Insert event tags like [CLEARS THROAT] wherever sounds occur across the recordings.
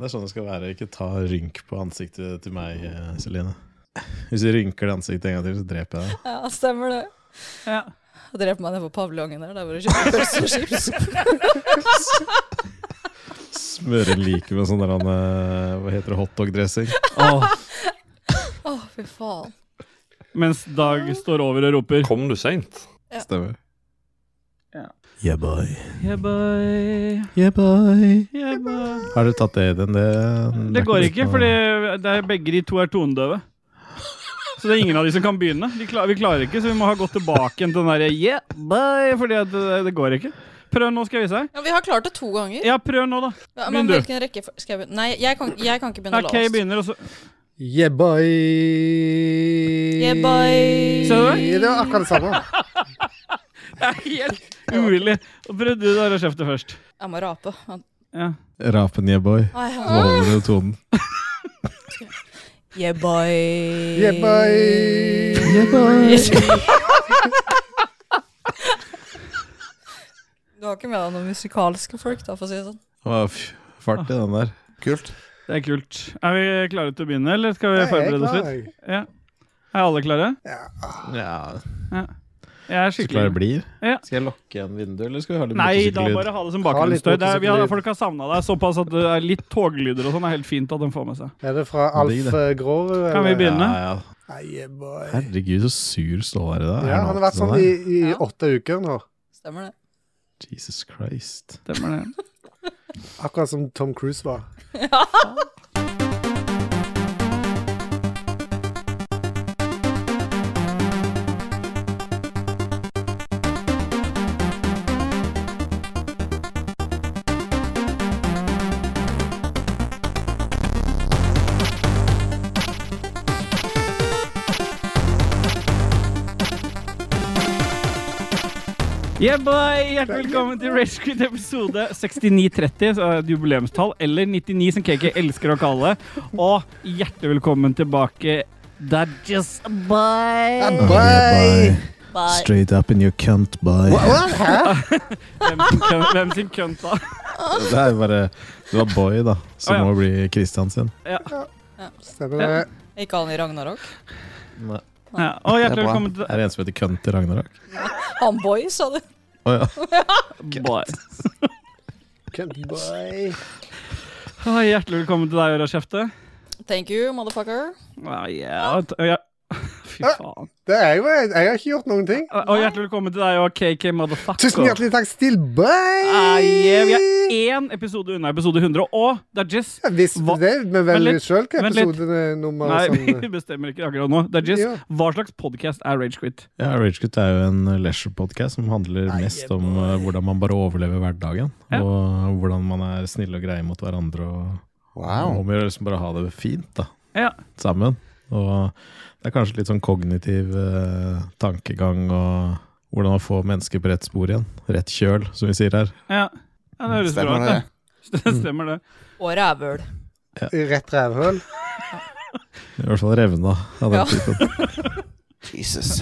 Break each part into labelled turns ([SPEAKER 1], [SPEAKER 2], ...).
[SPEAKER 1] Det er sånn det skal være. Ikke ta rynk på ansiktet til meg, eh, Celine. Hvis du rynker det ansiktet en gang til, så dreper jeg deg.
[SPEAKER 2] Ja, stemmer det.
[SPEAKER 3] Ja.
[SPEAKER 2] Jeg drev meg ned på paviljongen der. Der var det kjøpt chips og chips.
[SPEAKER 1] Smøre liket med sånn der han eh, Hva heter det? Hotdog-dressing.
[SPEAKER 3] Åh,
[SPEAKER 2] Å, fy faen.
[SPEAKER 3] mens Dag står over og roper
[SPEAKER 4] Kom du seint?
[SPEAKER 1] Stemmer.
[SPEAKER 3] Ja.
[SPEAKER 1] Yeah, boy.
[SPEAKER 3] yeah, boy,
[SPEAKER 1] Yeah, boy.
[SPEAKER 3] yeah, boy.
[SPEAKER 1] Har du tatt det i den? Det, det
[SPEAKER 3] Det
[SPEAKER 1] er
[SPEAKER 3] går
[SPEAKER 1] litt
[SPEAKER 3] ikke,
[SPEAKER 1] noe-
[SPEAKER 3] fordi det er begge de to er tonedøve. Så det er ingen av de som kan begynne. De kla- vi klarer ikke, så vi må ha gått tilbake igjen til den derre yeah, bye, fordi at det, det går ikke. Prøv nå, skal jeg vise deg.
[SPEAKER 2] Ja, vi har klart det to ganger.
[SPEAKER 3] Ja, prøv nå, da.
[SPEAKER 2] Ja,
[SPEAKER 3] begynn
[SPEAKER 2] men
[SPEAKER 3] du.
[SPEAKER 2] hvilken rekke skal jeg begynne? Nei, jeg kan, jeg kan ikke begynne
[SPEAKER 3] OK,
[SPEAKER 2] lavest.
[SPEAKER 3] begynner, og så
[SPEAKER 5] Yeah, boy. Yeah,
[SPEAKER 2] Yeah, bye.
[SPEAKER 3] Ser du
[SPEAKER 5] Det var akkurat det samme.
[SPEAKER 3] [LAUGHS] Det er helt umulig. Og prøv du der og kjefte først.
[SPEAKER 2] Jeg må rape.
[SPEAKER 3] Ja.
[SPEAKER 1] Rapen yeah, boy.
[SPEAKER 2] Ai, ja.
[SPEAKER 1] Så holder du tonen.
[SPEAKER 2] Yeah, boy.
[SPEAKER 5] Yeah, boy.
[SPEAKER 2] [LAUGHS] Du har ikke med deg noen musikalske folk, da, for å si det sånn.
[SPEAKER 1] Det var f- fart i den der.
[SPEAKER 5] Kult.
[SPEAKER 3] Det er kult. Er vi klare til å begynne, eller skal vi
[SPEAKER 5] Jeg er
[SPEAKER 3] forberede oss litt?
[SPEAKER 5] klar.
[SPEAKER 3] Ja. Er alle klare?
[SPEAKER 1] Ja,
[SPEAKER 3] Jeg er
[SPEAKER 1] så klar
[SPEAKER 3] skikkelig
[SPEAKER 1] det blir.
[SPEAKER 3] Ja.
[SPEAKER 1] Skal jeg lokke igjen vinduet, eller skal vi ha litt
[SPEAKER 3] Nei, da
[SPEAKER 1] motorsykkellyd?
[SPEAKER 3] bare ha det som
[SPEAKER 5] Ha litt
[SPEAKER 3] bakgrunnsstøy. Det er- vi har-
[SPEAKER 5] motorsykkellyd.
[SPEAKER 3] Folk har savna deg såpass at det er litt toglyder og sånn. er helt fint at de får med seg.
[SPEAKER 5] Er det fra
[SPEAKER 1] Digg,
[SPEAKER 5] Alf
[SPEAKER 1] det.
[SPEAKER 5] eh, Grorud?
[SPEAKER 3] Kan vi
[SPEAKER 5] eller?
[SPEAKER 3] begynne?
[SPEAKER 1] Ja, ja.
[SPEAKER 5] Nei, Yeah, boy.
[SPEAKER 1] Herregud, så sur Ståle er i dag. Er
[SPEAKER 5] Ja, han har
[SPEAKER 1] alltid
[SPEAKER 5] vært sånn i,
[SPEAKER 1] der?
[SPEAKER 5] i
[SPEAKER 2] Ja.
[SPEAKER 5] åtte uker nå.
[SPEAKER 2] Stemmer det.
[SPEAKER 1] Jesus Christ.
[SPEAKER 3] Stemmer det.
[SPEAKER 5] Akkurat som Tom Cruise var.
[SPEAKER 3] [LAUGHS] Yeah, boy! Hjertelig velkommen til Rage Quit episode 6930, så er det jubileumstall, eller 99, som KK elsker å kalle det. Og hjertelig velkommen tilbake. That just a boy.
[SPEAKER 5] Yeah, boy.
[SPEAKER 2] Bye.
[SPEAKER 1] Straight up in your cunt, boy.
[SPEAKER 5] Hva- hva? Hæ?
[SPEAKER 3] Hvem sin kønt- Hvem sin kønt, da?
[SPEAKER 1] Det er jo bare Det var boy, da, som
[SPEAKER 3] Å, ja.
[SPEAKER 1] må bli Christian sin.
[SPEAKER 5] Stemmer det.
[SPEAKER 2] Ikke han i Ragnarok.
[SPEAKER 1] Nei,
[SPEAKER 3] Ja, og
[SPEAKER 1] det er
[SPEAKER 3] hjertelig
[SPEAKER 1] bra.
[SPEAKER 3] velkommen til
[SPEAKER 1] Er det en som heter cunt i Ragnarok?
[SPEAKER 2] Han boy, sa du.
[SPEAKER 1] Å ja.
[SPEAKER 3] Boy.
[SPEAKER 5] Cunt boy.
[SPEAKER 3] Å, Hjertelig velkommen til deg, Øra Kjefte.
[SPEAKER 2] Thank you, motherfucker.
[SPEAKER 3] Å, ja, t- ja. [LAUGHS] Fy faen.
[SPEAKER 5] Det er jo Jeg har ikke gjort noen ting.
[SPEAKER 3] Og hjertelig velkommen til deg og KK Motherfucker.
[SPEAKER 5] Tusen hjertelig takk, Stillboy!
[SPEAKER 3] Ah, yeah, vi er én episode unna episode 100, og det er Jess.
[SPEAKER 5] Hvis
[SPEAKER 3] Hva-
[SPEAKER 5] det, men
[SPEAKER 3] Vent
[SPEAKER 5] vel
[SPEAKER 3] litt,
[SPEAKER 5] sjøl hva
[SPEAKER 3] vent litt.
[SPEAKER 5] episodenummer
[SPEAKER 3] Nei, [LAUGHS]
[SPEAKER 5] og sånn.
[SPEAKER 3] vi bestemmer ikke akkurat nå. Det er Jess.
[SPEAKER 5] Ja.
[SPEAKER 3] Hva slags podkast er Ragequit?
[SPEAKER 1] ja Ragequit er jo en leisure-podkast som handler mest om eh, hvordan man bare overlever hverdagen.
[SPEAKER 3] Ja.
[SPEAKER 1] Og hvordan man er snille og greie mot hverandre. Og
[SPEAKER 4] Mm.
[SPEAKER 1] og om å gjøre liksom bare ha det fint da,
[SPEAKER 3] Ja.
[SPEAKER 1] sammen. Og det er kanskje litt sånn kognitiv eh, tankegang og hvordan man får mennesker på rett spor igjen. Rett kjøl, som vi sier her.
[SPEAKER 3] ja. ja det høres bra
[SPEAKER 5] Stemmer det.
[SPEAKER 3] ut, det. [LAUGHS] Det stemmer det.
[SPEAKER 2] Og rævøl.
[SPEAKER 5] eh, Rett rævhøl.
[SPEAKER 1] I hvert fall revna av den
[SPEAKER 2] Ja.
[SPEAKER 1] typen.
[SPEAKER 6] Jesus.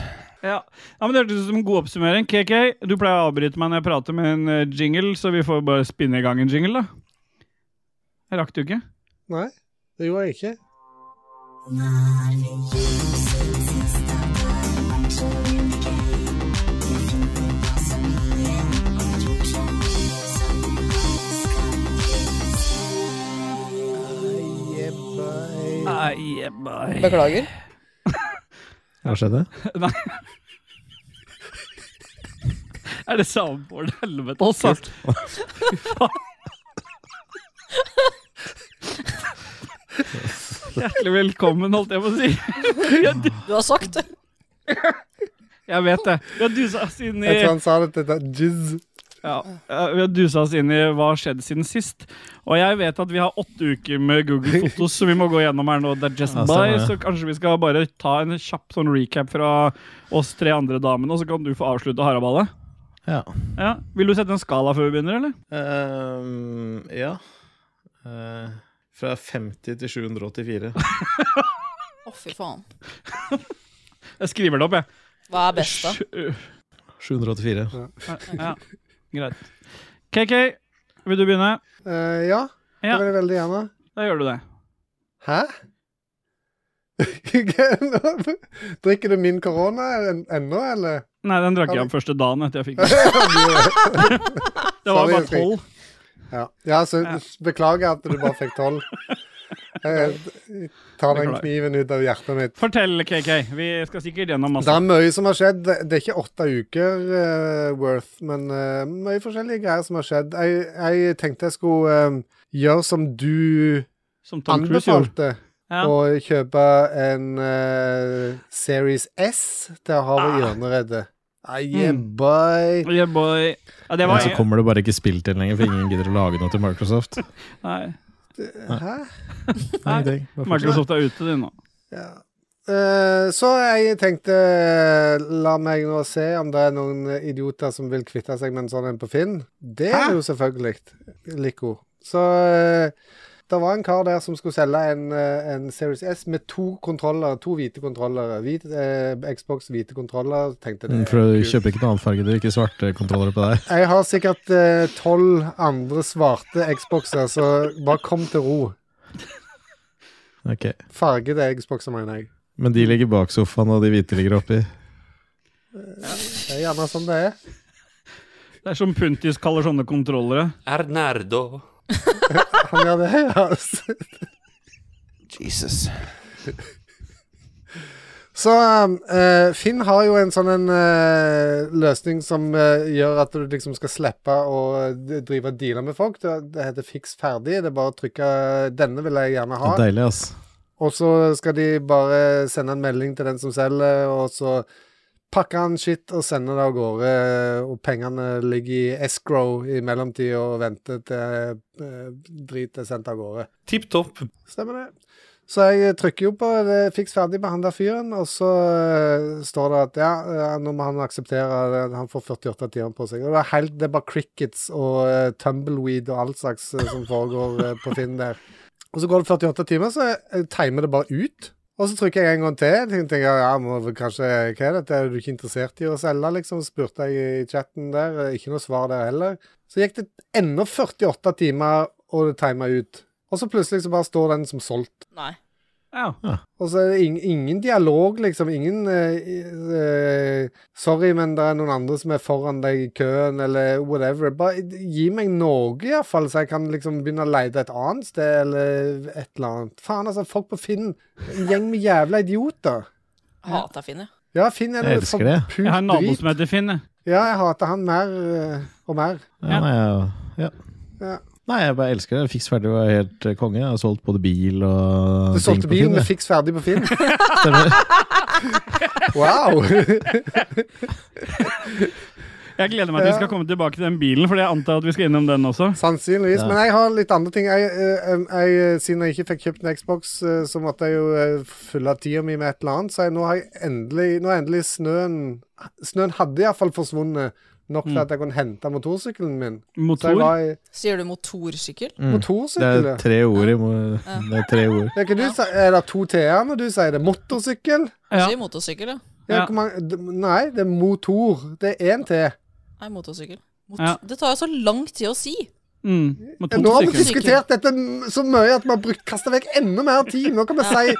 [SPEAKER 3] Ja. ja, men Det hørtes ut som en god oppsummering. KK, du pleier å avbryte meg når jeg prater med en eh, jingle, så vi får bare spinne i gang en jingle, da. Jeg rakk det jo ikke.
[SPEAKER 5] Nei, det gjorde jeg ikke.
[SPEAKER 3] Ai, eh, bye.
[SPEAKER 2] Beklager.
[SPEAKER 1] Hva skjedde?
[SPEAKER 3] Er det soundboard helvete, altså? Fy faen. Hjertelig velkommen, holdt jeg på å si.
[SPEAKER 2] Du har sagt det.
[SPEAKER 3] Jeg vet det. Vi har dusa oss inn i,
[SPEAKER 5] Jeg tror han sa det til Jizz.
[SPEAKER 3] ja, eh, vi har dusa oss inn i hva har skjedd siden sist. Og jeg vet at vi har åtte uker med Google Fotos som vi må gå gjennom her nå. Det er just
[SPEAKER 1] Ja,
[SPEAKER 3] by,
[SPEAKER 1] stemmer det.
[SPEAKER 3] Så kanskje vi skal bare ta en kjapp sånn recap fra oss tre andre damene, og så kan du få avslutte haraballet.
[SPEAKER 1] [LAUGHS] Ja.
[SPEAKER 3] Ja. Vil du sette en skala før vi begynner, eller?
[SPEAKER 1] Ehm, ja. Eh, fra 50 til 784.
[SPEAKER 2] Å, fy faen.
[SPEAKER 3] Jeg skriver det opp, jeg.
[SPEAKER 2] Hva er best, da?
[SPEAKER 3] Sju-
[SPEAKER 1] 784.
[SPEAKER 3] Ja, greit. KK, vil du begynne?
[SPEAKER 5] Eh, ja, det
[SPEAKER 3] Ja.
[SPEAKER 5] vil jeg veldig gjerne.
[SPEAKER 3] Da gjør du det.
[SPEAKER 5] Hæ? [LAUGHS] Nå Drikker du min korona en- ennå, eller?
[SPEAKER 3] Nei, den drakk jeg opp første dagen etter jeg fikk den. [LAUGHS] Det var bare
[SPEAKER 5] Sorry, jeg fikk-
[SPEAKER 3] tolv.
[SPEAKER 5] Ja, ja så
[SPEAKER 3] Ja.
[SPEAKER 5] beklager at du bare fikk tolv. Jeg tar den
[SPEAKER 3] Beklager.
[SPEAKER 5] kniven ut av hjertet mitt.
[SPEAKER 3] Fortell, KK. Vi skal sikkert gjennom
[SPEAKER 5] Det
[SPEAKER 3] masse.
[SPEAKER 5] er mye som har skjedd. Det det er ikke åtte uker eh, worth, men eh, mye forskjellige greier som har skjedd. Jeg, jeg tenkte jeg skulle eh, gjøre som du
[SPEAKER 3] Som Tom Cruise gjorde.
[SPEAKER 5] anbefalte,
[SPEAKER 3] Ja.
[SPEAKER 5] og kjøpe en eh, Series S til å ha ved hjørneredet. Ah, yeah,
[SPEAKER 3] Mm.
[SPEAKER 5] boy.
[SPEAKER 3] Yeah, boy. Ja, det
[SPEAKER 1] Men så
[SPEAKER 3] var
[SPEAKER 1] kommer det bare ikke spill til lenger, for ingen gidder å lage noe til Microsoft.
[SPEAKER 3] Nei.
[SPEAKER 5] Hæ?
[SPEAKER 1] Nei, det, bare fortsett.
[SPEAKER 3] Microsoft er ute, de nå.
[SPEAKER 5] Ja. Eh, så jeg tenkte La meg nå se om det er noen idioter som vil kvitte seg med en sånn en på Finn. Det
[SPEAKER 3] Hæ?
[SPEAKER 5] er det jo selvfølgelig. Lico. Så eh, det var en kar der som skulle selge en, eh, en Series S med to kontrollere, to hvite kontrollere. Hvit, eh, Xbox hvite kontroller. Tenkte det.
[SPEAKER 1] Mm,
[SPEAKER 5] er
[SPEAKER 1] For du
[SPEAKER 5] kult.
[SPEAKER 1] kjøper ikke noen annen farge, du. Ikke svarte kontroller på deg.
[SPEAKER 5] Jeg har sikkert eh, tolv andre svarte Xboxer, så bare kom til ro.
[SPEAKER 1] Ok.
[SPEAKER 5] Fargede Xboxer, mener jeg.
[SPEAKER 1] Men de ligger bak sofaen, og de hvite ligger oppi.
[SPEAKER 5] Det er gjerne sånn det er.
[SPEAKER 3] Det er som Puntis kaller sånne kontrollere.
[SPEAKER 6] Ernardo.
[SPEAKER 5] Han gjør det, [LAUGHS] ja.
[SPEAKER 6] Jesus.
[SPEAKER 5] Så eh, Finn har jo en sånn en eh, løsning som eh, gjør at du liksom skal slippe å eh, drive og deale med folk. Det, det heter fiks ferdig. Det er bare å trykke eh, 'denne vil jeg gjerne
[SPEAKER 1] Det
[SPEAKER 5] ha'.
[SPEAKER 1] er deilig, ass.
[SPEAKER 5] Og så skal de bare sende en melding til den som selger, og så pakker han shit og sender det av gårde. Og pengene ligger i escrow i mellomtida og venter til eh, drit er sendt av gårde.
[SPEAKER 6] Tipp topp.
[SPEAKER 5] Stemmer det. Så jeg trykker jo på det, fiks ferdig behandla fyren, og så eh, står det at ja, eh, nå må han akseptere det, han får 48 timer på seg. Og det er, helt, det er bare crickets og eh, tumbleweed og all slags eh, som foregår eh, på Finn der. Og så går det 48 timer, så jeg timer det bare ut. Og så trykker jeg en gang til. Jeg tenker jeg, ja, må vel kanskje, hva er dette, er du ikke interessert i å selge, liksom? Spurte jeg i chatten der. eh, Ikke noe svar der heller. Så gikk det ennå 48 timer, og det tima ut. Og så plutselig så bare står den som solgt.
[SPEAKER 2] Nei.
[SPEAKER 3] Ja.
[SPEAKER 5] Og så er det ing ingen dialog, liksom. Ingen eh, i- eh, 'Sorry, men det er noen andre som er foran deg i køen', eller whatever. Bare gi meg noe, iallfall, så jeg kan liksom begynne å lete et annet sted, eller et eller annet. Faen, altså. Folk på Finn. En gjeng med jævla idioter.
[SPEAKER 2] Hata Finn, jeg.
[SPEAKER 5] Ja, Finn er
[SPEAKER 1] Jeg
[SPEAKER 5] noe
[SPEAKER 1] elsker det.
[SPEAKER 5] forpult
[SPEAKER 3] Jeg har en nabo
[SPEAKER 5] drit.
[SPEAKER 3] som heter Finn. jeg.
[SPEAKER 5] Ja, jeg hater han mer eh, og mer.
[SPEAKER 3] Ja.
[SPEAKER 1] Ja, nei, ja. Ja.
[SPEAKER 5] Ja.
[SPEAKER 1] nei, jeg bare elsker det. Fiks ferdig var helt eh, konge. Jeg har solgt både bil og
[SPEAKER 5] Du solgte bilen med
[SPEAKER 1] jeg.
[SPEAKER 5] fiks ferdig på Finn.
[SPEAKER 1] Stemmer. [LAUGHS]
[SPEAKER 5] Wow!
[SPEAKER 3] Jeg gleder meg til vi skal komme tilbake til den bilen, for jeg antar at vi skal innom den også.
[SPEAKER 5] Sannsynligvis.
[SPEAKER 1] Ja.
[SPEAKER 5] Men jeg har litt andre ting. Jeg, eh, em, jeg, eh, siden jeg ikke fikk kjøpt en Xbox, eh, så måtte jeg jo eh, fylle tida mi med et eller annet. Så jeg, nå har jeg endelig, nå er endelig snøen Snøen hadde iallfall forsvunnet. Nok til at jeg kunne hente motorsykkelen min. Så jeg
[SPEAKER 3] Mm. Motor.
[SPEAKER 5] var i
[SPEAKER 2] Sier du motorsykkel?
[SPEAKER 1] Mm. Det
[SPEAKER 5] motorsykkel.
[SPEAKER 1] er
[SPEAKER 5] ja.
[SPEAKER 1] tre ord i mo- Det er tre ord.
[SPEAKER 5] Er, ikke du, sa- er det to t-er når du sier det? Motorsykkel?
[SPEAKER 2] Ja.
[SPEAKER 3] Ja.
[SPEAKER 2] Sier motorsykkel, ja.
[SPEAKER 5] Ja.
[SPEAKER 3] Ja.
[SPEAKER 5] hvor mange- d- Nei, det er motor. Det er én t.
[SPEAKER 2] Nei, motorsykkel. Mot
[SPEAKER 3] Ja.
[SPEAKER 2] Det tar jo så lang tid å si.
[SPEAKER 3] Mm.
[SPEAKER 5] Nå har vi
[SPEAKER 3] Motorsykkel.
[SPEAKER 5] diskutert dette m- så mye at vi har kasta vekk enda mer tid. Nå kan vi si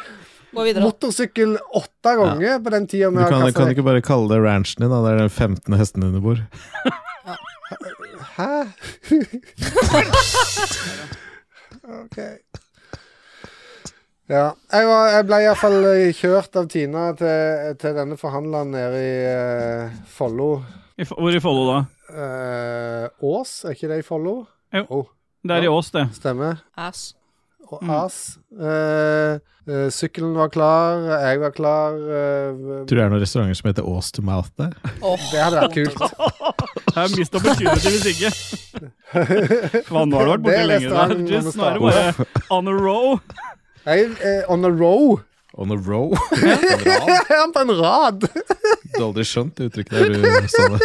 [SPEAKER 2] Gå videre.
[SPEAKER 5] motorsykkel åtte ganger på den tida
[SPEAKER 1] Du
[SPEAKER 5] vi har
[SPEAKER 1] kan,
[SPEAKER 5] kasta
[SPEAKER 1] kan du
[SPEAKER 5] vekk.
[SPEAKER 1] ikke bare kalle det ranchen din, da. Det er den 15. hesten din du bor.
[SPEAKER 5] Hæ? [LAUGHS] OK. Ja. Jeg, var, jeg ble iallfall eh, kjørt av Tina til, til denne forhandleren nede i eh, Follo.
[SPEAKER 3] I Fo- Hvor i Follo da?
[SPEAKER 5] Eh, Ås, er ikke det i Follo?
[SPEAKER 3] Jo.
[SPEAKER 5] Oh,
[SPEAKER 3] Det er i Ås, det.
[SPEAKER 5] stemmer.
[SPEAKER 2] Ass.
[SPEAKER 5] Og
[SPEAKER 3] Mm.
[SPEAKER 5] As. Eh, eh, sykkelen var klar, jeg var klar.
[SPEAKER 1] Tror
[SPEAKER 5] eh,
[SPEAKER 1] du det er noen restauranter som heter Ås to Mouth der?
[SPEAKER 2] Åh,
[SPEAKER 5] det hadde vært kult.
[SPEAKER 3] Jeg har mist opportunity hvis
[SPEAKER 5] [LAUGHS]
[SPEAKER 3] ikke. Faen, nå har du vært
[SPEAKER 5] Det
[SPEAKER 3] borte
[SPEAKER 5] er
[SPEAKER 3] lenge. da.
[SPEAKER 5] restauranten
[SPEAKER 3] Just, Nå er det
[SPEAKER 5] man må
[SPEAKER 3] bare on a row.
[SPEAKER 5] Jeg, eh, on a row. [LAUGHS]
[SPEAKER 1] On a [LAUGHS] row? Bra.
[SPEAKER 5] Jeg er på en rad.
[SPEAKER 1] Du har aldri skjønt det uttrykket der du
[SPEAKER 5] [LAUGHS]
[SPEAKER 1] sa det.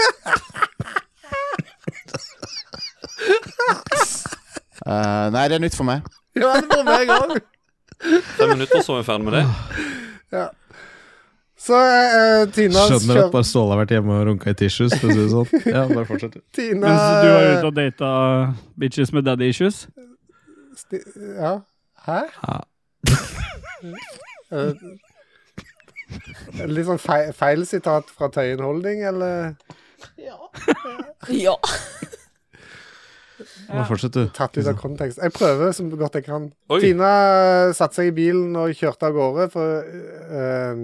[SPEAKER 4] Eh, nei, det er nytt for meg.
[SPEAKER 5] Ja, det var meg òg.
[SPEAKER 7] Fem minutter, så er vi ferdig med det.
[SPEAKER 5] Så eh, Tina
[SPEAKER 1] Skjønner
[SPEAKER 5] kjør-
[SPEAKER 1] at bare Ståle har vært hjemme og runka i tissues, for å si det
[SPEAKER 5] [LAUGHS]
[SPEAKER 1] sånn. Ja, bare fortsett.
[SPEAKER 5] Tina
[SPEAKER 3] Mens du var ute og data bitches med daddy issues.
[SPEAKER 5] sti- Ja. Hæ? [LAUGHS]
[SPEAKER 8] Ja.
[SPEAKER 5] Er det- er det Litt sånn feil, feil sitat fra Tøyen Holding, eller
[SPEAKER 2] Ja.
[SPEAKER 1] Men fortsett, du.
[SPEAKER 5] tatt ut av kontekst? Jeg prøver så godt jeg kan.
[SPEAKER 7] Oi.
[SPEAKER 5] Tina eh, satte seg i bilen og kjørte av gårde, for eh,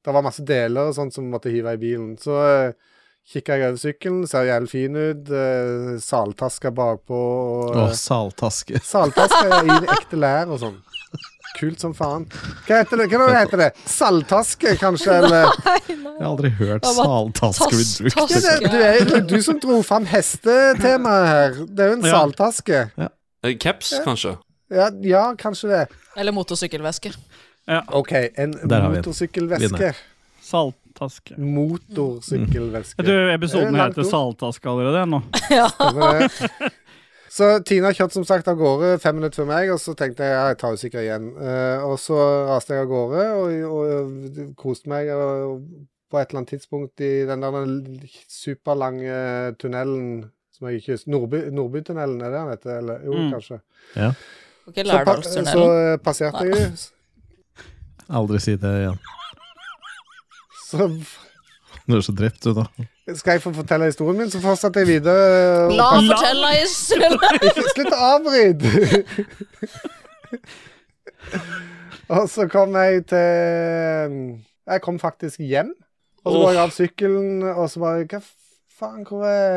[SPEAKER 5] det var masse deler og sånt som måtte hive i bilen. Så uh, kikka jeg over sykkelen, ser jævlig fin ut, uh, saltaske bakpå og
[SPEAKER 1] Å, saltaske.
[SPEAKER 5] Saltaske i ekte lær og sånn. Kult som faen. Hva heter det? Hva heter det? Saltaske, kanskje? Eller?
[SPEAKER 1] [LAUGHS]
[SPEAKER 2] Nei, nei.
[SPEAKER 1] Jeg har aldri hørt
[SPEAKER 2] Det var
[SPEAKER 1] saltaske blitt
[SPEAKER 2] tas-
[SPEAKER 1] brukt.
[SPEAKER 5] Ja, det,
[SPEAKER 1] liksom.
[SPEAKER 5] du, er, det er du som dro fram hestetemaet her. Det er jo en
[SPEAKER 7] Ja.
[SPEAKER 5] saltaske.
[SPEAKER 7] Eh, Caps, kanskje?
[SPEAKER 5] Ja, ja, kanskje det.
[SPEAKER 2] Eller motorsykkelveske.
[SPEAKER 5] OK, en
[SPEAKER 1] Der har vi den.
[SPEAKER 5] motorsykkelveske.
[SPEAKER 1] Vinner. Mm.
[SPEAKER 3] Saltaske. Jeg
[SPEAKER 5] Motorsykkelveske.
[SPEAKER 3] tror episoden
[SPEAKER 5] Det er langt
[SPEAKER 3] heter
[SPEAKER 5] ord.
[SPEAKER 3] Saltaske allerede nå.
[SPEAKER 2] [LAUGHS] Ja.
[SPEAKER 5] Stemmer det. Så Tina kjørte som sagt av gårde fem minutter før meg, og så tenkte jeg ja, jeg tar jo sikkert igjen. Eh, og så raste jeg av gårde og, og, og koste meg. Og, på et eller annet tidspunkt i den der superlange tunnelen som jeg ikke husker Nordby, Nordbytunnelen, er det den heter? Eller, jo,
[SPEAKER 3] Mm.
[SPEAKER 5] kanskje.
[SPEAKER 2] Ok,
[SPEAKER 5] Så, pa så
[SPEAKER 2] Lærdalstunnelen.
[SPEAKER 5] eh, passerte jeg jo. [LAUGHS]
[SPEAKER 1] Aldri si det igjen.
[SPEAKER 5] Så
[SPEAKER 1] Du er så drept, du, da.
[SPEAKER 5] skal jeg få fortelle historien min, så fortsetter jeg videre. og
[SPEAKER 2] La
[SPEAKER 5] passer-
[SPEAKER 2] han fortelle deg
[SPEAKER 5] [LAUGHS]
[SPEAKER 2] selv.
[SPEAKER 5] Ikke slutt å avbryte! og så kom jeg til um, Jeg kom faktisk hjem. Og så
[SPEAKER 7] Åh.
[SPEAKER 5] går jeg av sykkelen, og så bare Hva faen, hvor er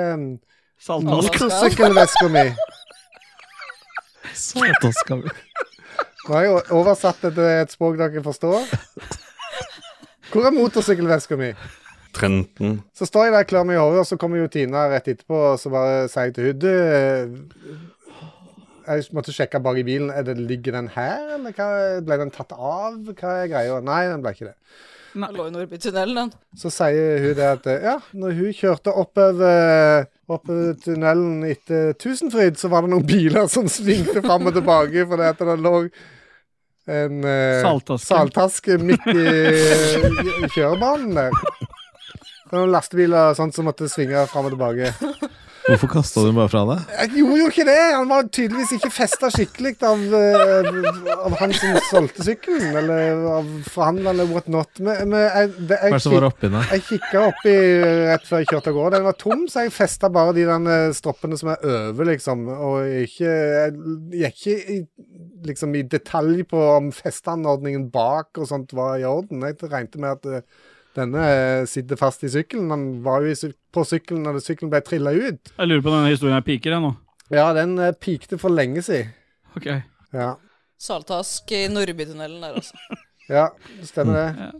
[SPEAKER 3] Saltaske.
[SPEAKER 5] motorsykkelveska mi?
[SPEAKER 1] Saltaske.
[SPEAKER 5] Nå har jeg o- oversatt det til et språk dere forstår. Hvor er motorsykkelveska mi?
[SPEAKER 7] Trenten.
[SPEAKER 5] Så står jeg der klar med i hodet, og så kommer jo Tina rett etterpå, og så bare sier jeg til henne Du, jeg måtte sjekke bak i bilen. Er det, ligger den her, eller hva, ble den tatt av? Hva er greia? Nei, den ble ikke det.
[SPEAKER 2] Han lå i Nordbytunnelen, han.
[SPEAKER 5] Så sier hun det at eh, ja, når hun kjørte oppover eh, oppover tunnelen etter Tusenfryd, så var det noen biler som svingte fram og tilbake fordi at det lå en eh,
[SPEAKER 3] Saltaske.
[SPEAKER 5] saltaske midt i, i kjørebanen der. Det var Noen lastebiler og sånt som måtte svinge fram og tilbake.
[SPEAKER 1] Hvorfor kasta du den bare fra deg?
[SPEAKER 5] Jeg gjorde jo ikke det! Han var tydeligvis ikke festa skikkelig av, eh, av han som solgte sykkelen, eller av forhandleren eller what not. Men, men jeg,
[SPEAKER 1] Hva
[SPEAKER 5] det,
[SPEAKER 1] er
[SPEAKER 5] jeg,
[SPEAKER 1] det som var
[SPEAKER 5] kik-
[SPEAKER 1] oppi den?
[SPEAKER 5] jeg kikka oppi rett før jeg kjørte av gårde. Den var tom, så jeg festa bare de den eh, stroppene som er over, liksom. Og ikke Jeg gikk ikke i, liksom, i detalj på om festeanordningen bak og sånt var i orden. Jeg regnet med at eh, denne eh, sitter fast i sykkelen. Han var jo i, syk- på sykkelen da sykkelen ble trilla ut.
[SPEAKER 3] Jeg lurer på om denne historien her piker jeg nå.
[SPEAKER 5] Ja, den eh, pikte for lenge siden.
[SPEAKER 3] Ok.
[SPEAKER 5] Ja.
[SPEAKER 2] Saltask i Nordbytunnelen der, altså.
[SPEAKER 5] Ja, det stemmer det.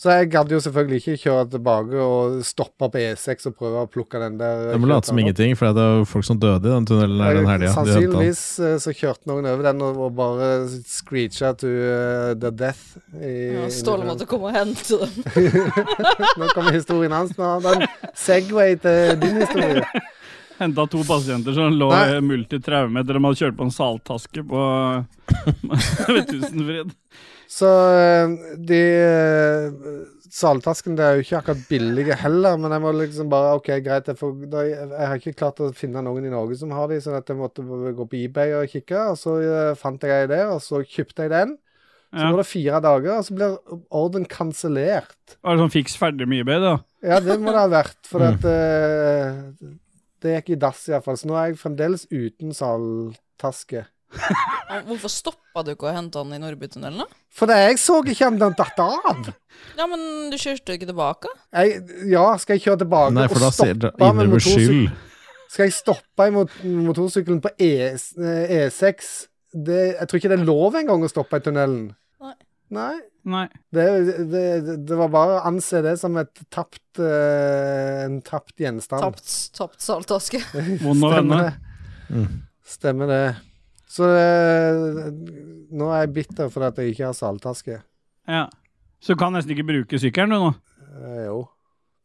[SPEAKER 5] Så jeg gadd jo selvfølgelig ikke kjøre tilbake og stoppe på E6 og prøve å plukke den der.
[SPEAKER 1] Jeg må late som ingenting, for det er jo folk som døde i den tunnelen her den helga.
[SPEAKER 5] Sannsynligvis eh, så kjørte noen over den og, og bare screecha to eh, the death. i-
[SPEAKER 2] Ja, Ståle måtte komme og hente dem.
[SPEAKER 5] Nå kommer historien hans. Nå har han en Segway til din historie.
[SPEAKER 3] Henta to pasienter som lå
[SPEAKER 5] Nei.
[SPEAKER 3] i multitraume etter at de hadde kjørt på en saltaske på [LAUGHS] ved Tusenfryd.
[SPEAKER 5] Så eh, de eh, Saltasken det er jo ikke akkurat billige heller, men jeg må liksom bare OK, greit, jeg, får, da, jeg, jeg har ikke klart å finne noen i Norge som har de, sånn at jeg måtte b- gå på eBay og kikke, og så eh, fant jeg det, og så kjøpte jeg den. Så
[SPEAKER 3] Ja.
[SPEAKER 5] går det fire dager, og så blir ordren kansellert.
[SPEAKER 3] Var det sånn fiks ferdig med eBay, da?
[SPEAKER 5] Ja, det må det ha vært, for at
[SPEAKER 1] Mm.
[SPEAKER 5] eh, Det gikk i dass, iallfall. Så nå er jeg fremdeles uten saltaske.
[SPEAKER 2] Og Hvorfor stoppa du ikke å hente han i Nordbytunnelen, da?
[SPEAKER 5] For det, jeg så ikke om den datt av!
[SPEAKER 2] Ja, men du kjørte jo ikke tilbake?
[SPEAKER 5] Jeg, ja, skal jeg kjøre tilbake
[SPEAKER 1] Nei, for da
[SPEAKER 5] og
[SPEAKER 1] ser
[SPEAKER 5] stoppe
[SPEAKER 1] dere
[SPEAKER 5] med
[SPEAKER 1] innrømmer
[SPEAKER 5] motorsykkel?
[SPEAKER 1] skyld.
[SPEAKER 5] Skal jeg stoppe imot motorsykkelen på E, eh, E6 det, Jeg tror ikke det er lov engang å stoppe i tunnelen.
[SPEAKER 2] Nei.
[SPEAKER 5] Nei.
[SPEAKER 3] Nei.
[SPEAKER 5] Det, det, det var bare å anse det som et tapt, eh, en tapt gjenstand.
[SPEAKER 2] Tapt, tapt saltaske.
[SPEAKER 3] Vond å vende.
[SPEAKER 5] det. Stemmer det. Så eh, nå er jeg bitter fordi at jeg ikke har saltaske.
[SPEAKER 3] Ja. Så du kan nesten ikke bruke sykkelen, du nå.
[SPEAKER 5] Eh, jo,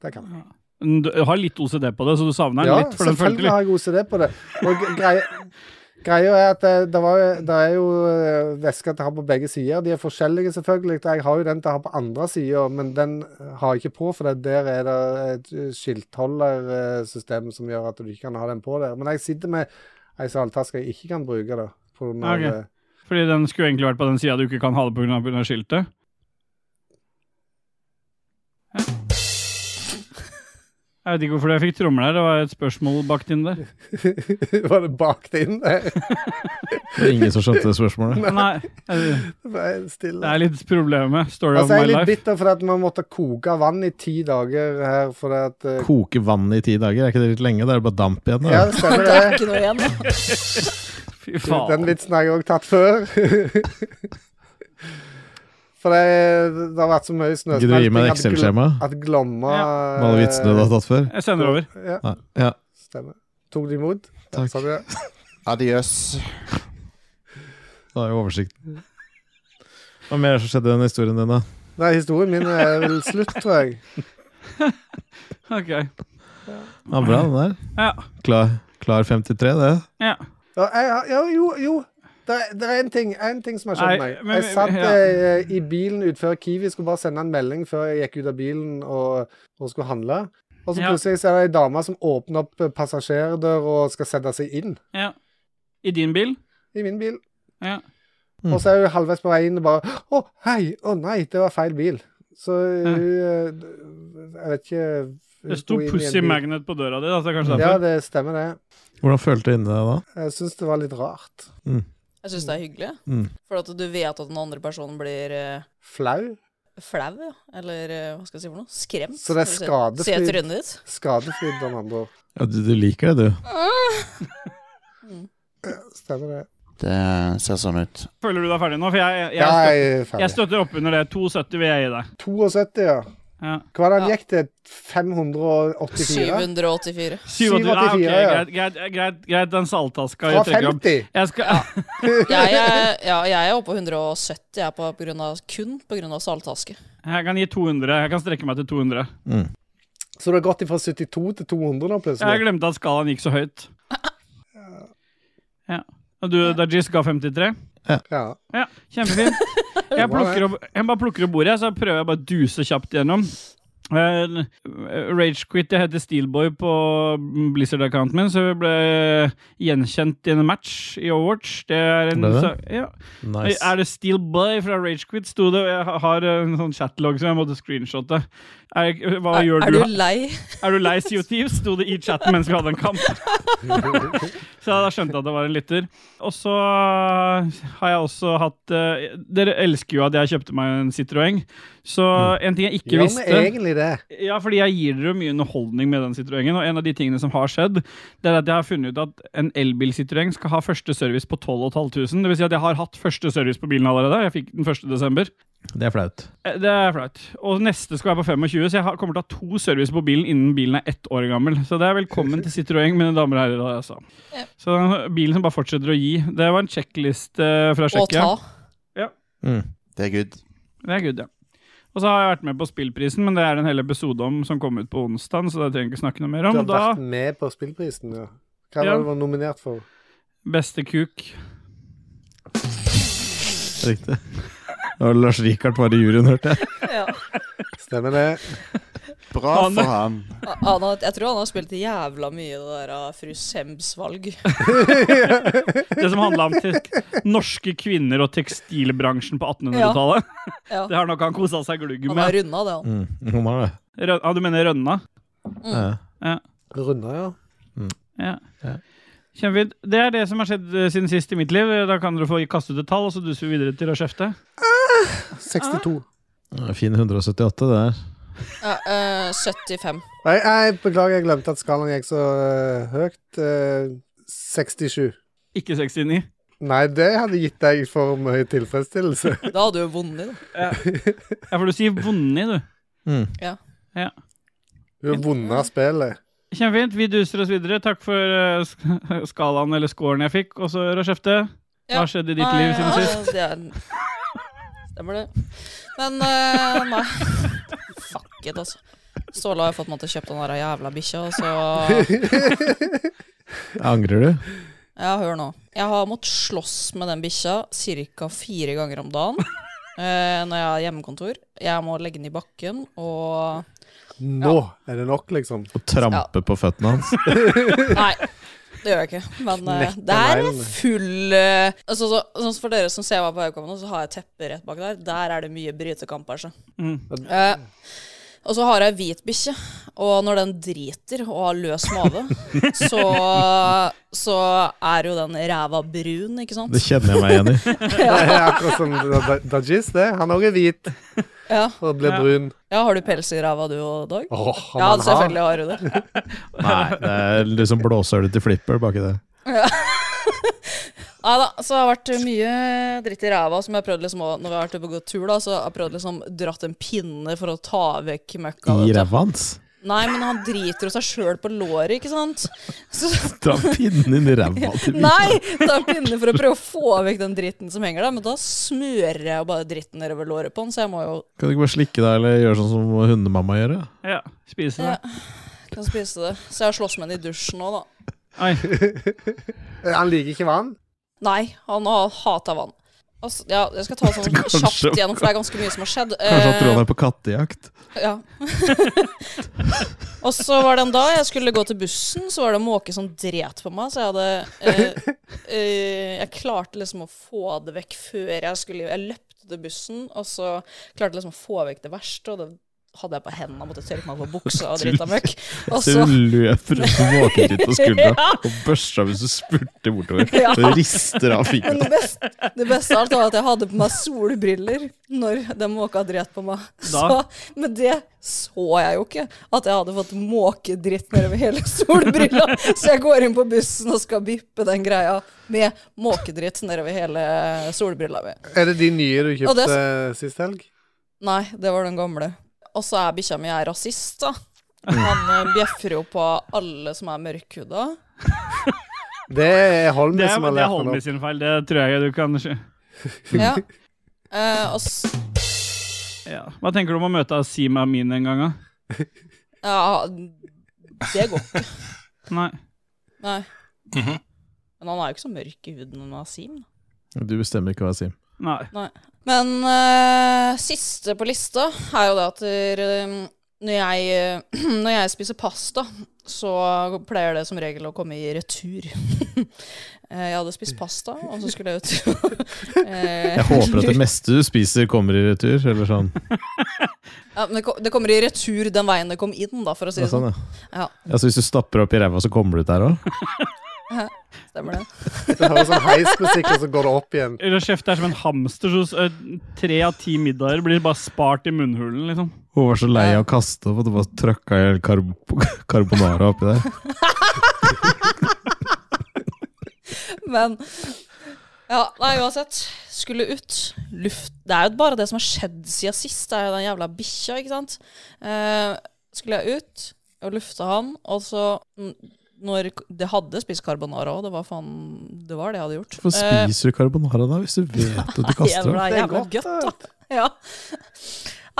[SPEAKER 5] det kan jeg.
[SPEAKER 3] Men Du har litt OCD på det, så du savner den
[SPEAKER 5] Ja,
[SPEAKER 3] litt. For den følte
[SPEAKER 5] selvfølgelig
[SPEAKER 3] litt.
[SPEAKER 5] har jeg OCD på det. Og greia, greia er at eh, det, det, var, jo- det er jo eh, væsker til å ha på begge sider. De er forskjellige, selvfølgelig. Jeg har jo den til å ha på andre sida, men den eh, har jeg ikke på, for det, der er det et eh, skiltholdersystem som gjør at du ikke kan ha den på der. Men jeg sitter med ei saltaske jeg ikke kan bruke, da. På grunn av,
[SPEAKER 3] Ok.
[SPEAKER 5] eh,
[SPEAKER 3] Fordi den skulle egentlig vært på den sida du ikke kan ha det pga. skiltet. Ja. Jeg vet ikke hvorfor jeg fikk trommer der. Det var et spørsmål bakt inn
[SPEAKER 5] [LAUGHS]
[SPEAKER 3] der.
[SPEAKER 5] Var det bakt
[SPEAKER 3] [LAUGHS]
[SPEAKER 5] inn der?
[SPEAKER 1] Det er ingen som skjønte det spørsmålet.
[SPEAKER 3] Nei, det
[SPEAKER 5] Vær Stille.
[SPEAKER 3] er litt problemet. Story
[SPEAKER 5] Altså,
[SPEAKER 3] of
[SPEAKER 5] jeg er
[SPEAKER 3] my
[SPEAKER 5] litt
[SPEAKER 3] life.
[SPEAKER 5] bitter fordi at man måtte koke vann i ti dager her fordi at eh,
[SPEAKER 1] Koke vann i ti dager, er ikke det litt lenge? Da er det bare damp igjen.
[SPEAKER 5] Ja,
[SPEAKER 1] Da.
[SPEAKER 5] det stemmer
[SPEAKER 2] [LAUGHS] Det er
[SPEAKER 5] det.
[SPEAKER 2] ikke noe igjen. da.
[SPEAKER 3] Fy
[SPEAKER 5] Den
[SPEAKER 3] [LAUGHS] faen.
[SPEAKER 5] vitsen har jeg òg tatt før. [LAUGHS] For det, det har vært så mye
[SPEAKER 1] Gidder du å gi meg et
[SPEAKER 5] snøsmelting at gl-
[SPEAKER 1] Excel-skjema med
[SPEAKER 5] at Glomma eh,
[SPEAKER 1] alle vitsene du har tatt før?
[SPEAKER 3] Jeg sender over.
[SPEAKER 5] Ja,
[SPEAKER 1] Nei. Ja,
[SPEAKER 5] stemmer. Tok de imot? sånn,
[SPEAKER 1] Takk.
[SPEAKER 5] Sa du det?
[SPEAKER 4] Adjøs.
[SPEAKER 1] da har jeg oversikten. Hva mer er det som skjedde i den historien din, da?
[SPEAKER 5] Nei, historien min er vel slutt, tror jeg.
[SPEAKER 3] Ok.
[SPEAKER 1] Ja, bra, den der.
[SPEAKER 3] Ja.
[SPEAKER 1] Klar, klar 53, det.
[SPEAKER 3] ja.
[SPEAKER 5] Ja, jeg, har- jo, jo. jo. Det, er- det er én ting, en ting som har skjedd
[SPEAKER 3] Nei,
[SPEAKER 5] meg.
[SPEAKER 3] men-
[SPEAKER 5] Jeg satt
[SPEAKER 3] ja.
[SPEAKER 5] eh, i bilen utenfor Kiwi, skulle bare sende en melding før jeg gikk ut av bilen og, og skulle handle. Og så
[SPEAKER 3] Ja.
[SPEAKER 5] plutselig så er det ei dame som åpner opp eh, passasjerdør og skal sette seg inn
[SPEAKER 3] ja. I din bil?
[SPEAKER 5] i min bil.
[SPEAKER 3] Ja.
[SPEAKER 1] Mm.
[SPEAKER 5] Og så er hun halvveis på vei inn og bare Å, hei! Å nei, det var feil bil. Så hun eh, Jeg vet ikke hun
[SPEAKER 3] Det sto
[SPEAKER 5] sto inn i en
[SPEAKER 3] Pussy altså.
[SPEAKER 5] bil.
[SPEAKER 3] Magnet på døra di, da, så det er kanskje
[SPEAKER 5] Ja,
[SPEAKER 3] derfor.
[SPEAKER 5] det stemmer, det.
[SPEAKER 1] Hvordan følte du inni deg da?
[SPEAKER 5] Jeg syns det var litt rart.
[SPEAKER 2] Jeg syns det er hyggelig.
[SPEAKER 1] Mm.
[SPEAKER 2] For at du vet at den andre personen blir eh,
[SPEAKER 5] Flau.
[SPEAKER 2] flau, ja. eller eh, hva skal jeg si for noe? Skremt.
[SPEAKER 5] Så det er
[SPEAKER 2] Når du ser-
[SPEAKER 5] skadefri-
[SPEAKER 2] Ser trynet ditt.
[SPEAKER 5] Skadefryd, om andre ord.
[SPEAKER 1] Ja, du, du liker det, du.
[SPEAKER 2] Mm.
[SPEAKER 5] Stemmer det.
[SPEAKER 4] Det ser sånn ut.
[SPEAKER 3] Føler du deg ferdig nå? For jeg, jeg,
[SPEAKER 5] Ja,
[SPEAKER 3] jeg,
[SPEAKER 5] jeg
[SPEAKER 3] støtter,
[SPEAKER 5] er
[SPEAKER 3] jeg
[SPEAKER 5] ferdig.
[SPEAKER 3] støtter opp under det. 2,70 vil jeg gi deg.
[SPEAKER 5] 72, ja.
[SPEAKER 3] Ja.
[SPEAKER 5] Hva var det han
[SPEAKER 2] Ja.
[SPEAKER 5] gikk til? 584?
[SPEAKER 2] 784.
[SPEAKER 3] 87, ja, Ah, ok,
[SPEAKER 5] 87, ja.
[SPEAKER 3] greit, greit, greit, greit, den saltaska
[SPEAKER 5] Fra
[SPEAKER 3] jeg trekker opp.
[SPEAKER 5] 50?
[SPEAKER 3] Jeg skal, ah,
[SPEAKER 2] Jeg er, ja, jeg er oppe på 170 jeg er på, på grunn av, kun pga. saltaske.
[SPEAKER 3] jeg kan gi 200. Jeg kan strekke meg til 200.
[SPEAKER 1] Mm.
[SPEAKER 5] Så du har gått ifra 72 til 200 nå,
[SPEAKER 3] Jeg
[SPEAKER 5] plutselig?
[SPEAKER 3] glemte at skalaen gikk så høyt. Ja. Og du, Dajis, ga 53?
[SPEAKER 5] Ja.
[SPEAKER 3] Ja,
[SPEAKER 5] [LAUGHS]
[SPEAKER 3] kjempefint. Jeg, plukker opp, jeg bare plukker opp bordet, jeg, så prøver jeg bare å duse kjapt gjennom. Eh, Ragequit, jeg heter Steelboy på Blizzard-accounten min, så jeg ble gjenkjent i en match i Overwatch. Det er en
[SPEAKER 1] Ble det?
[SPEAKER 3] sa- Ja.
[SPEAKER 1] Nice.
[SPEAKER 3] Er det Steelboy fra Ragequit? Sto det, og jeg har en sånn chatlog som jeg måtte screenshotte. Er, hva
[SPEAKER 2] Er,
[SPEAKER 3] gjør
[SPEAKER 2] er
[SPEAKER 3] du?
[SPEAKER 2] du lei?
[SPEAKER 3] Er du lei Sea of Thieves? Sto det i chatten mens vi hadde en kamp. Så da skjønte jeg at det var en lytter. Og så eh, har jeg også hatt eh, Dere elsker jo at jeg kjøpte meg en Citroën. Så en ting jeg ikke
[SPEAKER 5] Gjør vi
[SPEAKER 3] visste
[SPEAKER 5] egentlig det?
[SPEAKER 3] Ja, fordi jeg gir dere mye underholdning med den Citroën-en. Og en av de tingene som har skjedd, det er at jeg har funnet ut at en elbil-Citroën skal ha første service på 12 500. Det vil si at jeg har hatt første service på bilen allerede. Jeg fikk den 1. desember.
[SPEAKER 1] Det er flaut.
[SPEAKER 3] Eh, Det er flaut. Og neste skal være på 25, så jeg har- kommer til å ha to service på bilen innen bilen er ett år gammel. Så det er velkommen til Citroën, mine damer og herrer. da, Altså.
[SPEAKER 2] Ja.
[SPEAKER 3] Så bilen som bare fortsetter å gi. Det var en sjekkliste fra
[SPEAKER 2] Å ta.
[SPEAKER 3] Tsjekkia.
[SPEAKER 1] Mm.
[SPEAKER 4] Det er good.
[SPEAKER 3] Det er good, ja. Og så har jeg vært med på Spillprisen, men det er det en hel episode om som kom ut på onsdag, så det trenger jeg ikke snakke noe mer
[SPEAKER 5] Du
[SPEAKER 3] om.
[SPEAKER 5] har
[SPEAKER 3] Da,
[SPEAKER 5] vært med på Spillprisen, ja. Hva var
[SPEAKER 3] Ja.
[SPEAKER 5] det du var nominert for?
[SPEAKER 3] beste kuk.
[SPEAKER 1] Riktig. Det var Lars Rikard var i juryen, hørte jeg.
[SPEAKER 2] Ja.
[SPEAKER 5] Stemmer det?
[SPEAKER 4] Bra
[SPEAKER 3] Han-
[SPEAKER 4] for han.
[SPEAKER 2] Han har, jeg tror han har spilt jævla mye det der av fru Sems valg.
[SPEAKER 3] Det som handla om tek- norske kvinner og tekstilbransjen på 1800-tallet.
[SPEAKER 2] Ja.
[SPEAKER 3] Det har nok han kosa seg glugg
[SPEAKER 2] Han har
[SPEAKER 3] med.
[SPEAKER 2] runda det, han.
[SPEAKER 1] Mm. Hun har det.
[SPEAKER 3] Røn, ja, du mener Rønna?
[SPEAKER 1] Ja.
[SPEAKER 5] Runda, ja.
[SPEAKER 3] Ja.
[SPEAKER 1] Ja.
[SPEAKER 3] Kjempefint. Det er det som har skjedd eh, siden sist i mitt liv. Da kan dere få kaste ut et tall, og så duser vi videre til å kjefte.
[SPEAKER 5] 62.
[SPEAKER 1] Ja, Fin 178, det der.
[SPEAKER 2] Ja, eh, 75.
[SPEAKER 5] Nei, jeg beklager, jeg glemte at skalaen gikk så eh, høyt. Eh, 67.
[SPEAKER 3] Ikke 69.
[SPEAKER 5] Nei, det hadde gitt deg for mye tilfredsstillelse.
[SPEAKER 2] Da hadde du jo vunnet,
[SPEAKER 3] Ja,
[SPEAKER 2] da.
[SPEAKER 3] for du sier vonde, du.
[SPEAKER 1] Mm.
[SPEAKER 5] Du har vunnet spillet.
[SPEAKER 3] Kjempefint. Vi duser oss videre. Takk for eh, sk- [LAUGHS] skalaen eller scoren jeg fikk. Og så, Rashefte, hva
[SPEAKER 2] Ja.
[SPEAKER 3] har skjedd i ditt liv siden sist?
[SPEAKER 2] det er... Stemmer det. Men eh, nei. Fuck it, altså. Ståle har jo fått meg til å kjøpe den der jævla bikkja, og så
[SPEAKER 1] Angrer du?
[SPEAKER 2] Ja, hør nå. Jeg har måttet slåss med den bikkja ca. fire ganger om dagen eh, når jeg har hjemmekontor. Jeg må legge den i bakken, og
[SPEAKER 5] Nå er det nok, liksom.
[SPEAKER 1] Å trampe på føttene hans?
[SPEAKER 2] Nei. det gjør jeg ikke. Men eh,
[SPEAKER 5] Knekke
[SPEAKER 2] det er
[SPEAKER 5] neglen.
[SPEAKER 2] full eh, altså, så, Sånn som for dere som ser meg på Haugalandet, så har jeg teppet rett bak der. Der er det mye brytekamp, altså.
[SPEAKER 3] Mm.
[SPEAKER 2] Eh, og så har jeg hvit bikkje, og når den driter og har løs mage, så, så er jo den ræva brun, ikke sant?
[SPEAKER 1] Det kjenner jeg meg igjen i.
[SPEAKER 5] Det er akkurat som Da- Da- Dajis, det. Han òg er hvit
[SPEAKER 2] Ja.
[SPEAKER 5] og blir
[SPEAKER 3] Ja.
[SPEAKER 5] brun.
[SPEAKER 2] ja, har du pels i ræva du og Dag?
[SPEAKER 5] Åh, han
[SPEAKER 2] Ja,
[SPEAKER 5] han har.
[SPEAKER 2] selvfølgelig har du det.
[SPEAKER 1] Nei, det er liksom blåsølet til Flipper baki der.
[SPEAKER 2] Nei da, så det har vært mye dritt i ræva som jeg har prøvd liksom å Når vi har vært ute på god tur, da, så har jeg prøvd liksom dratt en pinne for å ta vekk møkka.
[SPEAKER 1] I
[SPEAKER 2] vet du.
[SPEAKER 1] ræva hans.
[SPEAKER 2] Nei, men han driter jo seg sjøl på låret, ikke sant? Så [LAUGHS]
[SPEAKER 1] Dra pinnen inn i ræva til bikkja.
[SPEAKER 2] Nei! Ta en pinne for å prøve å få vekk den dritten som henger der, men da smører jeg jo bare dritten nedover låret på den, så jeg må jo
[SPEAKER 1] Kan du ikke bare slikke deg, eller gjøre sånn som hundemamma gjør? ja?
[SPEAKER 3] Ja, spise
[SPEAKER 2] ja,
[SPEAKER 3] det.
[SPEAKER 2] kan spise det. Så jeg har slåss med den i dusjen nå, da.
[SPEAKER 3] Oi.
[SPEAKER 5] Eh, Han liker ikke vann.
[SPEAKER 2] Nei, han har hata vann. Altså, ja, jeg skal ta sånn
[SPEAKER 1] [LAUGHS] Kanskje-
[SPEAKER 2] kjapt gjennom, for det er ganske mye som har skjedd.
[SPEAKER 1] Kanskje han tror han
[SPEAKER 2] Eh,
[SPEAKER 1] er på kattejakt?
[SPEAKER 2] ja. [LAUGHS] Og så var det en dag jeg skulle gå til bussen, så var det en måke som dret på meg. Så jeg hadde eh, eh, Jeg klarte liksom å få det vekk før jeg skulle Jeg løpte til bussen, og så klarte jeg liksom å få vekk det verste, og det hadde jeg på hendene og måtte tørke meg på buksa og drita møkk. Og
[SPEAKER 1] Så
[SPEAKER 2] så
[SPEAKER 1] hun løp rundt med måken ditt på skuldra
[SPEAKER 2] [LAUGHS] Ja.
[SPEAKER 1] og børsta hvis du spurter [LAUGHS] bortover.
[SPEAKER 2] Ja.
[SPEAKER 1] Og rister av
[SPEAKER 2] Men
[SPEAKER 1] fingeren.
[SPEAKER 2] det beste, det beste av alt var at jeg hadde på meg solbriller når den måka dret på meg. Så,
[SPEAKER 3] Da?
[SPEAKER 2] men det så jeg jo ikke, at jeg hadde fått måkedritt nedover hele solbrilla. Så jeg går inn på bussen og skal vippe den greia med måkedritt nedover hele solbrilla mi.
[SPEAKER 5] Er det de nye du
[SPEAKER 2] Og det-
[SPEAKER 5] kjøpte sist helg?
[SPEAKER 2] Nei, det var den gamle. Og så er bikkja mi er rasist, da. Han eh, bjeffer jo på alle som er mørkhuda.
[SPEAKER 5] Det er
[SPEAKER 3] Det
[SPEAKER 5] Holmi
[SPEAKER 3] er,
[SPEAKER 5] som har
[SPEAKER 3] det er
[SPEAKER 5] lært meg
[SPEAKER 3] Holmi
[SPEAKER 5] opp.
[SPEAKER 3] sin feil. Det tror jeg du kan skj-
[SPEAKER 2] Ja. Eh, og s
[SPEAKER 3] ja. Hva tenker du om å møte Asim Amin en gang, da?
[SPEAKER 2] Ja, det går
[SPEAKER 3] Nei.
[SPEAKER 2] Nei.
[SPEAKER 1] Mhm.
[SPEAKER 2] Men han er jo ikke så mørk i huden enn Asim.
[SPEAKER 1] Du bestemmer ikke hva jeg sier.
[SPEAKER 3] Nei.
[SPEAKER 2] Men eh, siste på lista er jo det at eh, når, jeg, [CLEARS THROAT] når jeg spiser pasta, så pleier det som regel å komme i retur. [LAUGHS] Eh, jeg hadde spist pasta, og så skulle jeg ut [LAUGHS] Eh,
[SPEAKER 1] Jeg håper at det meste du spiser, kommer i retur. Eller sånn.
[SPEAKER 2] ja, men det, ko- det kommer i retur den veien det kom inn, da, for å si
[SPEAKER 1] Ja,
[SPEAKER 2] det sånn.
[SPEAKER 1] sånn ja.
[SPEAKER 2] Ja,
[SPEAKER 1] Ja, så hvis du stapper opp i ræva, så kommer du ut der [LAUGHS] òg?
[SPEAKER 2] stemmer det.
[SPEAKER 5] Det høres som heismusikk, og så går det opp igjen.
[SPEAKER 3] Eller kjeft er som en hamster, så ø, tre av ti middager blir bare spart i munnhulen, liksom.
[SPEAKER 1] Hun var så lei av å kaste opp at hun bare trøkka i karb carbonara oppi der.
[SPEAKER 2] Men Ja, nei, uansett. Skulle ut. Luft Det er jo bare det som har skjedd siden sist. Det er jo den jævla bikkja, ikke sant. Eh, skulle jeg ut og lufte han, og så mm, når k- Det hadde spist carbonara òg, det var faen Det var det jeg hadde gjort.
[SPEAKER 1] [LAUGHS] Hvorfor spiser du carbonara da, hvis du vet at [LAUGHS] du
[SPEAKER 2] Eh,
[SPEAKER 1] kaster opp?
[SPEAKER 2] jævla,
[SPEAKER 5] Det er
[SPEAKER 2] jævla
[SPEAKER 5] godt,
[SPEAKER 2] godt, da. [LAUGHS] Ja.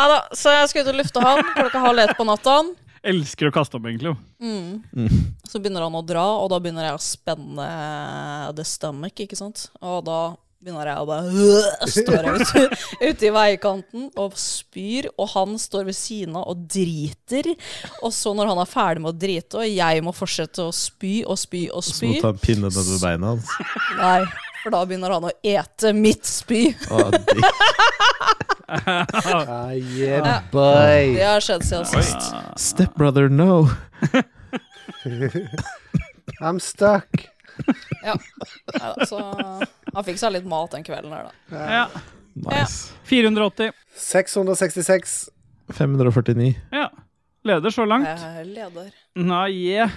[SPEAKER 2] Nei da, så jeg skulle ut og lufte han klokka halv ett på natta.
[SPEAKER 3] Elsker å kaste opp, egentlig. jo.
[SPEAKER 2] Mm. Så begynner han å dra, og da begynner jeg å spenne the stomach, ikke sant? Og da begynner jeg å bare øh, Står jeg ute, [LAUGHS] ute i veikanten og spyr, og han står ved siden av og driter. Og så når han er ferdig med å drite, og jeg må fortsette å spy og spy og
[SPEAKER 1] Så må
[SPEAKER 2] spy
[SPEAKER 1] du ta en pinne nedover beina hans.
[SPEAKER 2] Nei, for da begynner han å ete mitt spy.
[SPEAKER 1] [LAUGHS] Å, digg.
[SPEAKER 5] Ah, yeah, boy.
[SPEAKER 2] Det har skjedd siden sist.
[SPEAKER 1] Stepbrother, no!
[SPEAKER 5] I'm stuck.
[SPEAKER 2] Neida, så han fikk seg litt mat den kvelden her, da.
[SPEAKER 3] Ja.
[SPEAKER 1] Nice.
[SPEAKER 3] 480.
[SPEAKER 5] 666.
[SPEAKER 1] 549.
[SPEAKER 3] Ja. Leder så langt.
[SPEAKER 2] Jeg er leder.
[SPEAKER 3] Nei, yeah.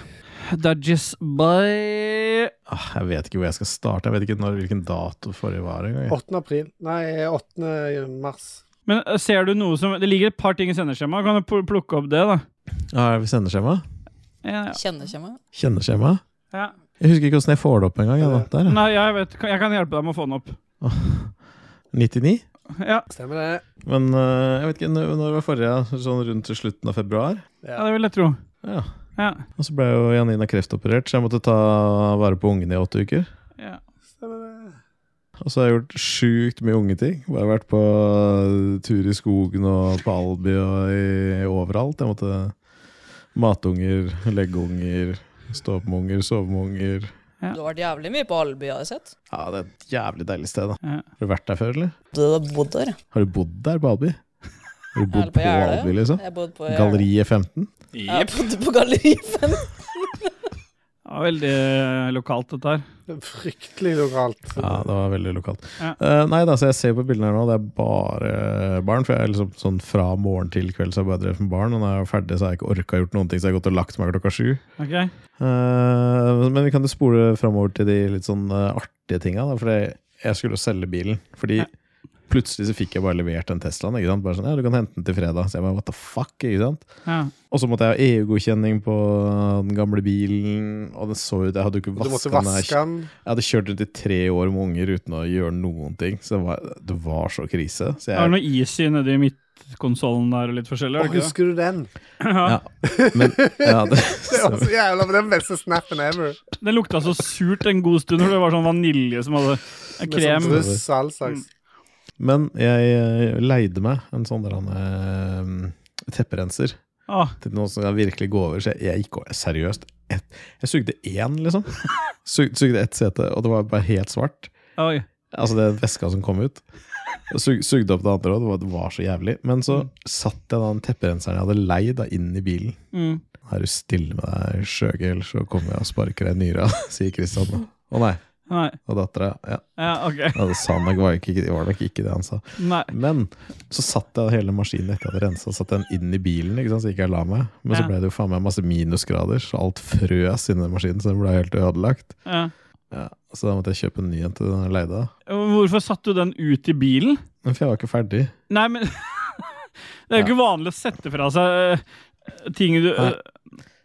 [SPEAKER 3] Dudges by
[SPEAKER 1] Åh, Ah, Jeg vet ikke hvor jeg skal starte. Jeg vet ikke når, hvilken dato forrige var engang. jeg.
[SPEAKER 5] 8. april. Nei, 8. mars.
[SPEAKER 3] Men ø, ser du noe som Det ligger et par ting i sendeskjemaet. Kan du pl- plukke opp det, da?
[SPEAKER 1] Ah, er vi sendeskjema?
[SPEAKER 3] Ja, ja.
[SPEAKER 2] Kjenner ikke meg.
[SPEAKER 1] Kjenneskjema?
[SPEAKER 3] ja.
[SPEAKER 1] Jeg husker ikke åssen jeg får det opp engang. Ja, da. Der, ja.
[SPEAKER 3] Nei, jeg vet kan- Jeg kan hjelpe deg med å få den opp.
[SPEAKER 1] 99?
[SPEAKER 3] Ja,
[SPEAKER 5] Stemmer det.
[SPEAKER 1] Men øh, jeg vet ikke, når når var forrige? Sånn rundt til slutten av februar?
[SPEAKER 3] ja det vil jeg tro.
[SPEAKER 1] Ja.
[SPEAKER 3] Ja.
[SPEAKER 1] Og så ble jo Janina kreftoperert, så jeg måtte ta vare på ungene i åtte uker.
[SPEAKER 3] ja.
[SPEAKER 5] Stemmer det.
[SPEAKER 1] Og så har jeg gjort sjukt mye ungeting. Bare vært på eh, tur i skogen og på Albi og i, overalt. Jeg måtte mate unger, legge unger, stå opp med unger, sove med unger.
[SPEAKER 3] Ja.
[SPEAKER 2] Du har vært jævlig mye på Alby, har jeg sett.
[SPEAKER 1] Ja, det er et jævlig deilig sted, da.
[SPEAKER 3] Ja.
[SPEAKER 1] Har du vært der før, eller?
[SPEAKER 2] Du har bodd der.
[SPEAKER 1] Har du bodd der på
[SPEAKER 3] [LAUGHS]
[SPEAKER 1] Alby? Har du bodd
[SPEAKER 2] på
[SPEAKER 1] på
[SPEAKER 2] Jeløya.
[SPEAKER 1] Alby, liksom?
[SPEAKER 2] Jeg bodde på
[SPEAKER 1] Galleriet 15?
[SPEAKER 2] Jeg bodde på Galleri 5.
[SPEAKER 3] Ja, veldig eh, lokalt, dette her.
[SPEAKER 5] Fryktelig lokalt.
[SPEAKER 1] Ja, det var veldig lokalt.
[SPEAKER 3] Ja.
[SPEAKER 1] Eh, nei da, så jeg ser på bildene her nå, det er bare barn. For jeg er liksom sånn fra morgen til kveld så har jeg bare drevet med barn. Og når jeg er ferdig, så har jeg ikke orka gjort noen ting, så jeg har gått og lagt meg klokka sju.
[SPEAKER 3] Ok?
[SPEAKER 1] Eh, men vi kan jo spole framover til de litt sånn eh, artige tinga, da. For jeg skulle jo selge bilen. Fordi
[SPEAKER 3] Ja.
[SPEAKER 1] plutselig så fikk jeg bare levert den Teslaen. Ikke sant? Bare sånn, ja, du kan hente den til fredag. Så jeg bare what the fuck, ikke sant.
[SPEAKER 3] Ja.
[SPEAKER 1] Og så måtte jeg ha EU-godkjenning på den gamle bilen, og det så ut Jeg hadde jo ikke
[SPEAKER 5] Du måtte
[SPEAKER 1] vaska den.
[SPEAKER 5] vaske
[SPEAKER 1] Jeg,
[SPEAKER 5] den.
[SPEAKER 1] jeg hadde kjørt rundt i tre år med unger uten å gjøre noen ting, så det var, det var så krise. Så
[SPEAKER 3] Det er
[SPEAKER 1] jeg,
[SPEAKER 3] noe is i nedi midtkonsollen der og litt forskjellig,
[SPEAKER 5] Å,
[SPEAKER 3] er det ikke det?
[SPEAKER 5] husker du den?
[SPEAKER 1] ja, men, ja, det,
[SPEAKER 5] [LAUGHS] Det var så jævla men Den beste snappen ever.
[SPEAKER 3] Den lukta så surt en god stund, for det var sånn vanilje som hadde
[SPEAKER 5] Med sånn
[SPEAKER 3] krem.
[SPEAKER 5] druss og all slags.
[SPEAKER 1] men jeg eh, leide meg en sånn der han, eh, tepperenser
[SPEAKER 3] Ah,
[SPEAKER 1] til noe som jeg virkelig gå over, så jeg, jeg gikk over seriøst. Et, jeg sugde én, liksom. [LAUGHS] Sug, sugde ett sete, og det var bare helt svart.
[SPEAKER 3] oi.
[SPEAKER 1] Altså det er væska som kom ut. Jeg Sug, sugde opp det andre òg, det, var- det var så jævlig. Men så satt jeg da den tepperenseren jeg hadde leid, da, inn i bilen.
[SPEAKER 3] Mm.
[SPEAKER 1] Er du stille med deg, skjøge, ellers så kommer jeg og sparker deg i nyra, [LAUGHS] sier Kristian. da. Å nei.
[SPEAKER 3] Nei.
[SPEAKER 1] Og dattera. Ja,
[SPEAKER 3] Ja, ok.
[SPEAKER 1] Ja, det sa han nok, var nok ikke, det var nok ikke det han sa.
[SPEAKER 3] Nei.
[SPEAKER 1] Men så satt jeg hele maskinen etter at jeg hadde rensa, satt den inn i bilen, ikke sant? så gikk jeg og la meg. Men
[SPEAKER 3] Ja.
[SPEAKER 1] så ble det jo faen meg masse minusgrader, så alt frøs inni den maskinen, så den ble helt ødelagt.
[SPEAKER 3] Ja.
[SPEAKER 1] Ja, så da måtte jeg kjøpe en ny en til den jeg leide. da.
[SPEAKER 3] Hvorfor satte du den ut i bilen?
[SPEAKER 1] Men for jeg var ikke ferdig.
[SPEAKER 3] Nei, men [LAUGHS] Det er jo ikke vanlig å sette fra seg eh, ting du eh,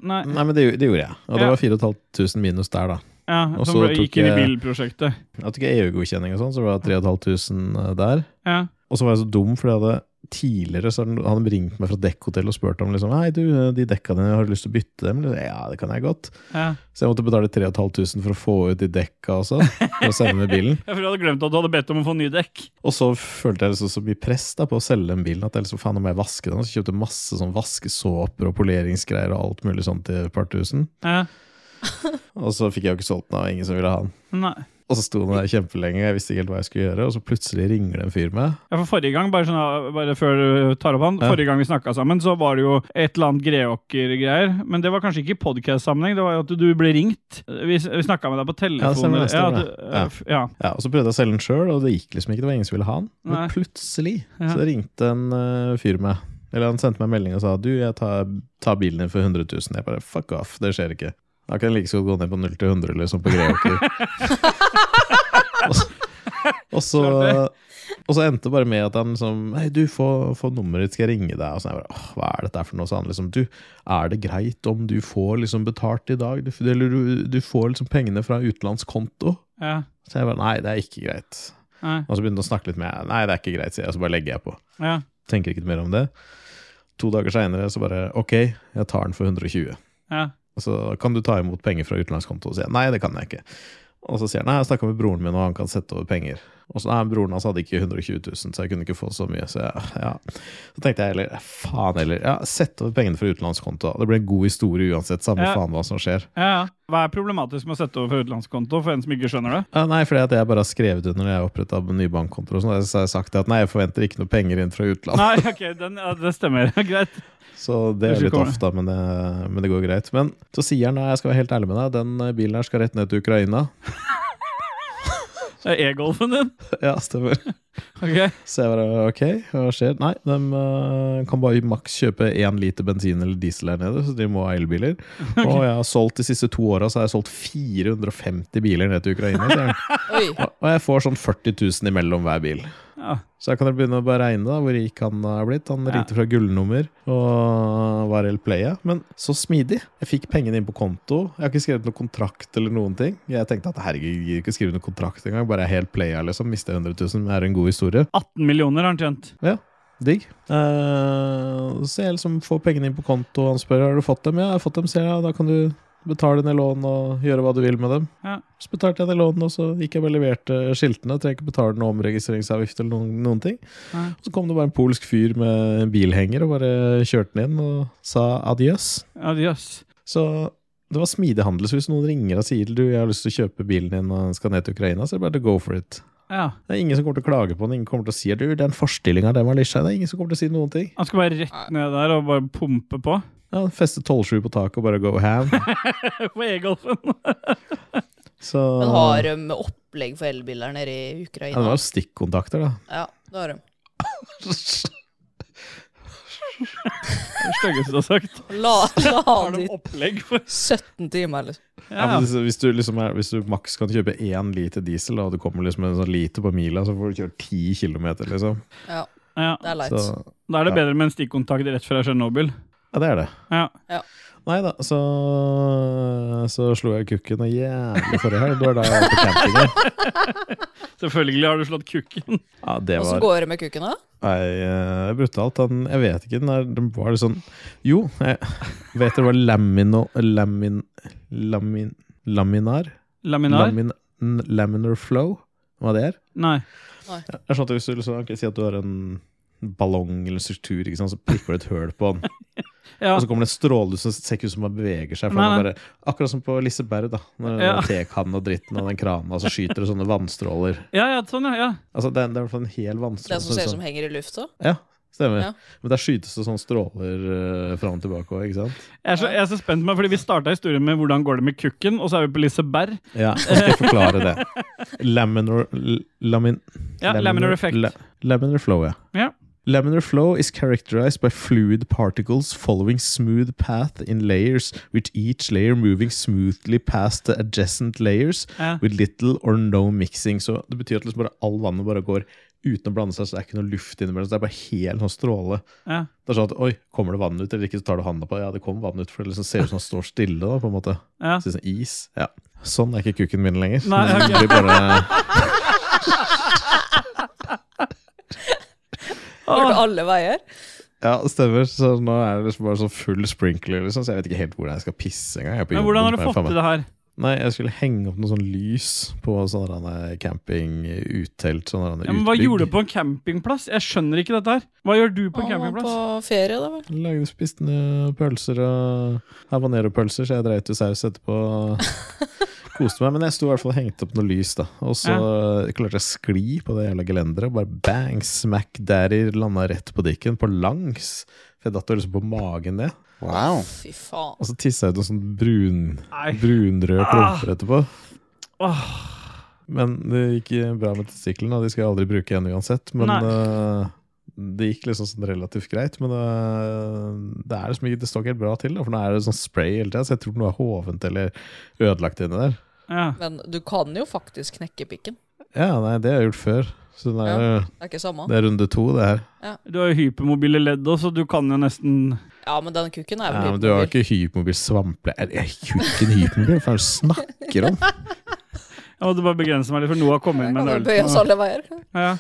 [SPEAKER 3] Nei.
[SPEAKER 1] Nei, men det, gjo- det gjorde jeg. Og det
[SPEAKER 3] Ja.
[SPEAKER 1] var 4500 minus der, da.
[SPEAKER 3] Ja,
[SPEAKER 1] Og
[SPEAKER 3] som
[SPEAKER 1] så
[SPEAKER 3] ble, gikk
[SPEAKER 1] tok
[SPEAKER 3] inn i
[SPEAKER 1] jeg-
[SPEAKER 3] bilprosjektet.
[SPEAKER 1] Jeg hadde ikke EU-godkjenning og sånn, så det var 3500 eh, der.
[SPEAKER 3] Ja.
[SPEAKER 1] Og så var jeg så dum, fordi jeg hadde tidligere så hadde han ringt meg fra dekkhotell og spurt om liksom, Hei, du, de dekka dine, har du lyst til å bytte dem? Eller, Ja, det kan jeg godt.
[SPEAKER 3] ja.
[SPEAKER 1] Så jeg måtte betale 3500 for å få ut de dekka og sånn, for å sende med bilen.
[SPEAKER 3] Jeg tror jeg hadde glemt at du hadde bedt om å få nye dekk.
[SPEAKER 1] Og så følte jeg liksom så mye press da på å selge den bilen at jeg liksom, faen, nå må jeg vaske den. Og så kjøpte jeg masse sånn vaskesåper og poleringsgreier og alt mulig sånn til et par tusen.
[SPEAKER 3] Ja.
[SPEAKER 1] Og så fikk jeg jo ikke solgt den, og ingen som ville ha den.
[SPEAKER 3] Nei.
[SPEAKER 1] Og så sto den der kjempelenge, jeg visste ikke helt hva jeg skulle gjøre, og så plutselig ringer det en fyr meg.
[SPEAKER 3] Ja, for Forrige gang bare, sånn, ah, bare før du tar opp han,
[SPEAKER 1] Ja.
[SPEAKER 3] forrige gang vi snakka sammen, så var det jo et eller annet Greåker-greier. Men det var kanskje ikke i podkast-sammenheng, det var jo at du ble ringt. Vi, vi snakka med deg på
[SPEAKER 1] Ja,
[SPEAKER 3] telefon.
[SPEAKER 1] stemmer det, stemmer
[SPEAKER 3] at du- eh, f- ja.
[SPEAKER 1] Ja, og Så prøvde jeg å selge den sjøl, og det gikk liksom ikke. Det var ingen som ville ha den. Men
[SPEAKER 3] Nei.
[SPEAKER 1] plutselig
[SPEAKER 3] Ja.
[SPEAKER 1] så ringte en eh, fyr meg. Eller han sendte meg en melding og sa du, jeg tar, tar bilen din for 100 000. Jeg bare fuck off, det skjer ikke. Da kan jeg like så godt gå ned på 0 til 100, liksom, på Greåker.
[SPEAKER 3] [LAUGHS]
[SPEAKER 1] og, så- og, så, og så endte det bare med at han liksom Hei, du, få, få nummeret ditt, skal jeg ringe deg? Og så jeg bare, Åh, hva er dette her for noe? Så han liksom Du, er det greit om du får liksom betalt i dag? Du, eller du, du får liksom pengene fra utenlandsk konto?
[SPEAKER 3] Ja.
[SPEAKER 1] Så jeg bare nei, det er ikke greit.
[SPEAKER 3] Nei.
[SPEAKER 1] Og så begynte han å snakke litt med meg. Nei, det er ikke greit, sier jeg, og så bare legger jeg på.
[SPEAKER 3] Ja.
[SPEAKER 1] Tenker ikke mer om det. To dager seinere så bare ok, jeg tar den for 120.
[SPEAKER 3] Ja.
[SPEAKER 1] Og så kan du ta imot penger fra utenlandskonto? Og sier jeg nei, det kan jeg ikke. Og så sier han nei, jeg snakka med broren min, og han kan sette over penger. Og så nei, broren hans hadde ikke 120 000, så jeg kunne ikke få så mye. Så jeg, ja. Så tenkte jeg heller faen heller, ja, sett over pengene fra utenlandskonto. Det blir en god historie uansett, samme
[SPEAKER 3] Ja.
[SPEAKER 1] faen hva som skjer.
[SPEAKER 3] Ja, ja. Hva er problematisk med å sette over for utenlandskonto for en som ikke [LAUGHS] skjønner det?
[SPEAKER 1] Ja, nei, fordi at jeg bare har skrevet under når jeg har oppretta ny bankkonto. og sånn, Så har jeg sagt at nei, jeg forventer ikke noe penger inn fra utlandet.
[SPEAKER 3] Nei, ok, den, ja, det stemmer. [LAUGHS] Greit.
[SPEAKER 1] Så det er
[SPEAKER 3] Unnskyld,
[SPEAKER 1] litt
[SPEAKER 3] kommer
[SPEAKER 1] ofte, men, det- men det går greit. Men så sier han da, jeg skal være helt ærlig med deg, den eh, bilen her skal rett ned til Ukraina. [LAUGHS]
[SPEAKER 3] Det er E-golfen din.
[SPEAKER 1] Ja, stemmer.
[SPEAKER 3] Ok.
[SPEAKER 1] Så jeg bare ok, hva skjer? Nei, de eh, kan bare maks kjøpe én liter bensin eller diesel her nede, så de må ha elbiler. Og jeg har solgt de siste to åra, så har jeg solgt 450 biler ned til Ukraina, sier han.
[SPEAKER 2] [LAUGHS] Oi.
[SPEAKER 1] Og- Og jeg får sånn 40 000 imellom hver bil.
[SPEAKER 3] Ja.
[SPEAKER 1] Så da kan dere begynne å bare regne da, hvor rik han er blitt. Han
[SPEAKER 3] Ja.
[SPEAKER 1] ringte fra gullnummer og var helt playa. Men så smidig. Jeg fikk pengene inn på konto. Jeg har ikke skrevet noen kontrakt eller noen ting. Jeg tenkte at herregud, jeg gidder ikke skrive noen kontrakt engang. Bare jeg er helt playa, liksom. Mister 100 000. Men er en god historie.
[SPEAKER 3] 18 millioner har han tjent.
[SPEAKER 1] Digg. Eh, så jeg liksom får pengene inn på konto, og han spør har du fått dem. Ja, jeg har fått dem, sier jeg. Da kan du betale ned lån og gjøre hva du vil med dem.
[SPEAKER 3] Ja.
[SPEAKER 1] Så betalte jeg ned lån, og så gikk jeg bare og leverte skiltene. Trenger ikke betale noen omregistreringsavgift eller noen, noen ting.
[SPEAKER 3] Nei.
[SPEAKER 1] Så kom det bare en polsk fyr med en bilhenger og bare kjørte den inn og sa adjøs.
[SPEAKER 3] Ja, jøss.
[SPEAKER 1] Så det var smidig handel. Så hvis noen ringer og sier til du, jeg har lyst til å kjøpe bilen din og den skal ned til Ukraina, så er det bare to go for it.
[SPEAKER 3] Ja.
[SPEAKER 1] Det er ingen som kommer til å klage på den. Ingen kommer til å si du, den forstillinga, den var litt skjev. Det er ingen som kommer til å si noen ting.
[SPEAKER 3] Han skal bare rett ned der og bare pumpe på.
[SPEAKER 1] Ja, Feste 12-7 på taket og bare go [LAUGHS] ham.
[SPEAKER 3] På E-golfen.
[SPEAKER 1] Så
[SPEAKER 2] Men har de opplegg for elbiler nede i
[SPEAKER 1] ja, Det
[SPEAKER 2] Ukraina?
[SPEAKER 1] var jo stikkontakter, da.
[SPEAKER 2] Ja, det har de.
[SPEAKER 3] Det styggeste du har sagt.
[SPEAKER 2] La,
[SPEAKER 1] [LAUGHS]
[SPEAKER 2] la
[SPEAKER 3] Har
[SPEAKER 2] han
[SPEAKER 3] de
[SPEAKER 2] dit
[SPEAKER 3] [LAUGHS] opplegg for
[SPEAKER 2] 17 timer, liksom.
[SPEAKER 1] Ja,
[SPEAKER 3] ja.
[SPEAKER 1] men hvis- hvis, du liksom er, hvis du maks kan kjøpe én liter diesel, da, og du kommer liksom med en sånn liter på mila, så får du kjøre ti kilometer, liksom.
[SPEAKER 2] Ja,
[SPEAKER 3] ja.
[SPEAKER 2] det er leit.
[SPEAKER 1] Så,
[SPEAKER 3] Da er det bedre med en stikkontakt rett fra Tsjernobyl.
[SPEAKER 1] ja, det er det.
[SPEAKER 3] Ja.
[SPEAKER 1] Nei da, så, så slo jeg kukken og jævlig forrige helg. Det var da jeg var på camping. her.
[SPEAKER 3] Selvfølgelig har du slått kukken.
[SPEAKER 1] Ja, det
[SPEAKER 2] Åssen
[SPEAKER 1] var
[SPEAKER 2] går det med kukken, da?
[SPEAKER 1] nei, eh, brutalt. Han, jeg vet ikke, den, er, den var litt sånn Jo, jeg vet det var lamino... Lamin... Lamin... Laminar?
[SPEAKER 3] Laminar?
[SPEAKER 1] Lamin, n- laminar flow? Hva det er?
[SPEAKER 3] Nei.
[SPEAKER 1] Jeg skjønte hvis du liksom, ok, si at du har en ballong eller en struktur, ikke sant, så prikker du et høl på den.
[SPEAKER 3] [LAUGHS] Ja.
[SPEAKER 1] Og så kommer det en stråle som ser ikke ut som den beveger seg. For
[SPEAKER 3] Nei,
[SPEAKER 1] den
[SPEAKER 3] nei.
[SPEAKER 1] bare, akkurat som på Liseberg, da. Når
[SPEAKER 3] Ja.
[SPEAKER 1] [LAUGHS] ja. tekanna og dritten og den krana, så skyter det sånne vannstråler.
[SPEAKER 3] ja, ja, sånn, ja. ja.
[SPEAKER 1] Altså, det, er- det er i hvert fall en hel vannstråle.
[SPEAKER 2] Den som ser ut
[SPEAKER 1] sånn-
[SPEAKER 2] som henger i lufta?
[SPEAKER 1] Ja, stemmer.
[SPEAKER 2] Ja.
[SPEAKER 1] Men der skytes det sånne stråler uh, fram og tilbake òg, ikke sant?
[SPEAKER 3] Jeg er, så, jeg er så spent på meg, fordi vi starta historien med hvordan går det med kukken, og så er vi på Liseberg.
[SPEAKER 1] Ja, nå skal jeg forklare det. Laminar l- lamin,
[SPEAKER 3] Ja, laminar effect.
[SPEAKER 1] la- laminar flow, ja.
[SPEAKER 3] Ja.
[SPEAKER 1] Laminar flow is characterized by fluid particles following smooth path in layers, with each layer moving smoothly past the adjacent layers
[SPEAKER 3] Ja.
[SPEAKER 1] with little or no mixing. Så det betyr at liksom bare all vannet bare går uten å blande seg, så det er ikke noe luft innimellom. Så det er bare helt sånn stråle.
[SPEAKER 3] Ja.
[SPEAKER 1] Det er sånn at oi, kommer det vann ut eller ikke, så tar du handa på det. Ja, det kom vann ut, for det liksom ser ut som det står stille, da, på en måte.
[SPEAKER 3] Ja.
[SPEAKER 1] Så det er sånn is. Ja. Sånn er ikke kukken min lenger.
[SPEAKER 3] Nei,
[SPEAKER 1] Den
[SPEAKER 3] ok.
[SPEAKER 1] blir
[SPEAKER 3] [LAUGHS]
[SPEAKER 1] bare, Ah.
[SPEAKER 2] Går det alle veier?
[SPEAKER 1] ja, det stemmer. Så nå er det liksom bare sånn full sprinkler, liksom, så jeg vet ikke helt hvordan jeg skal pisse engang. Jeg er på
[SPEAKER 3] Men
[SPEAKER 1] jobben,
[SPEAKER 3] hvordan har du
[SPEAKER 1] så jeg
[SPEAKER 3] fått
[SPEAKER 1] faen meg-
[SPEAKER 3] til det her?
[SPEAKER 1] Nei, jeg skulle henge opp noe sånn lys på sånn der camping, uttelt, sånn der
[SPEAKER 3] Ja, men hva
[SPEAKER 1] utbygg.
[SPEAKER 3] gjorde du på en campingplass? Jeg skjønner ikke dette her. Hå gjør du på en
[SPEAKER 2] Han var
[SPEAKER 3] campingplass?
[SPEAKER 2] på ferie, da vel.
[SPEAKER 1] Lagde spiste pølser og habanero-pølser, så jeg dreit i saus etterpå. Koste meg, men jeg sto i hvert fall og hengte opp noe lys, da. Og så klarte jeg å skli på det jævla gelenderet, og bare bang, smack daddy, landa rett på dikken, på langs. For jeg datt jo liksom på magen ned. Ah.
[SPEAKER 4] Wow.
[SPEAKER 2] Fy faen.
[SPEAKER 1] Og så tissa jeg ut noen sånn brun,
[SPEAKER 3] Nei. Ah.
[SPEAKER 1] brunrøde klumper etterpå.
[SPEAKER 3] Åh,
[SPEAKER 1] Men det gikk bra med testiklene, og de skal jeg aldri bruke igjen uansett. Men eh, det gikk liksom sånn relativt greit. Men eh, det er liksom ikke, det står ikke helt bra til, da, for nå er det sånn spray hele tida, så jeg tror noe er hovent eller ødelagt inni der.
[SPEAKER 3] ja.
[SPEAKER 2] Men du kan jo faktisk knekke pikken.
[SPEAKER 1] Ja, nei, det har jeg gjort før. Så det er,
[SPEAKER 2] Det er ikke samme.
[SPEAKER 1] det er runde to, det her.
[SPEAKER 3] Du har jo hypermobile ledd òg, så du kan jo nesten
[SPEAKER 2] Ja, men den kukken er
[SPEAKER 1] Ja,
[SPEAKER 2] vel
[SPEAKER 1] men du har
[SPEAKER 2] hypermobil.
[SPEAKER 1] ikke hypermobil svample... Er det ikke hypermobil? Hva er det du snakker [LAUGHS] om?
[SPEAKER 3] Jeg måtte bare begrense meg litt, for Noah kom inn
[SPEAKER 2] Kan
[SPEAKER 3] med
[SPEAKER 2] du
[SPEAKER 3] en
[SPEAKER 2] bøye oss
[SPEAKER 3] øl.
[SPEAKER 2] alle veier?
[SPEAKER 3] Ja.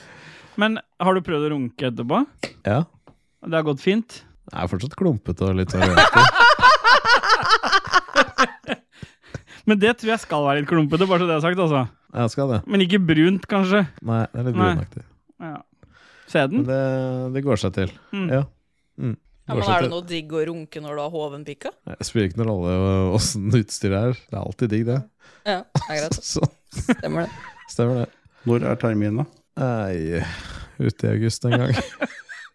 [SPEAKER 3] Men har du prøvd å runke etterpå?
[SPEAKER 1] Ja.
[SPEAKER 3] Det har gått fint?
[SPEAKER 1] Jeg er fortsatt klumpete og litt sånn rødete.
[SPEAKER 3] Men det tror jeg skal være litt klumpete, bare så det er sagt, altså.
[SPEAKER 1] Jeg skal det.
[SPEAKER 3] Men ikke brunt, kanskje.
[SPEAKER 1] Nei, det er litt
[SPEAKER 3] Nei.
[SPEAKER 1] brunaktig.
[SPEAKER 3] Ja. Se
[SPEAKER 1] Men
[SPEAKER 3] den?
[SPEAKER 1] det, det går seg til.
[SPEAKER 3] Mm.
[SPEAKER 1] Ja. Mm.
[SPEAKER 2] Ja,
[SPEAKER 1] Går
[SPEAKER 2] men
[SPEAKER 1] seg
[SPEAKER 2] Er
[SPEAKER 1] til.
[SPEAKER 2] det noe digg å runke når du har hoven pikka?
[SPEAKER 1] Nei, Det spiller ikke noen rolle åssen utstyret er. Det er alltid digg, det.
[SPEAKER 2] Ja, det er greit.
[SPEAKER 1] [LAUGHS] Så,
[SPEAKER 2] Stemmer det.
[SPEAKER 1] stemmer det.
[SPEAKER 8] Når er terminen, da?
[SPEAKER 1] Nei, ute i august en gang.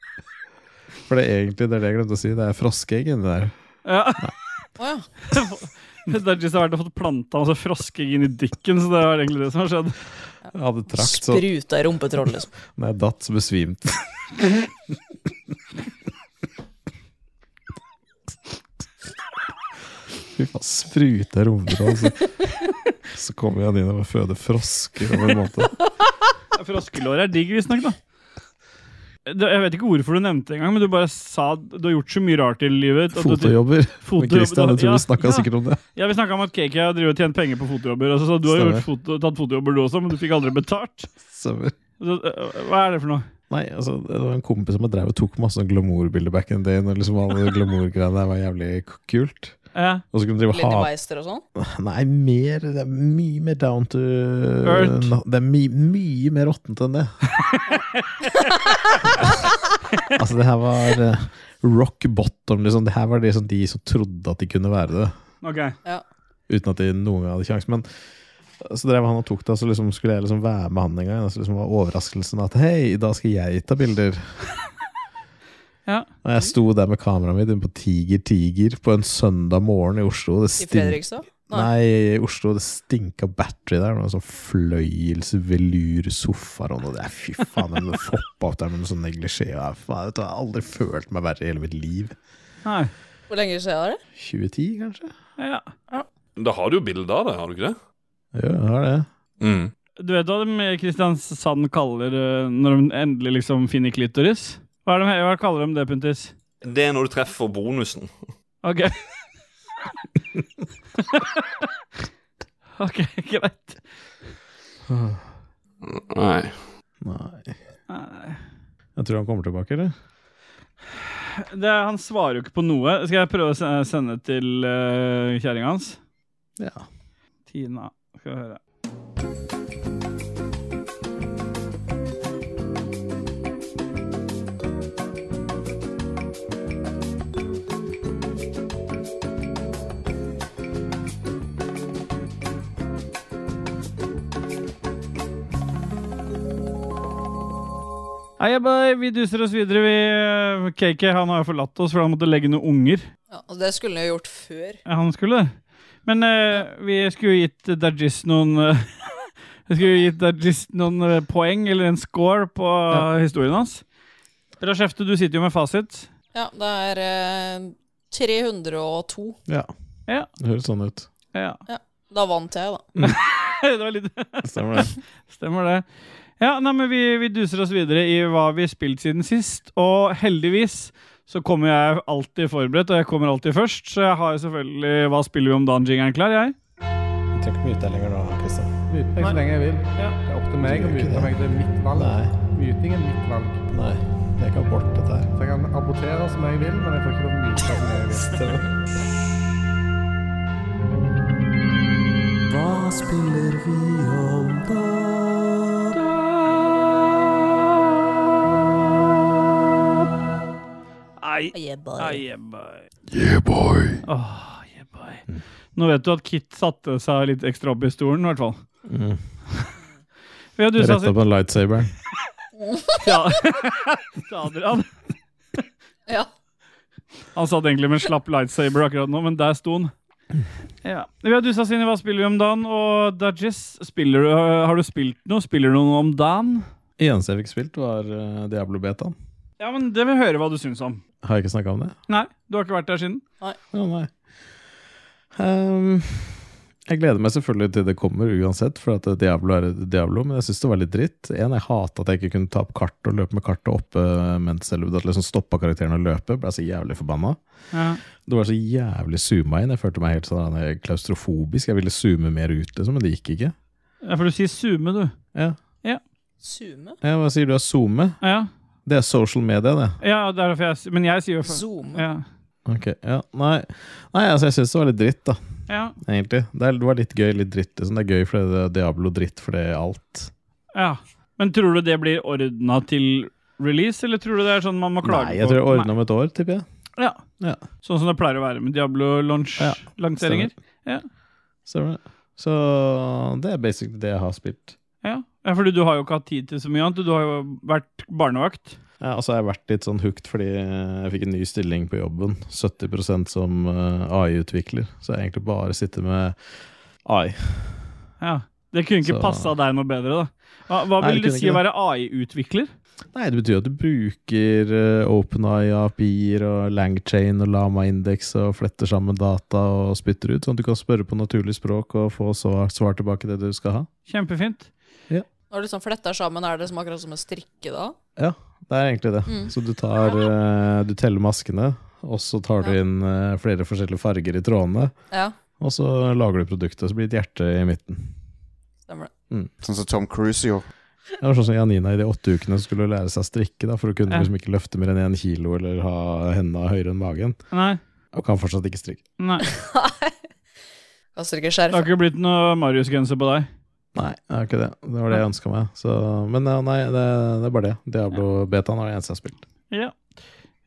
[SPEAKER 8] [LAUGHS]
[SPEAKER 1] For det er egentlig det er det jeg glemte å si. Det er froskeegg inni der.
[SPEAKER 3] Ja. [LAUGHS]
[SPEAKER 2] Å ja.
[SPEAKER 3] Dajis har vært og fått planta masse froskeegg inn i dikken, så det var egentlig det som har skjedd.
[SPEAKER 1] Jeg hadde trakt, så
[SPEAKER 2] Spruta i rumpetroll, liksom.
[SPEAKER 1] når jeg datt, så besvimte jeg. Fy faen, spruta rumpetroll, så altså. Så kommer jeg inn og føder frosker over en måte.
[SPEAKER 3] Froskelår er digg, visstnok, da. Det- Jeg vet ikke hvorfor du nevnte det engang, men du bare sa at du har gjort så mye rart i livet. at du-
[SPEAKER 1] Fotojobber. Men
[SPEAKER 3] Fotojobb,
[SPEAKER 1] Christian, jeg
[SPEAKER 3] ja,
[SPEAKER 1] tror vi snakka
[SPEAKER 3] ja.
[SPEAKER 1] sikkert om det.
[SPEAKER 3] Ja, Vi snakka om at KK har drevet og tjent penger på fotojobber. Altså, så du har jo
[SPEAKER 1] Stemmer.
[SPEAKER 3] gjort foto, tatt fotojobber du også, men du fikk aldri betalt.
[SPEAKER 1] Stemmer.
[SPEAKER 3] Så, øh, hva er det for noe?
[SPEAKER 1] Nei, altså, det var en kompis som drev og tok masse sånn glamourbilder back in the day, når liksom alle glamourgreiene der var jævlig k- kult.
[SPEAKER 3] Ja.
[SPEAKER 1] Og så kunne de drive
[SPEAKER 2] Linni
[SPEAKER 1] ha
[SPEAKER 2] Meister og sånn.
[SPEAKER 1] Nei, mer Det er mye mer down to
[SPEAKER 3] Earth.
[SPEAKER 1] No, Det er my, mye mer råttent enn det. [LAUGHS] altså, det her var eh, rock bottom, liksom. Det her var det som de som trodde at de kunne være det.
[SPEAKER 3] Ok.
[SPEAKER 1] uten at de noen gang hadde kjangs. Men eh, så drev han og tok det, og så liksom skulle jeg liksom være med han en gang. Og så liksom var overraskelsen at hei, da skal jeg ta bilder.
[SPEAKER 3] Ja.
[SPEAKER 1] Og jeg sto der med kameraet mitt inne på Tiger Tiger på en søndag morgen i Oslo. Det
[SPEAKER 2] I
[SPEAKER 1] stink...
[SPEAKER 2] Fredrikstad?
[SPEAKER 1] Nei, i Oslo. Det stinka battery der. Noen sånn fløyelsvelursofaer og noe. Det er fy faen, den foppa opp der med noe sånn neglisjé. og jeg- faen, vet du, Jeg har aldri følt meg verre i hele mitt liv.
[SPEAKER 3] Nei.
[SPEAKER 2] Hvor lenge siden er det?
[SPEAKER 1] 2010, kanskje?
[SPEAKER 3] Ja.
[SPEAKER 7] Da har du jo bilde av det, har du ikke det?
[SPEAKER 1] Jo, jeg har det.
[SPEAKER 7] Mm.
[SPEAKER 3] Du vet hva de i Kristiansand kaller eh, når de endelig liksom finner klitoris? Hva, er de, hva kaller de det, Puntis?
[SPEAKER 7] Det er når du treffer bonusen.
[SPEAKER 3] Ok. [LAUGHS] ok, [LAUGHS] greit.
[SPEAKER 7] Nei.
[SPEAKER 1] Nei.
[SPEAKER 3] Nei.
[SPEAKER 1] Jeg tror han kommer tilbake, eller?
[SPEAKER 3] Det, han svarer jo ikke på noe. Skal jeg prøve å se- sende til uh, kjerringa hans?
[SPEAKER 1] Ja.
[SPEAKER 3] Tina. Skal vi høre. Hei, hei, bye. vi duser oss videre. Vi, KK han har jo forlatt oss, for han måtte legge noen unger.
[SPEAKER 2] Ja, og det skulle jeg jo gjort før.
[SPEAKER 3] Ja, han skulle det. Men eh, vi skulle jo gitt Dajis noen eh, [LAUGHS] Vi skulle jo gitt Dajis noen eh, poeng, eller en score, på eh, historien hans. Rashefte, du sitter jo med fasit.
[SPEAKER 2] Ja, det er eh, 302.
[SPEAKER 1] Ja.
[SPEAKER 3] Ja.
[SPEAKER 1] Det høres sånn ut.
[SPEAKER 3] Ja,
[SPEAKER 2] Da vant jeg, da.
[SPEAKER 3] [LAUGHS] det var litt
[SPEAKER 1] Stemmer [LAUGHS] det.
[SPEAKER 3] Stemmer det. Ja, nei, men vi, vi duser oss videre i hva vi har spilt siden sist, og heldigvis så kommer jeg alltid forberedt, og jeg kommer alltid først, så jeg har jo selvfølgelig Hva spiller vi om dagen? Jingeren klar, jeg?
[SPEAKER 1] Jeg trenger ikke mye utdeling lenger nå, Kristian.
[SPEAKER 5] Myte meg så lenge jeg vil.
[SPEAKER 3] Ja.
[SPEAKER 5] Det er opp til
[SPEAKER 1] Du
[SPEAKER 5] meg å
[SPEAKER 1] gjør ikke
[SPEAKER 5] myte
[SPEAKER 1] det.
[SPEAKER 5] meg. Det er mitt valg.
[SPEAKER 1] Nei,
[SPEAKER 5] Myting er mitt valg.
[SPEAKER 1] nei. Det er ikke abort, dette her.
[SPEAKER 5] Så jeg kan abortere som jeg vil, men jeg får ikke lov å myte som jeg vil.
[SPEAKER 3] Nei.
[SPEAKER 2] Yeah, boy.
[SPEAKER 3] Ah, yeah, boy. Åh, yeah, boy. Nå vet du at Kit satte seg litt ekstra opp i stolen, i hvert fall.
[SPEAKER 1] Mm.
[SPEAKER 3] [LAUGHS] Vi har dusa
[SPEAKER 1] Retta på en lightsaber.
[SPEAKER 3] Adrian.
[SPEAKER 2] Ja.
[SPEAKER 3] Han satt egentlig med en slapp lightsaber akkurat nå, men der sto han. Ja. Vi har dusa oss inn i Hva spiller vi om dagen? Og Dajis, spiller du, har du spilt noe? Spiller du noe om dagen?
[SPEAKER 1] Eneste jeg fikk spilt, var eh, Diablo Betaen.
[SPEAKER 3] Ja, men det vil jeg høre hva du syns om.
[SPEAKER 1] Har jeg ikke snakka om det?
[SPEAKER 3] Nei, du har ikke vært der siden?
[SPEAKER 1] Å, nei. Ehm, jeg gleder meg selvfølgelig til det kommer uansett, for at Diablo er Diablo, men jeg syns det var litt dritt. En, jeg hata at jeg ikke kunne ta opp kartet og løpe med kartet oppe eh, mens selve at liksom stoppa karakteren å løpe. Ble så jævlig forbanna.
[SPEAKER 3] Ja.
[SPEAKER 1] Det var så jævlig zooma inn. Jeg følte meg helt sånn eh, klaustrofobisk. Jeg ville zoome mer ut, liksom, men det gikk ikke.
[SPEAKER 3] Ja, For du sier zoome, du.
[SPEAKER 1] Ja.
[SPEAKER 2] Zoome?
[SPEAKER 1] Ja, hva sier du? er Zoome?
[SPEAKER 3] Ja,
[SPEAKER 1] Det er social media, det.
[SPEAKER 3] ja det er derfor jeg Men jeg sier jo for...
[SPEAKER 2] Zoome.
[SPEAKER 3] Ja.
[SPEAKER 1] Ok, ja, Nei, nei altså, jeg syns det var litt dritt, da.
[SPEAKER 3] ja.
[SPEAKER 1] Egentlig. Det, er, det var litt gøy, litt dritt. Liksom. Det er gøy fordi det er Diablo dritt fordi alt.
[SPEAKER 3] Ja. Men tror du det blir ordna til release, eller tror du det er sånn man må klage
[SPEAKER 1] Nei, jeg
[SPEAKER 3] på?
[SPEAKER 1] tror jeg ordner om et år, tipper jeg.
[SPEAKER 3] Nei. Ja.
[SPEAKER 1] Ja.
[SPEAKER 3] Sånn som det pleier å være med
[SPEAKER 1] Ja,
[SPEAKER 3] Diablo-lanseringer.
[SPEAKER 1] Stemmer det. Så det er basically det jeg har spilt.
[SPEAKER 3] Ja. ja, fordi du har jo ikke hatt tid til så mye annet. Du har jo vært barnevakt.
[SPEAKER 1] Ja, Eh, og så har jeg vært litt sånn hooked fordi jeg fikk en ny stilling på jobben. 70 som eh, AI-utvikler. Så jeg egentlig bare sitter med AI.
[SPEAKER 3] Ja. Det kunne ikke
[SPEAKER 1] Så-
[SPEAKER 3] passa deg noe bedre, da. Hva, hva
[SPEAKER 1] Nei, det
[SPEAKER 3] vil det
[SPEAKER 1] kunne
[SPEAKER 3] si å
[SPEAKER 1] ikke
[SPEAKER 3] være AI-utvikler?
[SPEAKER 1] Nei, det betyr at du bruker eh, OpenAI-API-er og Langchain og Lama-indeks og fletter sammen data og spytter ut, sånn at du kan spørre på naturlig språk og få svar, svar tilbake det du skal ha.
[SPEAKER 3] Kjempefint.
[SPEAKER 2] Når du sånn fletter sammen, er det som akkurat som en strikke da?
[SPEAKER 1] Det er egentlig det.
[SPEAKER 2] Mm.
[SPEAKER 1] Så du tar eh, Du teller maskene, og så tar du
[SPEAKER 2] Ja.
[SPEAKER 1] inn eh, flere forskjellige farger i trådene,
[SPEAKER 2] Ja,
[SPEAKER 1] og så lager du produktet, så blir det et hjerte i midten.
[SPEAKER 2] stemmer det.
[SPEAKER 4] Sånn som Tom Cruise gjorde.
[SPEAKER 1] Det var sånn som Janina i de åtte ukene skulle lære seg å strikke, da, for hun kunne
[SPEAKER 3] Ja.
[SPEAKER 1] liksom ikke løfte mer enn én kilo eller ha henda høyere enn magen.
[SPEAKER 3] Nei.
[SPEAKER 1] Og kan fortsatt ikke strikke.
[SPEAKER 3] [LAUGHS] Nei.
[SPEAKER 2] Kaster ikke
[SPEAKER 3] Det har
[SPEAKER 2] skjerf.
[SPEAKER 3] ikke blitt noe Marius-genser på deg.
[SPEAKER 1] Nei, det er ikke det. Det var det jeg ønska meg. Så, men ja, nei, det, det er bare det. Diablo Betaen er det eneste jeg har spilt.
[SPEAKER 3] Ja.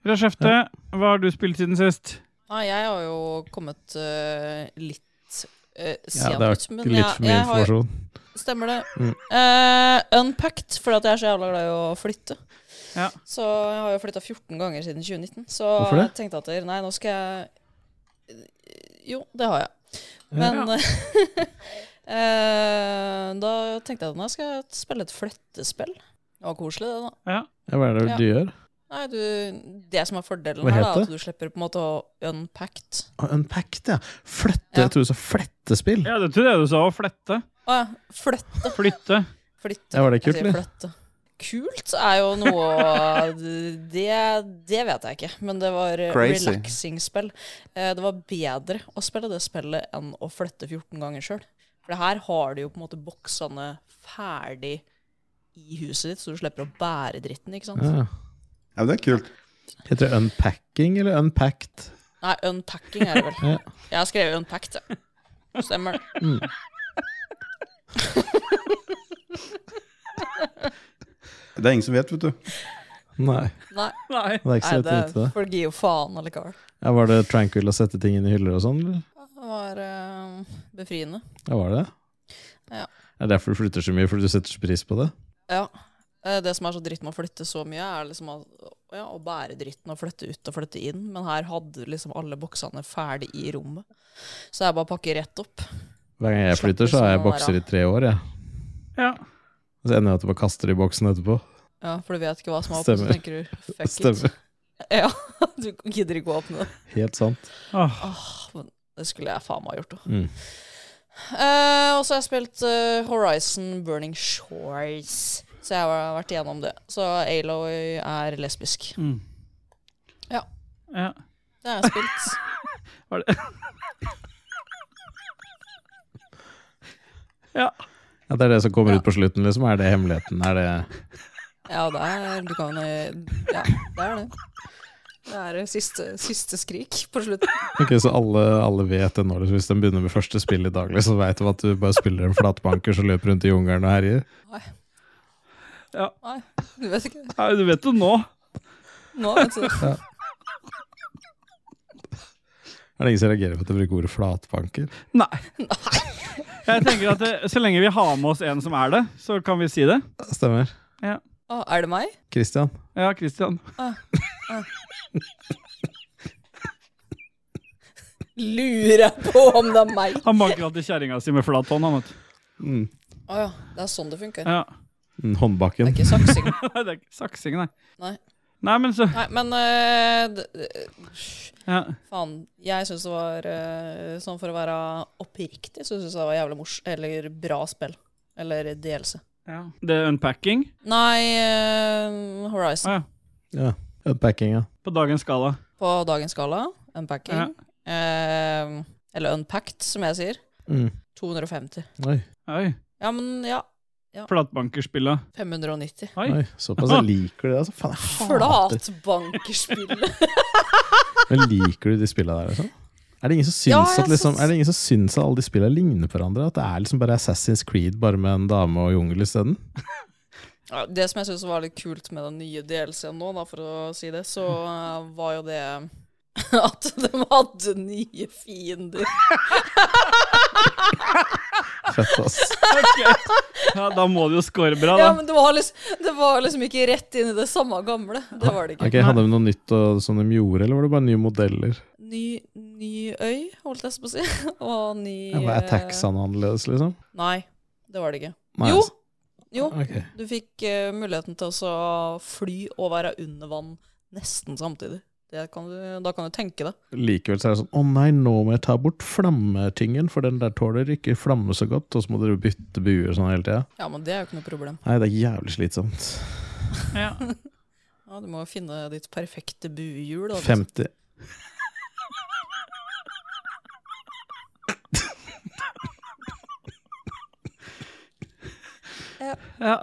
[SPEAKER 3] Rashefte, hva har du spilt siden sist?
[SPEAKER 2] Nei, jeg har jo kommet eh, litt uh,
[SPEAKER 1] Ja,
[SPEAKER 2] sent
[SPEAKER 1] det er
[SPEAKER 2] ut, men
[SPEAKER 1] litt for
[SPEAKER 2] jeg,
[SPEAKER 1] mye
[SPEAKER 2] jeg har,
[SPEAKER 1] informasjon.
[SPEAKER 2] Stemmer det.
[SPEAKER 1] Mm.
[SPEAKER 2] Eh, unpacked, fordi at jeg er så jævla glad i å flytte.
[SPEAKER 3] Ja.
[SPEAKER 2] Så jeg har jo flytta 14 ganger siden 2019. Så
[SPEAKER 1] Hvorfor det?
[SPEAKER 2] jeg tenkte at nei, nå skal jeg Jo, det har jeg.
[SPEAKER 1] Ja.
[SPEAKER 2] Men [LAUGHS] eh, da tenkte jeg at nå skal jeg spille et flyttespill. Det var koselig, det, da.
[SPEAKER 1] Ja, hva er det
[SPEAKER 2] Ja.
[SPEAKER 1] du gjør?
[SPEAKER 2] Nei, du, det som er fordelen
[SPEAKER 1] Hva
[SPEAKER 2] her,
[SPEAKER 1] het
[SPEAKER 2] da,
[SPEAKER 1] det?
[SPEAKER 2] er at du slipper på en måte å unpacked.
[SPEAKER 1] Ah, Unpacked, ja. Fløtte.
[SPEAKER 2] Ja.
[SPEAKER 1] Jeg trodde du sa flettespill.
[SPEAKER 3] Ja, det tror jeg du sa. Å flette.
[SPEAKER 2] Å ja, fløtt,
[SPEAKER 3] Flytte.
[SPEAKER 2] flytte.
[SPEAKER 1] Ja, var det
[SPEAKER 2] Jeg
[SPEAKER 1] kult,
[SPEAKER 2] sier
[SPEAKER 1] eller?
[SPEAKER 2] fløtt. Kult er jo noe [LAUGHS] det, det vet jeg ikke, men det var eh,
[SPEAKER 4] Crazy.
[SPEAKER 2] relaxing spill. Eh, Det var bedre å spille det spillet enn å flytte 14 ganger sjøl. For det her har du jo på en måte boksene ferdig i huset ditt, så du slipper å bære dritten, ikke sant.
[SPEAKER 1] Ja.
[SPEAKER 4] Ja, men det er kult.
[SPEAKER 1] Heter det unpacking eller unpacked?
[SPEAKER 2] Nei, unpacking er det vel.
[SPEAKER 1] [LAUGHS] Ja.
[SPEAKER 2] Jeg har skrevet unpacked, ja. Stemmer det.
[SPEAKER 4] Det er ingen som vet, vet du.
[SPEAKER 1] Nei,
[SPEAKER 2] Nei,
[SPEAKER 3] Nei.
[SPEAKER 1] det er ikke
[SPEAKER 2] nei
[SPEAKER 1] så lett å vite
[SPEAKER 2] det
[SPEAKER 1] det.
[SPEAKER 2] folk gir jo faen allikevel.
[SPEAKER 1] Ja, var det tranquil å sette ting inn i hyller og sånn, eller?
[SPEAKER 2] Det var eh, befriende.
[SPEAKER 1] Ja, var det det?
[SPEAKER 2] Ja.
[SPEAKER 1] Det er derfor du flytter så mye, fordi du setter så pris på det?
[SPEAKER 2] Ja. Eh, Det som er så dritt med å flytte så mye, er liksom at, ja, å bære dritten og flytte ut og flytte inn. Men her hadde liksom alle boksene ferdig i rommet. Så jeg bare pakker rett opp.
[SPEAKER 1] Hver gang jeg
[SPEAKER 2] Slapp
[SPEAKER 1] flytter, så
[SPEAKER 2] liksom
[SPEAKER 1] har jeg
[SPEAKER 2] å
[SPEAKER 1] bokser i
[SPEAKER 2] være-
[SPEAKER 1] tre år, jeg.
[SPEAKER 3] Ja.
[SPEAKER 1] Og så ender jeg at jeg bare kaster de boksen etterpå.
[SPEAKER 2] Ja, For du vet ikke hva som er oppe, så
[SPEAKER 1] Stemmer.
[SPEAKER 2] tenker du fuck it.
[SPEAKER 1] Stemmer.
[SPEAKER 2] [LAUGHS] Ja, du gidder ikke å åpne det.
[SPEAKER 1] Helt sant.
[SPEAKER 3] Åh.
[SPEAKER 2] Det skulle jeg faen meg ha gjort. da.
[SPEAKER 1] Mm.
[SPEAKER 2] Eh, og så har jeg spilt eh, Horizon Burning Shores. Så jeg har vært igjennom det. Så Aloy er lesbisk.
[SPEAKER 3] Mm.
[SPEAKER 2] Ja.
[SPEAKER 3] ja.
[SPEAKER 2] Det har jeg spilt.
[SPEAKER 3] Var det Ja.
[SPEAKER 1] Ja, det er det som kommer ut på slutten, liksom. Er det hemmeligheten? Er det
[SPEAKER 2] Ja, det er Du kan eh, Ja, det er det. Det er det siste, siste skrik på slutten.
[SPEAKER 1] Ok, så alle, alle vet det nå, liksom. Hvis de begynner med første spill i dag, liksom, veit de at du bare spiller en flatbanker som løper rundt i jungelen og herjer?
[SPEAKER 2] Nei, du vet ikke.
[SPEAKER 3] Nei, Du vet jo nå.
[SPEAKER 2] Nå, vet du.
[SPEAKER 1] Er det ingen som reagerer på at jeg bruker ordet flatbanker?
[SPEAKER 3] Nei. Jeg tenker at eh, Så lenge vi har med oss en som er det, så kan vi si det.
[SPEAKER 1] Stemmer.
[SPEAKER 2] Å, er det meg?
[SPEAKER 1] Christian?
[SPEAKER 3] Ja, Christian.
[SPEAKER 2] Lurer jeg på om det er meg?
[SPEAKER 3] Han banker alltid kjerringa si med flat hånd. Han, vet du.
[SPEAKER 1] Mm.
[SPEAKER 2] Å ja, det er sånn det funker.
[SPEAKER 3] Ja.
[SPEAKER 1] Mm,
[SPEAKER 2] Det
[SPEAKER 1] Håndbakken.
[SPEAKER 2] er ikke saksing.
[SPEAKER 3] Nei, [LAUGHS] det er ikke saksing, nei.
[SPEAKER 2] Nei.
[SPEAKER 3] Nei, men så
[SPEAKER 2] Nei, men eh, d- eh,
[SPEAKER 3] ja.
[SPEAKER 2] Faen. Jeg syns det var eh, Sånn for å være oppriktig, så syns jeg det var jævlig mors... Eller bra spill. Eller delelse.
[SPEAKER 3] Ja. Det er unpacking
[SPEAKER 2] Nei, eh, Horizon.
[SPEAKER 3] ah, ja.
[SPEAKER 1] Ja. Unpacking, ja.
[SPEAKER 3] på dagens skala.
[SPEAKER 2] på dagens skala. Unpacking. Eh, eller unpacked, som jeg sier.
[SPEAKER 1] Mm.
[SPEAKER 2] 250.
[SPEAKER 1] Oi,
[SPEAKER 3] Oi.
[SPEAKER 2] Ja, men ja.
[SPEAKER 3] Flatbankerspilla.
[SPEAKER 2] 590.
[SPEAKER 3] Oi. [LAUGHS]
[SPEAKER 1] oi. Såpass. Jeg liker du det, altså. Faen, jeg hater
[SPEAKER 2] Flatbankerspillet!
[SPEAKER 1] [LAUGHS] Men liker du de spillene der, liksom? Er det ingen som syns,
[SPEAKER 2] Ja, jeg
[SPEAKER 1] at, liksom,
[SPEAKER 2] syns-
[SPEAKER 1] er det ingen som syns at alle de spillene ligner på hverandre? At det er liksom bare Assassin's Creed bare med en dame og jungel isteden?
[SPEAKER 2] Ja, det som jeg syns var litt kult med den nye DLC-en nå, da, for å si det, så eh, var jo det [LAUGHS] at de hadde nye fiender.
[SPEAKER 1] Fett, ass.
[SPEAKER 2] [LAUGHS]
[SPEAKER 3] Ja, da må du jo score bra, da.
[SPEAKER 2] Ja, men det var, liksom, det var liksom ikke rett inn i det samme gamle. Det var det ikke.
[SPEAKER 1] Ok, Hadde de noe nytt og, som de gjorde, eller var det bare nye modeller?
[SPEAKER 2] Ny, ny øy, holdt jeg på å si. [LAUGHS] Og ny
[SPEAKER 1] Ja, var Attacksene annerledes, liksom?
[SPEAKER 2] eh, Nei, det var det ikke.
[SPEAKER 1] Nei,
[SPEAKER 2] Jo!
[SPEAKER 1] altså.
[SPEAKER 2] Jo,
[SPEAKER 1] Ok.
[SPEAKER 2] Du fikk eh, muligheten til å så fly og være under vann nesten samtidig. Det kan du, da kan du tenke det.
[SPEAKER 1] Likevel så er det sånn Å nei, nå må jeg ta bort flammetingen, for den der tåler ikke flamme så godt. Og så må dere bytte buer og sånn hele tida.
[SPEAKER 2] Ja, men det er jo ikke noe problem.
[SPEAKER 1] Nei, det er jævlig slitsomt.
[SPEAKER 3] [LAUGHS] Ja.
[SPEAKER 2] [LAUGHS] Ja, du må jo finne ditt perfekte buehjul. da.
[SPEAKER 1] 50
[SPEAKER 3] Ja.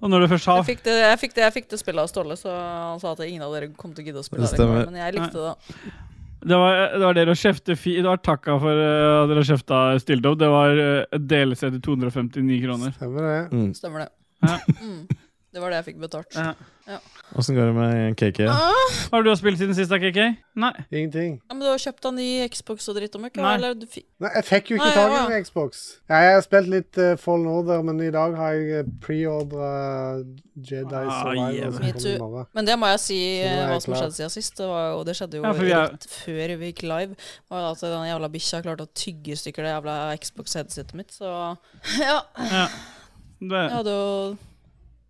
[SPEAKER 3] Og når du først har
[SPEAKER 2] Jeg fikk, det, jeg, fikk det, jeg fikk det spillet av Ståle, så han sa at ingen av dere kom til å gidde å spille
[SPEAKER 1] Det
[SPEAKER 2] det. engang,
[SPEAKER 1] stemmer.
[SPEAKER 2] Men jeg likte det.
[SPEAKER 3] Det var, det var dere å kjefte fi... Det var takka for eh, at dere kjefta Stildov. Det var uh, DLC eh, til 259 kroner.
[SPEAKER 5] Stemmer det.
[SPEAKER 1] mm.
[SPEAKER 2] Stemmer det.
[SPEAKER 3] Ja.
[SPEAKER 2] Mm. Det var det jeg fikk betalt.
[SPEAKER 3] Ja.
[SPEAKER 1] Åssen går det med KK?
[SPEAKER 2] Ah,
[SPEAKER 3] Hva har du spilt siden sist, da, KK? Nei.
[SPEAKER 5] Ingenting.
[SPEAKER 2] men du har kjøpt deg ny Xbox og dritt om ikke?
[SPEAKER 3] Nei.
[SPEAKER 2] Eller du fikk
[SPEAKER 5] Nei, jeg fikk jo ikke
[SPEAKER 2] Nei,
[SPEAKER 5] tak i
[SPEAKER 2] ja.
[SPEAKER 5] en Xbox. Ja, jeg har spilt litt uh, Fallen Order, men i dag har jeg eh, preordra Jedi
[SPEAKER 3] Ah, yeah.
[SPEAKER 5] Survivor. som
[SPEAKER 2] Me
[SPEAKER 5] kommer
[SPEAKER 2] too.
[SPEAKER 5] i morgen.
[SPEAKER 2] Men det må jeg si
[SPEAKER 5] Så nå er jeg
[SPEAKER 2] hva som
[SPEAKER 5] klar.
[SPEAKER 2] skjedde siden sist. Det, var, jo- det skjedde jo
[SPEAKER 3] Ja, for vi er-
[SPEAKER 2] rett før vi gikk live. Var jo at den jævla bikkja klarte å tygge i stykker det jævla Xbox-headsetet mitt. Så [LAUGHS] ja,
[SPEAKER 3] Du,
[SPEAKER 2] jeg hadde jo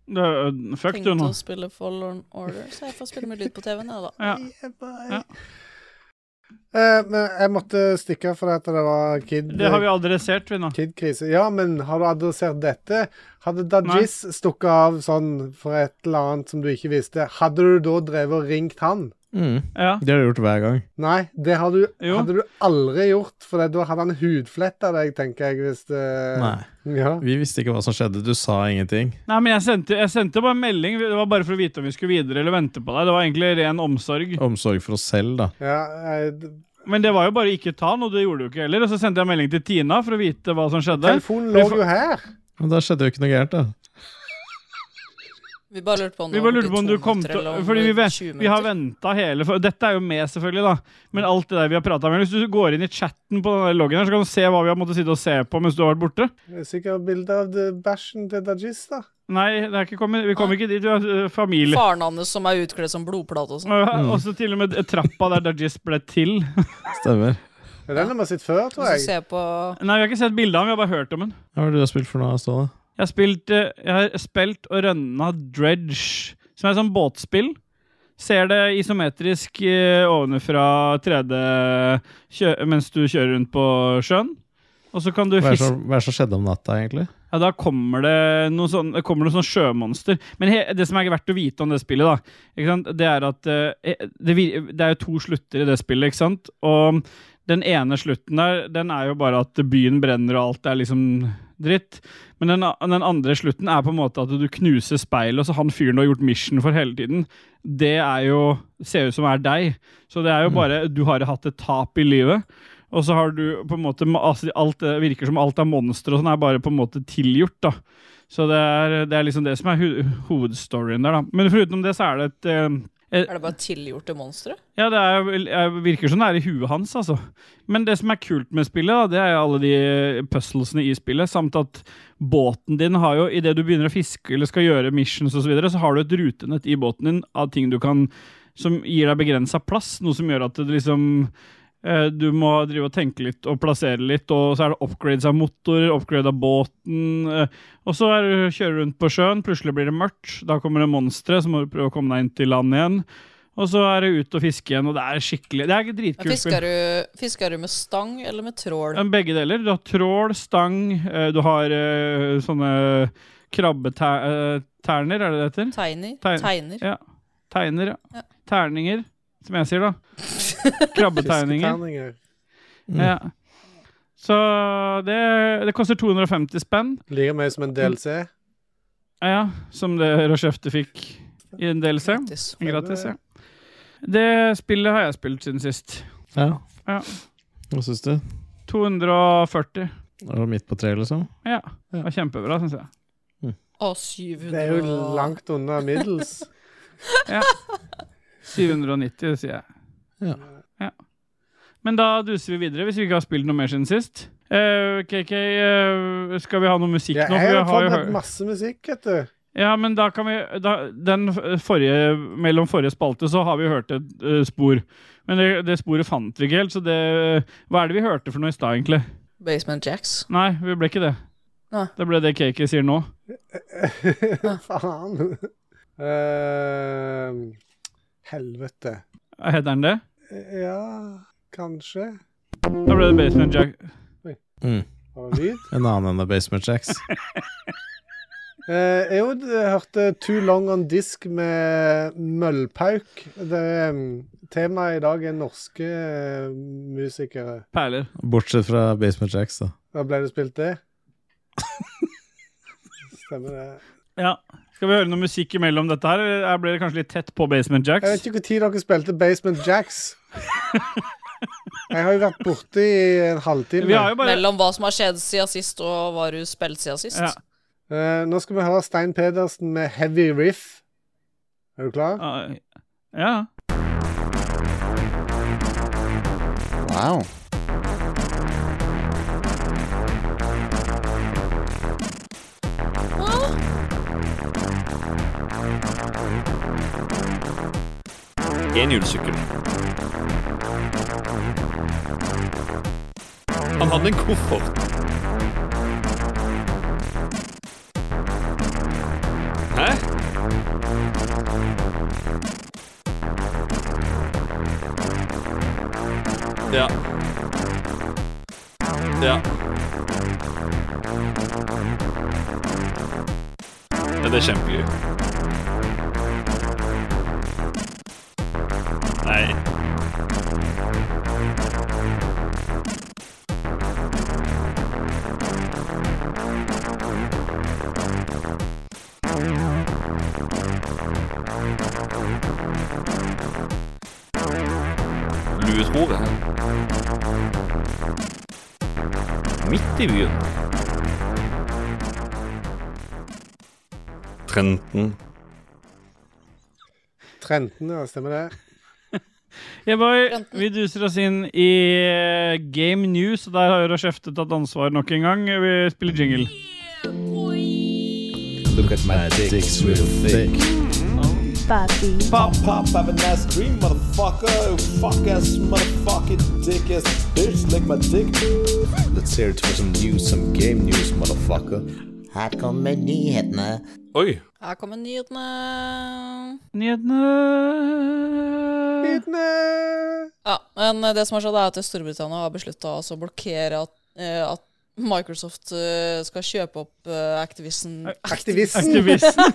[SPEAKER 3] du, øh, fuck
[SPEAKER 2] tenkt
[SPEAKER 3] du nå.
[SPEAKER 2] å spille Fallen Order, så jeg får spille med lyd på TV-en, jeg, da.
[SPEAKER 3] Ja.
[SPEAKER 5] Yeah, bye.
[SPEAKER 3] Ja.
[SPEAKER 5] Eh, men jeg måtte stikke fordi at det var kid,
[SPEAKER 3] Det har vi adressert, vi nå.
[SPEAKER 5] kid-krise. Ja, men har du adressert dette? Hadde Dajis stukket av sånn for et eller annet som du ikke visste, hadde du da drevet og ringt han?
[SPEAKER 1] Mm.
[SPEAKER 3] Ja.
[SPEAKER 1] Det har du gjort hver gang.
[SPEAKER 5] Nei, det har du,
[SPEAKER 3] Jo.
[SPEAKER 5] hadde du aldri gjort, for da hadde han hudfletta deg, tenker jeg, hvis det
[SPEAKER 1] Nei.
[SPEAKER 5] Ja.
[SPEAKER 1] Vi visste ikke hva som skjedde. Du sa ingenting.
[SPEAKER 3] Nei, men jeg sendte, jeg sendte bare en melding. Det var bare for å vite om vi skulle videre eller vente på deg. Det var egentlig ren omsorg.
[SPEAKER 1] Omsorg for oss selv, da.
[SPEAKER 5] Ja, eh, jeg,
[SPEAKER 3] Men det var jo bare ikke ta den, og det gjorde du ikke heller. Og så sendte jeg melding til Tina for å vite hva som skjedde.
[SPEAKER 5] telefonen
[SPEAKER 3] Vi
[SPEAKER 5] lå
[SPEAKER 3] får-
[SPEAKER 5] jo her.
[SPEAKER 1] Men da skjedde jo ikke noe gærent, da.
[SPEAKER 2] Vi bare lurte på om
[SPEAKER 3] Vi
[SPEAKER 2] det
[SPEAKER 3] bare
[SPEAKER 2] var
[SPEAKER 3] lurte på om
[SPEAKER 2] to
[SPEAKER 3] du kom
[SPEAKER 2] minutter
[SPEAKER 3] til
[SPEAKER 2] eller om
[SPEAKER 3] Fordi vi,
[SPEAKER 2] det var 20
[SPEAKER 3] vet, vi har
[SPEAKER 2] minutter.
[SPEAKER 3] venta hele for Dette er jo med, selvfølgelig, da. Men alt det der vi har prata om Hvis du går inn i chatten på den der loggen her, så kan du se hva vi har måttet sitte og se på mens du har vært borte.
[SPEAKER 5] Det er Sikkert bilde av det- bæsjen til Dajis, da.
[SPEAKER 3] Nei, det er ikke kommet, vi kommer ikke dit. Du har øh, familie.
[SPEAKER 2] Faren hans som er utkledd som blodplate og sånn.
[SPEAKER 3] Og og så til og med trappa der Dajis ble til.
[SPEAKER 1] Stemmer.
[SPEAKER 5] Ja, Den har vi sett før,
[SPEAKER 2] Og
[SPEAKER 5] tror
[SPEAKER 2] så
[SPEAKER 5] jeg.
[SPEAKER 2] ser jeg på
[SPEAKER 3] Nei, vi har ikke sett bilde av ham, vi har bare hørt om ham.
[SPEAKER 1] Hva har du spilt for noe, Ståle?
[SPEAKER 3] Jeg har spilt, eh, jeg har spilt og rønna Dredge, som er et sånt båtspill. Ser det isometrisk eh, ovenfra 3D kjø mens du kjører rundt på sjøen. Og så kan du
[SPEAKER 1] Hva er det
[SPEAKER 3] fiske
[SPEAKER 1] som, hva er det som skjedde om natta, egentlig?
[SPEAKER 3] ja, Da kommer det noen sånn, det kommer noen sånn sjømonster. Men he, det som er verdt å vite om det spillet, da, ikke sant? det er at eh, det, vir- det er jo to slutter i det spillet, ikke sant? Og den ene slutten der, den er jo bare at byen brenner og alt er liksom dritt. Men den, a- den andre slutten er på en måte at du knuser speilet, og så han fyren du har gjort mission for hele tiden, det er jo Ser ut som er deg. Så det er jo bare Du har hatt et tap i livet. Og så har du på en måte altså, alt, det virker som alt av monstre og sånn er bare på en måte tilgjort, da. Så det er, det er liksom det som er ho hovedstoryen der, da. Men foruten det så er det et eh,
[SPEAKER 2] Er det bare tilgjorte monstre?
[SPEAKER 3] ja, det er, vel- jeg virker som det er i huet hans, altså. Men det som er kult med spillet, da, det er jo alle de eh, puzzlesene i spillet, samt at båten din har jo, idet du begynner å fiske eller skal gjøre missions osv., så, videre, så har du et rutenett i båten din av ting du kan som gir deg begrensa plass, noe som gjør at det liksom eh, du må drive og tenke litt og plassere litt, og så er det upgrades av motor, upgrade av båten eh, Og så er, du- kjører du rundt på sjøen, plutselig blir det mørkt, da kommer det monstre, så må du prøve å komme deg inn til land igjen. Og så er det ut og fiske igjen, og det er skikkelig Det er ikke
[SPEAKER 2] Men
[SPEAKER 3] dritkult. spill.
[SPEAKER 2] Fisker du, fisker du med stang eller med trål?
[SPEAKER 3] Men Begge deler. Du har trål, stang, eh, du har eh, sånne krabbeterner, er det det heter?
[SPEAKER 2] Tegner?
[SPEAKER 3] Tegn-
[SPEAKER 2] Tegner. [LAUGHS]
[SPEAKER 3] Tegner, ja.
[SPEAKER 2] Ja.
[SPEAKER 3] Terninger, som jeg sier, da. Krabbetegninger.
[SPEAKER 5] Fisketerninger.
[SPEAKER 1] Mm.
[SPEAKER 3] Ja. Så det, det koster 250 spenn,
[SPEAKER 5] Like mye som en DLC.
[SPEAKER 3] ja, ja, som det Rochefte fikk i en DLC.
[SPEAKER 2] Gratis.
[SPEAKER 3] Gratis, ja. Det spillet har jeg spilt siden sist.
[SPEAKER 1] Ja.
[SPEAKER 3] Ja.
[SPEAKER 1] Hva syns du?
[SPEAKER 3] 240.
[SPEAKER 1] Er det midt på treet, liksom?
[SPEAKER 3] Ja. Det var kjempebra, syns jeg.
[SPEAKER 2] Å,
[SPEAKER 5] Det
[SPEAKER 2] 700
[SPEAKER 5] er jo langt unna middels.
[SPEAKER 3] 790, sier jeg.
[SPEAKER 1] Ja.
[SPEAKER 3] Ja. Men da duser vi videre, hvis vi ikke har spilt noe mer siden sist. Eh, KK, eh, skal vi ha noe musikk
[SPEAKER 5] Ja,
[SPEAKER 3] nå?
[SPEAKER 5] jeg
[SPEAKER 3] For vi
[SPEAKER 5] har
[SPEAKER 3] har jo
[SPEAKER 5] forberedt
[SPEAKER 3] hørt-
[SPEAKER 5] masse musikk, vet du.
[SPEAKER 3] Ja, men da kan vi da, Den f- forrige, mellom forrige spalte så har vi hørt et eh, spor. Men det, det sporet fant vi ikke helt, så det Hva er det vi hørte for noe i stad, egentlig?
[SPEAKER 2] Basement Jacks.
[SPEAKER 3] Nei, vi ble ikke det.
[SPEAKER 2] Nei.
[SPEAKER 3] Det ble det KK sier nå.
[SPEAKER 5] [LAUGHS] Faen. Ehm, helvete.
[SPEAKER 3] Heter den det?
[SPEAKER 5] Ja, kanskje.
[SPEAKER 3] Da ble det Basement Jack.
[SPEAKER 5] Var det lyd?
[SPEAKER 1] En annen enn The Basement Jacks.
[SPEAKER 5] Eh, jeg jo, d- hørte Too Long On Disk med Møllpauk. Det, mm, Temaet i dag er norske eh, musikere.
[SPEAKER 3] Perler.
[SPEAKER 1] Bortsett fra Basement Jacks, da.
[SPEAKER 5] Da ble det spilt det? Stemmer det.
[SPEAKER 3] Ja. Skal vi høre noe musikk imellom dette her? eller er- Blir det kanskje litt tett på Basement
[SPEAKER 5] Jeg
[SPEAKER 3] Jacks?
[SPEAKER 5] vet ikke når dere spilte Basement Jacks. Jeg har jo vært borte i en halvtime.
[SPEAKER 3] Vi har jo bare
[SPEAKER 2] Mellom hva som har skjedd siden sist, og hva du spilte siden sist.
[SPEAKER 3] Ja.
[SPEAKER 5] Eh, nå skal vi høre Stein Pedersen med Heavy Riff. Er du klar?
[SPEAKER 3] Ah, ja.
[SPEAKER 4] Wow.
[SPEAKER 7] Enhjulssykkel. Han hadde en koffert. Hæ? Ja. Ja. Ja, det er kjempegøy. Nei. Luethove. Midt i byen. Trenten.
[SPEAKER 5] Trenten, ja, stemmer det?
[SPEAKER 3] Jeg bare,
[SPEAKER 2] Renten.
[SPEAKER 3] vi duser oss inn i eh, Game News, og der har Rashefte tatt ansvar nok en gang. Vi spiller jingle.
[SPEAKER 6] Look at my dicks real thick. Pop, pop, have a nice dream, motherfucker. Fuck ass, motherfucking dick ass bitch, lick my dick. Let's hear it for some news, some game news, motherfucker.
[SPEAKER 8] Her kommer nyhetene.
[SPEAKER 7] Oi.
[SPEAKER 2] Her kommer nyhetene.
[SPEAKER 3] Nyhetene
[SPEAKER 5] Nyhetene!
[SPEAKER 2] Ja, men det som har skjedd, er at Storbritannia har beslutta å altså blokkere at, eh, at Microsoft eh, skal kjøpe opp eh, Activision
[SPEAKER 5] Aktivisten.
[SPEAKER 3] Aktivisten.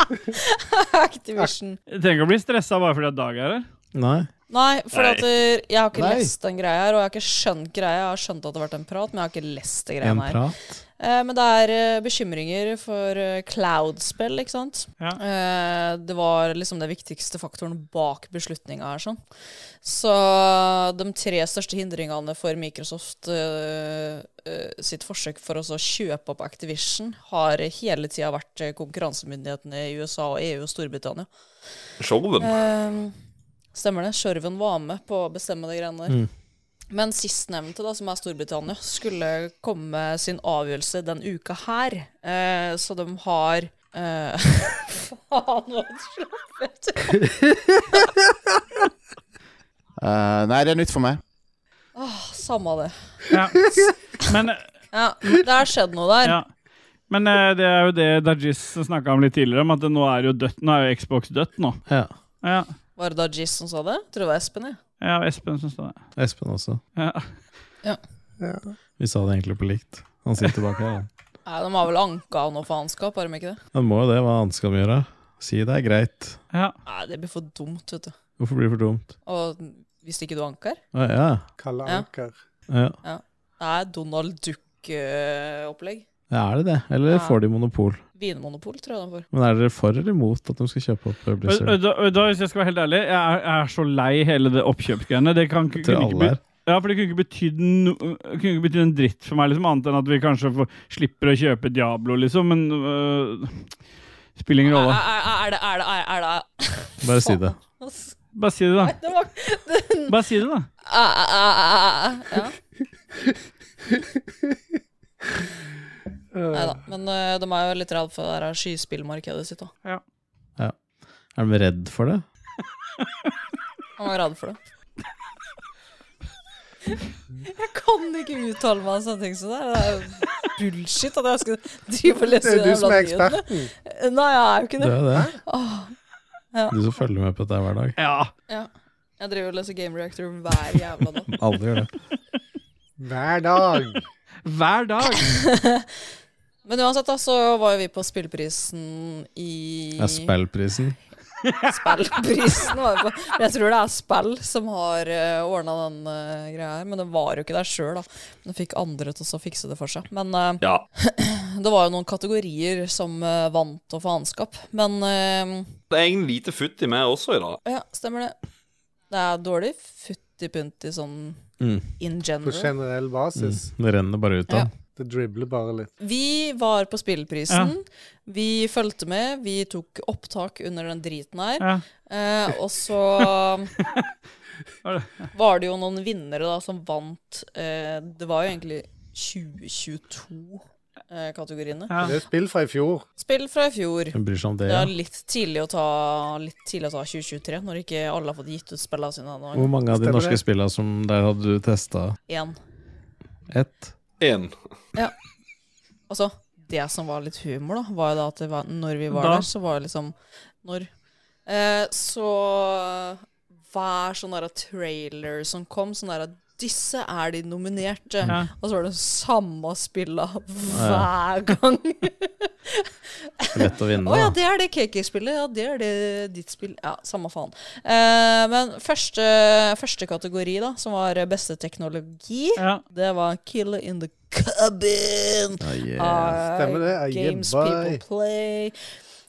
[SPEAKER 2] [LAUGHS] Activision.
[SPEAKER 3] Jeg trenger ikke å bli stressa bare fordi at Dag er her.
[SPEAKER 1] Nei.
[SPEAKER 2] Nei, for
[SPEAKER 7] Nei.
[SPEAKER 2] at eh, jeg har ikke
[SPEAKER 1] Nei.
[SPEAKER 2] lest den greia her, og jeg har ikke skjønt greia. Jeg har skjønt at det har vært en prat, men jeg har ikke lest det greia
[SPEAKER 1] En
[SPEAKER 2] her.
[SPEAKER 1] prat.
[SPEAKER 2] Eh, men det er eh, bekymringer for eh, cloud-spill, ikke sant.
[SPEAKER 3] Ja.
[SPEAKER 2] Eh, det var liksom det viktigste faktoren bak beslutninga her, sånn. Så de tre største hindringene for Microsoft eh, eh, sitt forsøk for å så kjøpe opp Activision har hele tida vært eh, konkurransemyndighetene i USA og EU og Storbritannia.
[SPEAKER 7] Skjolden.
[SPEAKER 2] Ehm, stemmer det. Skjørven var med på å bestemme de greiene der. Men sistnevnte, da, som er Storbritannia, skulle komme med sin avgjørelse den uka her. Eh, så de har eh, [LAUGHS] Faen, hva slapp jeg
[SPEAKER 4] Eh, nei, det er nytt for meg.
[SPEAKER 2] Samme det.
[SPEAKER 3] Ja. Men,
[SPEAKER 2] Ja, det har skjedd noe der.
[SPEAKER 3] ja. Men eh, det er jo det Dajis snakka om litt tidligere, om at det nå er jo dødt. Nå er jo Xbox dødt nå.
[SPEAKER 1] Ja.
[SPEAKER 3] Ja.
[SPEAKER 2] Var det da Giz som sa det? Tror det var Espen, jeg.
[SPEAKER 3] Ja, Espen som står der.
[SPEAKER 1] Espen også.
[SPEAKER 3] Ja.
[SPEAKER 1] Vi sa det egentlig på likt. Han sitter bak her. han.
[SPEAKER 2] Nei, de har vel anka av noe faenskap, har de ikke det?
[SPEAKER 1] Han må jo det, hva annet skal de gjøre? Si det er greit.
[SPEAKER 3] Ja.
[SPEAKER 2] Nei, det blir for dumt, vet du.
[SPEAKER 1] Hvorfor blir det for dumt?
[SPEAKER 2] Og hvis ikke du anker
[SPEAKER 1] Å, ja.
[SPEAKER 5] Kalle
[SPEAKER 3] [LAUGHS]
[SPEAKER 2] Ja.
[SPEAKER 5] Anker.
[SPEAKER 1] ja.
[SPEAKER 2] Det er Donald eh, Duck-opplegg.
[SPEAKER 1] Ja, Er det det, eller
[SPEAKER 2] Ja.
[SPEAKER 1] får de monopol?
[SPEAKER 2] Vinmonopol, tror jeg de får.
[SPEAKER 1] Men er dere for eller imot at de skal kjøpe opp eh,
[SPEAKER 3] Og, og,
[SPEAKER 1] Blizzard?
[SPEAKER 3] da, og da, hvis jeg skal være helt ærlig, jeg er, jeg er så lei hele det oppkjøpsgreiene. Det kan, ikke-
[SPEAKER 1] Til
[SPEAKER 3] kunne ikke
[SPEAKER 1] alle
[SPEAKER 3] be-
[SPEAKER 1] her.
[SPEAKER 3] Ja, for det kunne ikke betydd no, kunne ikke betydd en dritt for meg, liksom, annet enn at vi kanskje får, slipper å kjøpe Diablo, liksom, men øh, Spiller ingen rolle.
[SPEAKER 2] Er, er, er det Er det, er det, er det. altså.
[SPEAKER 1] Bare si
[SPEAKER 2] [LAUGHS]
[SPEAKER 1] det.
[SPEAKER 3] Bare si det, da.
[SPEAKER 2] det var, [LAUGHS] Ah,
[SPEAKER 3] Bare si det, da.
[SPEAKER 2] Æ, æ, æ, æ, æ. ja.
[SPEAKER 3] Eh,
[SPEAKER 2] Nei da. Men ø, de er jo litt redd for det der skyspillmarkedet sitt òg.
[SPEAKER 1] Er de redd for det?
[SPEAKER 2] Han var redd for det. [LAUGHS] Jeg kan ikke uttale meg om sånne ting som det der. Det er jo bullshit at jeg skal drive og
[SPEAKER 5] Det
[SPEAKER 2] lese
[SPEAKER 5] er du
[SPEAKER 2] jævla
[SPEAKER 5] som er
[SPEAKER 2] nyhetene.
[SPEAKER 5] eksperten.
[SPEAKER 2] Nei, jeg er jo ikke
[SPEAKER 1] Det
[SPEAKER 2] det.
[SPEAKER 1] er jo det.
[SPEAKER 2] Åh,
[SPEAKER 1] Du som følger med på dette hver [LAUGHS] dag.
[SPEAKER 3] Ja.
[SPEAKER 2] jeg driver og leser Game Reactor hver jævla dag.
[SPEAKER 1] Alle gjør det.
[SPEAKER 5] Hver dag.
[SPEAKER 3] Hver dag.
[SPEAKER 2] Men uansett, da, så var jo vi på spillprisen i
[SPEAKER 1] Det er spillprisen.
[SPEAKER 2] Spillprisen var det på. Men jeg tror det er spill som har uh, ordna den eh, greia her. Men det var jo ikke der sjøl, da. Men det fikk andre til å fikse det for seg. Men eh,
[SPEAKER 7] Ja.
[SPEAKER 2] det var jo noen kategorier som eh, vant og faenskap. Men eh,
[SPEAKER 7] Det er en lite futt i meg også i dag.
[SPEAKER 2] ja, stemmer det. Det er dårlig futti-punti sånn
[SPEAKER 1] Mm.
[SPEAKER 2] in
[SPEAKER 5] På
[SPEAKER 2] general.
[SPEAKER 5] generell basis.
[SPEAKER 1] Det renner bare ut av
[SPEAKER 2] Ja.
[SPEAKER 3] Mm.
[SPEAKER 1] den.
[SPEAKER 5] Det dribler bare litt.
[SPEAKER 2] Vi var på Spillprisen. Vi fulgte med. Vi tok opptak under den driten her.
[SPEAKER 3] Ja.
[SPEAKER 2] Eh, og så
[SPEAKER 3] [LAUGHS] Var
[SPEAKER 2] var det jo noen vinnere da som vant eh, Det var jo egentlig 2022-kategoriene.
[SPEAKER 3] Ja.
[SPEAKER 5] Det er spill fra i fjor.
[SPEAKER 2] Spill fra i fjor.
[SPEAKER 1] Hvem bryr seg om det?
[SPEAKER 2] Det
[SPEAKER 1] Ja?
[SPEAKER 2] er litt tidlig å ta, litt tidlig å ta 2023, når ikke alle har fått gitt ut spillene sine ennå.
[SPEAKER 1] Hvor mange av de
[SPEAKER 5] Stemmer
[SPEAKER 1] norske
[SPEAKER 5] det.
[SPEAKER 1] spillene som der hadde du testa
[SPEAKER 2] Én.
[SPEAKER 1] ett?
[SPEAKER 7] Én.
[SPEAKER 2] Altså, det som var litt humor, da, var jo da at det var, når vi var
[SPEAKER 3] Da.
[SPEAKER 2] der, så var det liksom Når eh, Så hver sånn der trailer som kom, sånn der disse er de nominerte.
[SPEAKER 3] Ja.
[SPEAKER 2] Og så var det samme spilla hver
[SPEAKER 3] [LAUGHS]
[SPEAKER 2] gang.
[SPEAKER 1] Lett å vinne,
[SPEAKER 2] Å ja,
[SPEAKER 1] da.
[SPEAKER 2] det er det KK-spillet. Ja, det er det ditt spill. Ja, samme faen. Eh, men første, første kategori, da, som var beste teknologi,
[SPEAKER 3] Ja.
[SPEAKER 2] det var Killer in the Cabin.
[SPEAKER 1] Ja, yeah.
[SPEAKER 2] Uh,
[SPEAKER 5] Stemmer det. Ah, yeah,
[SPEAKER 2] Games
[SPEAKER 5] boy.
[SPEAKER 2] people play.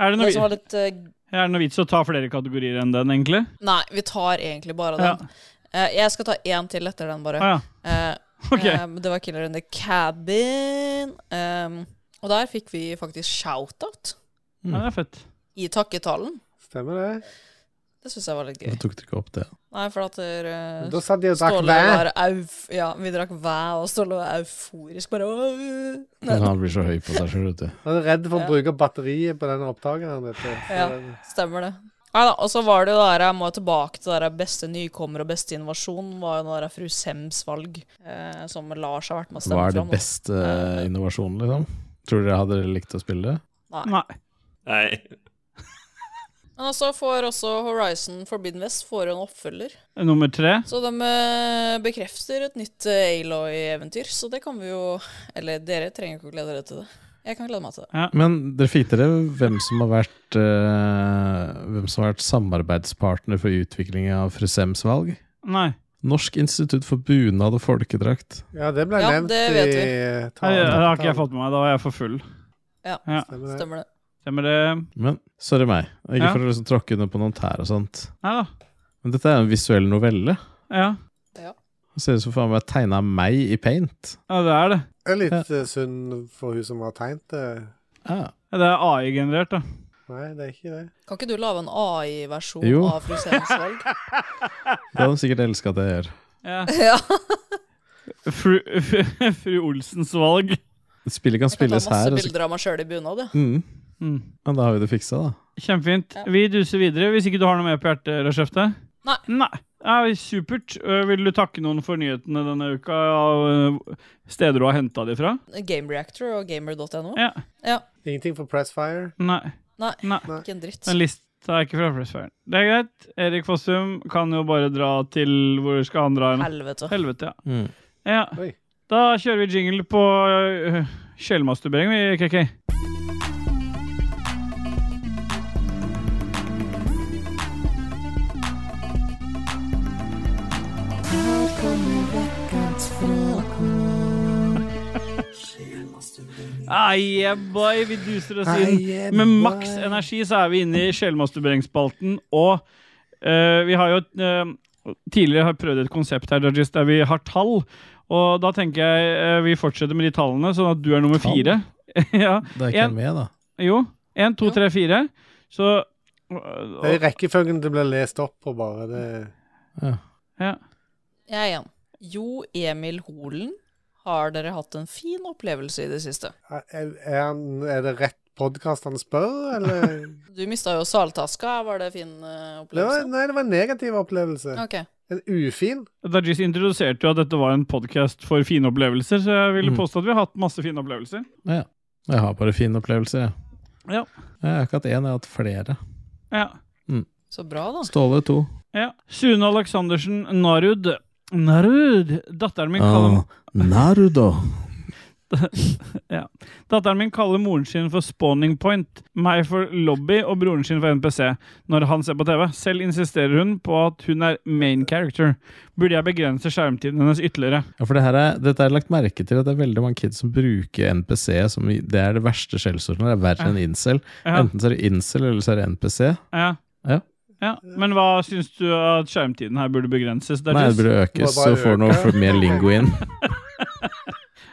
[SPEAKER 3] Er, det
[SPEAKER 2] Det som
[SPEAKER 3] noe,
[SPEAKER 2] var litt eh,
[SPEAKER 3] er det noe vits å ta flere kategorier enn den, egentlig?
[SPEAKER 2] Nei, vi tar egentlig bare
[SPEAKER 3] Ja.
[SPEAKER 2] den. Eh, jeg skal ta én til etter den, bare.
[SPEAKER 3] Ah, ja.
[SPEAKER 2] Eh,
[SPEAKER 3] Ok.
[SPEAKER 2] eh, men det var Killer in the Cabin. Um, og der fikk vi faktisk shout-out
[SPEAKER 1] Mm.
[SPEAKER 3] ja, det er fett.
[SPEAKER 2] i takketalen.
[SPEAKER 5] Stemmer det?
[SPEAKER 2] Det syns jeg var litt gøy.
[SPEAKER 1] Jeg tok du ikke opp det.
[SPEAKER 2] Nei, for at der, eh,
[SPEAKER 5] Da satt de og drakk
[SPEAKER 2] Ståle
[SPEAKER 5] vær.
[SPEAKER 2] var euf... Ja, vi drakk væ, og Ståle var euforisk. Bare «Åh!» Nei,
[SPEAKER 1] Men han blir så høy på seg sjøl, vet du.
[SPEAKER 5] Han er redd for
[SPEAKER 2] Ja.
[SPEAKER 5] å bruke batteriet på den opptakeren. vet du. Så
[SPEAKER 2] Ja.
[SPEAKER 5] den-
[SPEAKER 2] Stemmer det. Nei da, og så var det jo der, jeg må jo tilbake til der beste nykommer og beste innovasjon, var jo der fru Sems valg, eh, som Lars har vært med å
[SPEAKER 1] Hva
[SPEAKER 2] stemme
[SPEAKER 1] er det
[SPEAKER 2] fram. da.
[SPEAKER 1] beste eh, innovasjonen, liksom? Tror dere hadde dere likt å spille det?
[SPEAKER 3] Nei.
[SPEAKER 7] Nei.
[SPEAKER 2] Men altså får også Horizon Forbidden West får jo en oppfølger,
[SPEAKER 3] Nummer tre.
[SPEAKER 2] så de eh, bekrefter et nytt eh, Aloy-eventyr, så det kan vi jo, eller dere trenger ikke å glede dere til det. Jeg kan glede meg til det.
[SPEAKER 1] Men dere fikk dere hvem som har vært eh, Hvem som har vært samarbeidspartner for utvikling av Fru Sems valg?
[SPEAKER 3] Nei.
[SPEAKER 1] Norsk institutt for bunad og folkedrakt.
[SPEAKER 5] ja, det ble
[SPEAKER 2] Ja,
[SPEAKER 5] nevnt
[SPEAKER 2] det vet vi.
[SPEAKER 5] i eh,
[SPEAKER 3] Nei, Det
[SPEAKER 5] talen.
[SPEAKER 3] har ikke jeg fått med meg. Da var jeg for full.
[SPEAKER 5] Stemmer det.
[SPEAKER 2] Stemmer det.
[SPEAKER 3] Stemmer det?
[SPEAKER 1] Men sorry meg, Og ikke
[SPEAKER 3] Ja.
[SPEAKER 1] for å liksom tråkke under på noen tær og sånt.
[SPEAKER 3] Nei da.
[SPEAKER 1] Men dette er en visuell novelle.
[SPEAKER 3] Ja.
[SPEAKER 1] Det ser ut som faen meg tegna meg i paint.
[SPEAKER 3] ja, det er det.
[SPEAKER 5] Det er litt eh, synd for hun som har tegnet det.
[SPEAKER 1] Ja.
[SPEAKER 3] Ja, Det er AI-generert, da.
[SPEAKER 5] Nei, det er ikke det.
[SPEAKER 2] Kan ikke du lage en AI-versjon
[SPEAKER 1] Jo.
[SPEAKER 2] av fru Sems valg? [LAUGHS]
[SPEAKER 1] Det hadde de sikkert elska at jeg gjør.
[SPEAKER 3] Ja.
[SPEAKER 2] ja.
[SPEAKER 3] Fru, [LAUGHS] fru Olsens valg.
[SPEAKER 1] Spillet kan
[SPEAKER 2] Jeg kan ta
[SPEAKER 1] spilles
[SPEAKER 2] masse
[SPEAKER 1] her. altså. og så-
[SPEAKER 2] bilder av meg sjøl i bunad, ja.
[SPEAKER 1] Mm.
[SPEAKER 3] Mm.
[SPEAKER 1] Men da har vi det fiksa, da.
[SPEAKER 3] Kjempefint.
[SPEAKER 2] Ja.
[SPEAKER 3] Vi duser videre, hvis ikke du har noe mer på hjertet, Rashefte?
[SPEAKER 2] Nei.
[SPEAKER 3] Nei. Ja, supert. Øh, Vil du takke noen for nyhetene denne uka, av øh, steder du har henta de fra?
[SPEAKER 2] Game Reactor og gamer.no.
[SPEAKER 3] Ja.
[SPEAKER 5] Ingenting for Pressfire.
[SPEAKER 3] Nei.
[SPEAKER 2] Nei.
[SPEAKER 3] Nei.
[SPEAKER 2] Ikke en dritt.
[SPEAKER 3] Den lista er ikke fra Pressfire. Det er greit. Erik Fossum kan jo bare dra til Hvor skal han dra? hen?
[SPEAKER 2] Helvete.
[SPEAKER 3] Helvete, ja.
[SPEAKER 1] Mm.
[SPEAKER 3] ja.
[SPEAKER 5] Oi.
[SPEAKER 3] Da kjører vi jingle på øh, sjelmasturbering, vi, KK. Ah, yeah, boy. Vi duser oss inn. Med maks energi så er vi inne i sjelmasturberingsspalten, og eh, vi har jo et, eh, tidligere har prøvd et konsept her, Judges, der vi har tall. Og da tenker jeg eh, vi fortsetter med de tallene, sånn at du er nummer
[SPEAKER 1] Tall?
[SPEAKER 3] fire. [LAUGHS] ja.
[SPEAKER 1] Det er ikke
[SPEAKER 3] En-
[SPEAKER 1] med, da.
[SPEAKER 3] Jo. Én, to,
[SPEAKER 2] Ja.
[SPEAKER 3] tre, fire. Så eh,
[SPEAKER 5] Det er rekkefølgen det blir lest opp på, bare. Det
[SPEAKER 3] ja.
[SPEAKER 2] Jeg igjen. Jo Emil Holen, har dere hatt en fin opplevelse i det siste?
[SPEAKER 5] er, er, han- er det rett podkast han spør, eller?
[SPEAKER 2] Du mista jo saltaska, var det fin eh,
[SPEAKER 5] Det var,
[SPEAKER 2] opplevelse?
[SPEAKER 5] nei, det var en negativ opplevelse.
[SPEAKER 2] Ok.
[SPEAKER 5] En ufin.
[SPEAKER 3] Dajis introduserte jo at dette var en podkast for fine opplevelser, så jeg ville
[SPEAKER 1] Mm.
[SPEAKER 3] påstå at vi har hatt masse fine opplevelser.
[SPEAKER 1] Ja. Jeg har bare fine opplevelser, jeg.
[SPEAKER 3] Ja.
[SPEAKER 1] Jeg har ikke hatt én, jeg har hatt flere.
[SPEAKER 3] Ja.
[SPEAKER 2] Så bra, da.
[SPEAKER 1] Ståle to.
[SPEAKER 3] ja. Sune Aleksandersen Narud. Narud! Datteren min kaller
[SPEAKER 1] Ah.
[SPEAKER 5] Ah,
[SPEAKER 1] Narudo.
[SPEAKER 3] Datteren min kaller moren sin for spawning point, meg for lobby og broren sin for NPC når han ser på TV. Selv insisterer hun på at hun er main character. Burde jeg begrense skjermtiden hennes ytterligere?
[SPEAKER 1] Ja, for det her er, dette er lagt merke til at det er veldig mange kids som bruker NPC som i- Det er det verste skjellsordet. Det er verre enn incel.
[SPEAKER 3] Ja,
[SPEAKER 1] Enten så er det incel, eller så er det NPC.
[SPEAKER 3] ja.
[SPEAKER 1] Ja.
[SPEAKER 3] Ja, Men hva syns du at skjermtiden her burde begrenses?
[SPEAKER 1] Nei, det
[SPEAKER 3] Dargis?
[SPEAKER 1] burde økes,
[SPEAKER 5] Må
[SPEAKER 1] [LAUGHS]
[SPEAKER 5] bare
[SPEAKER 1] så får noe
[SPEAKER 5] øke.
[SPEAKER 1] for mer lingo inn.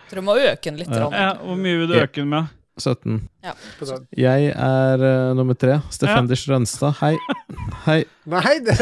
[SPEAKER 2] Tror du må øke den litt.
[SPEAKER 1] Ja.
[SPEAKER 2] Rann.
[SPEAKER 3] Ja, hvor mye vil du
[SPEAKER 1] Ja.
[SPEAKER 3] øke den med?
[SPEAKER 1] 17.
[SPEAKER 5] På den.
[SPEAKER 1] Jeg er eh, nummer tre. Stefenders Rønstad. Hei. Hei.
[SPEAKER 5] Nei, det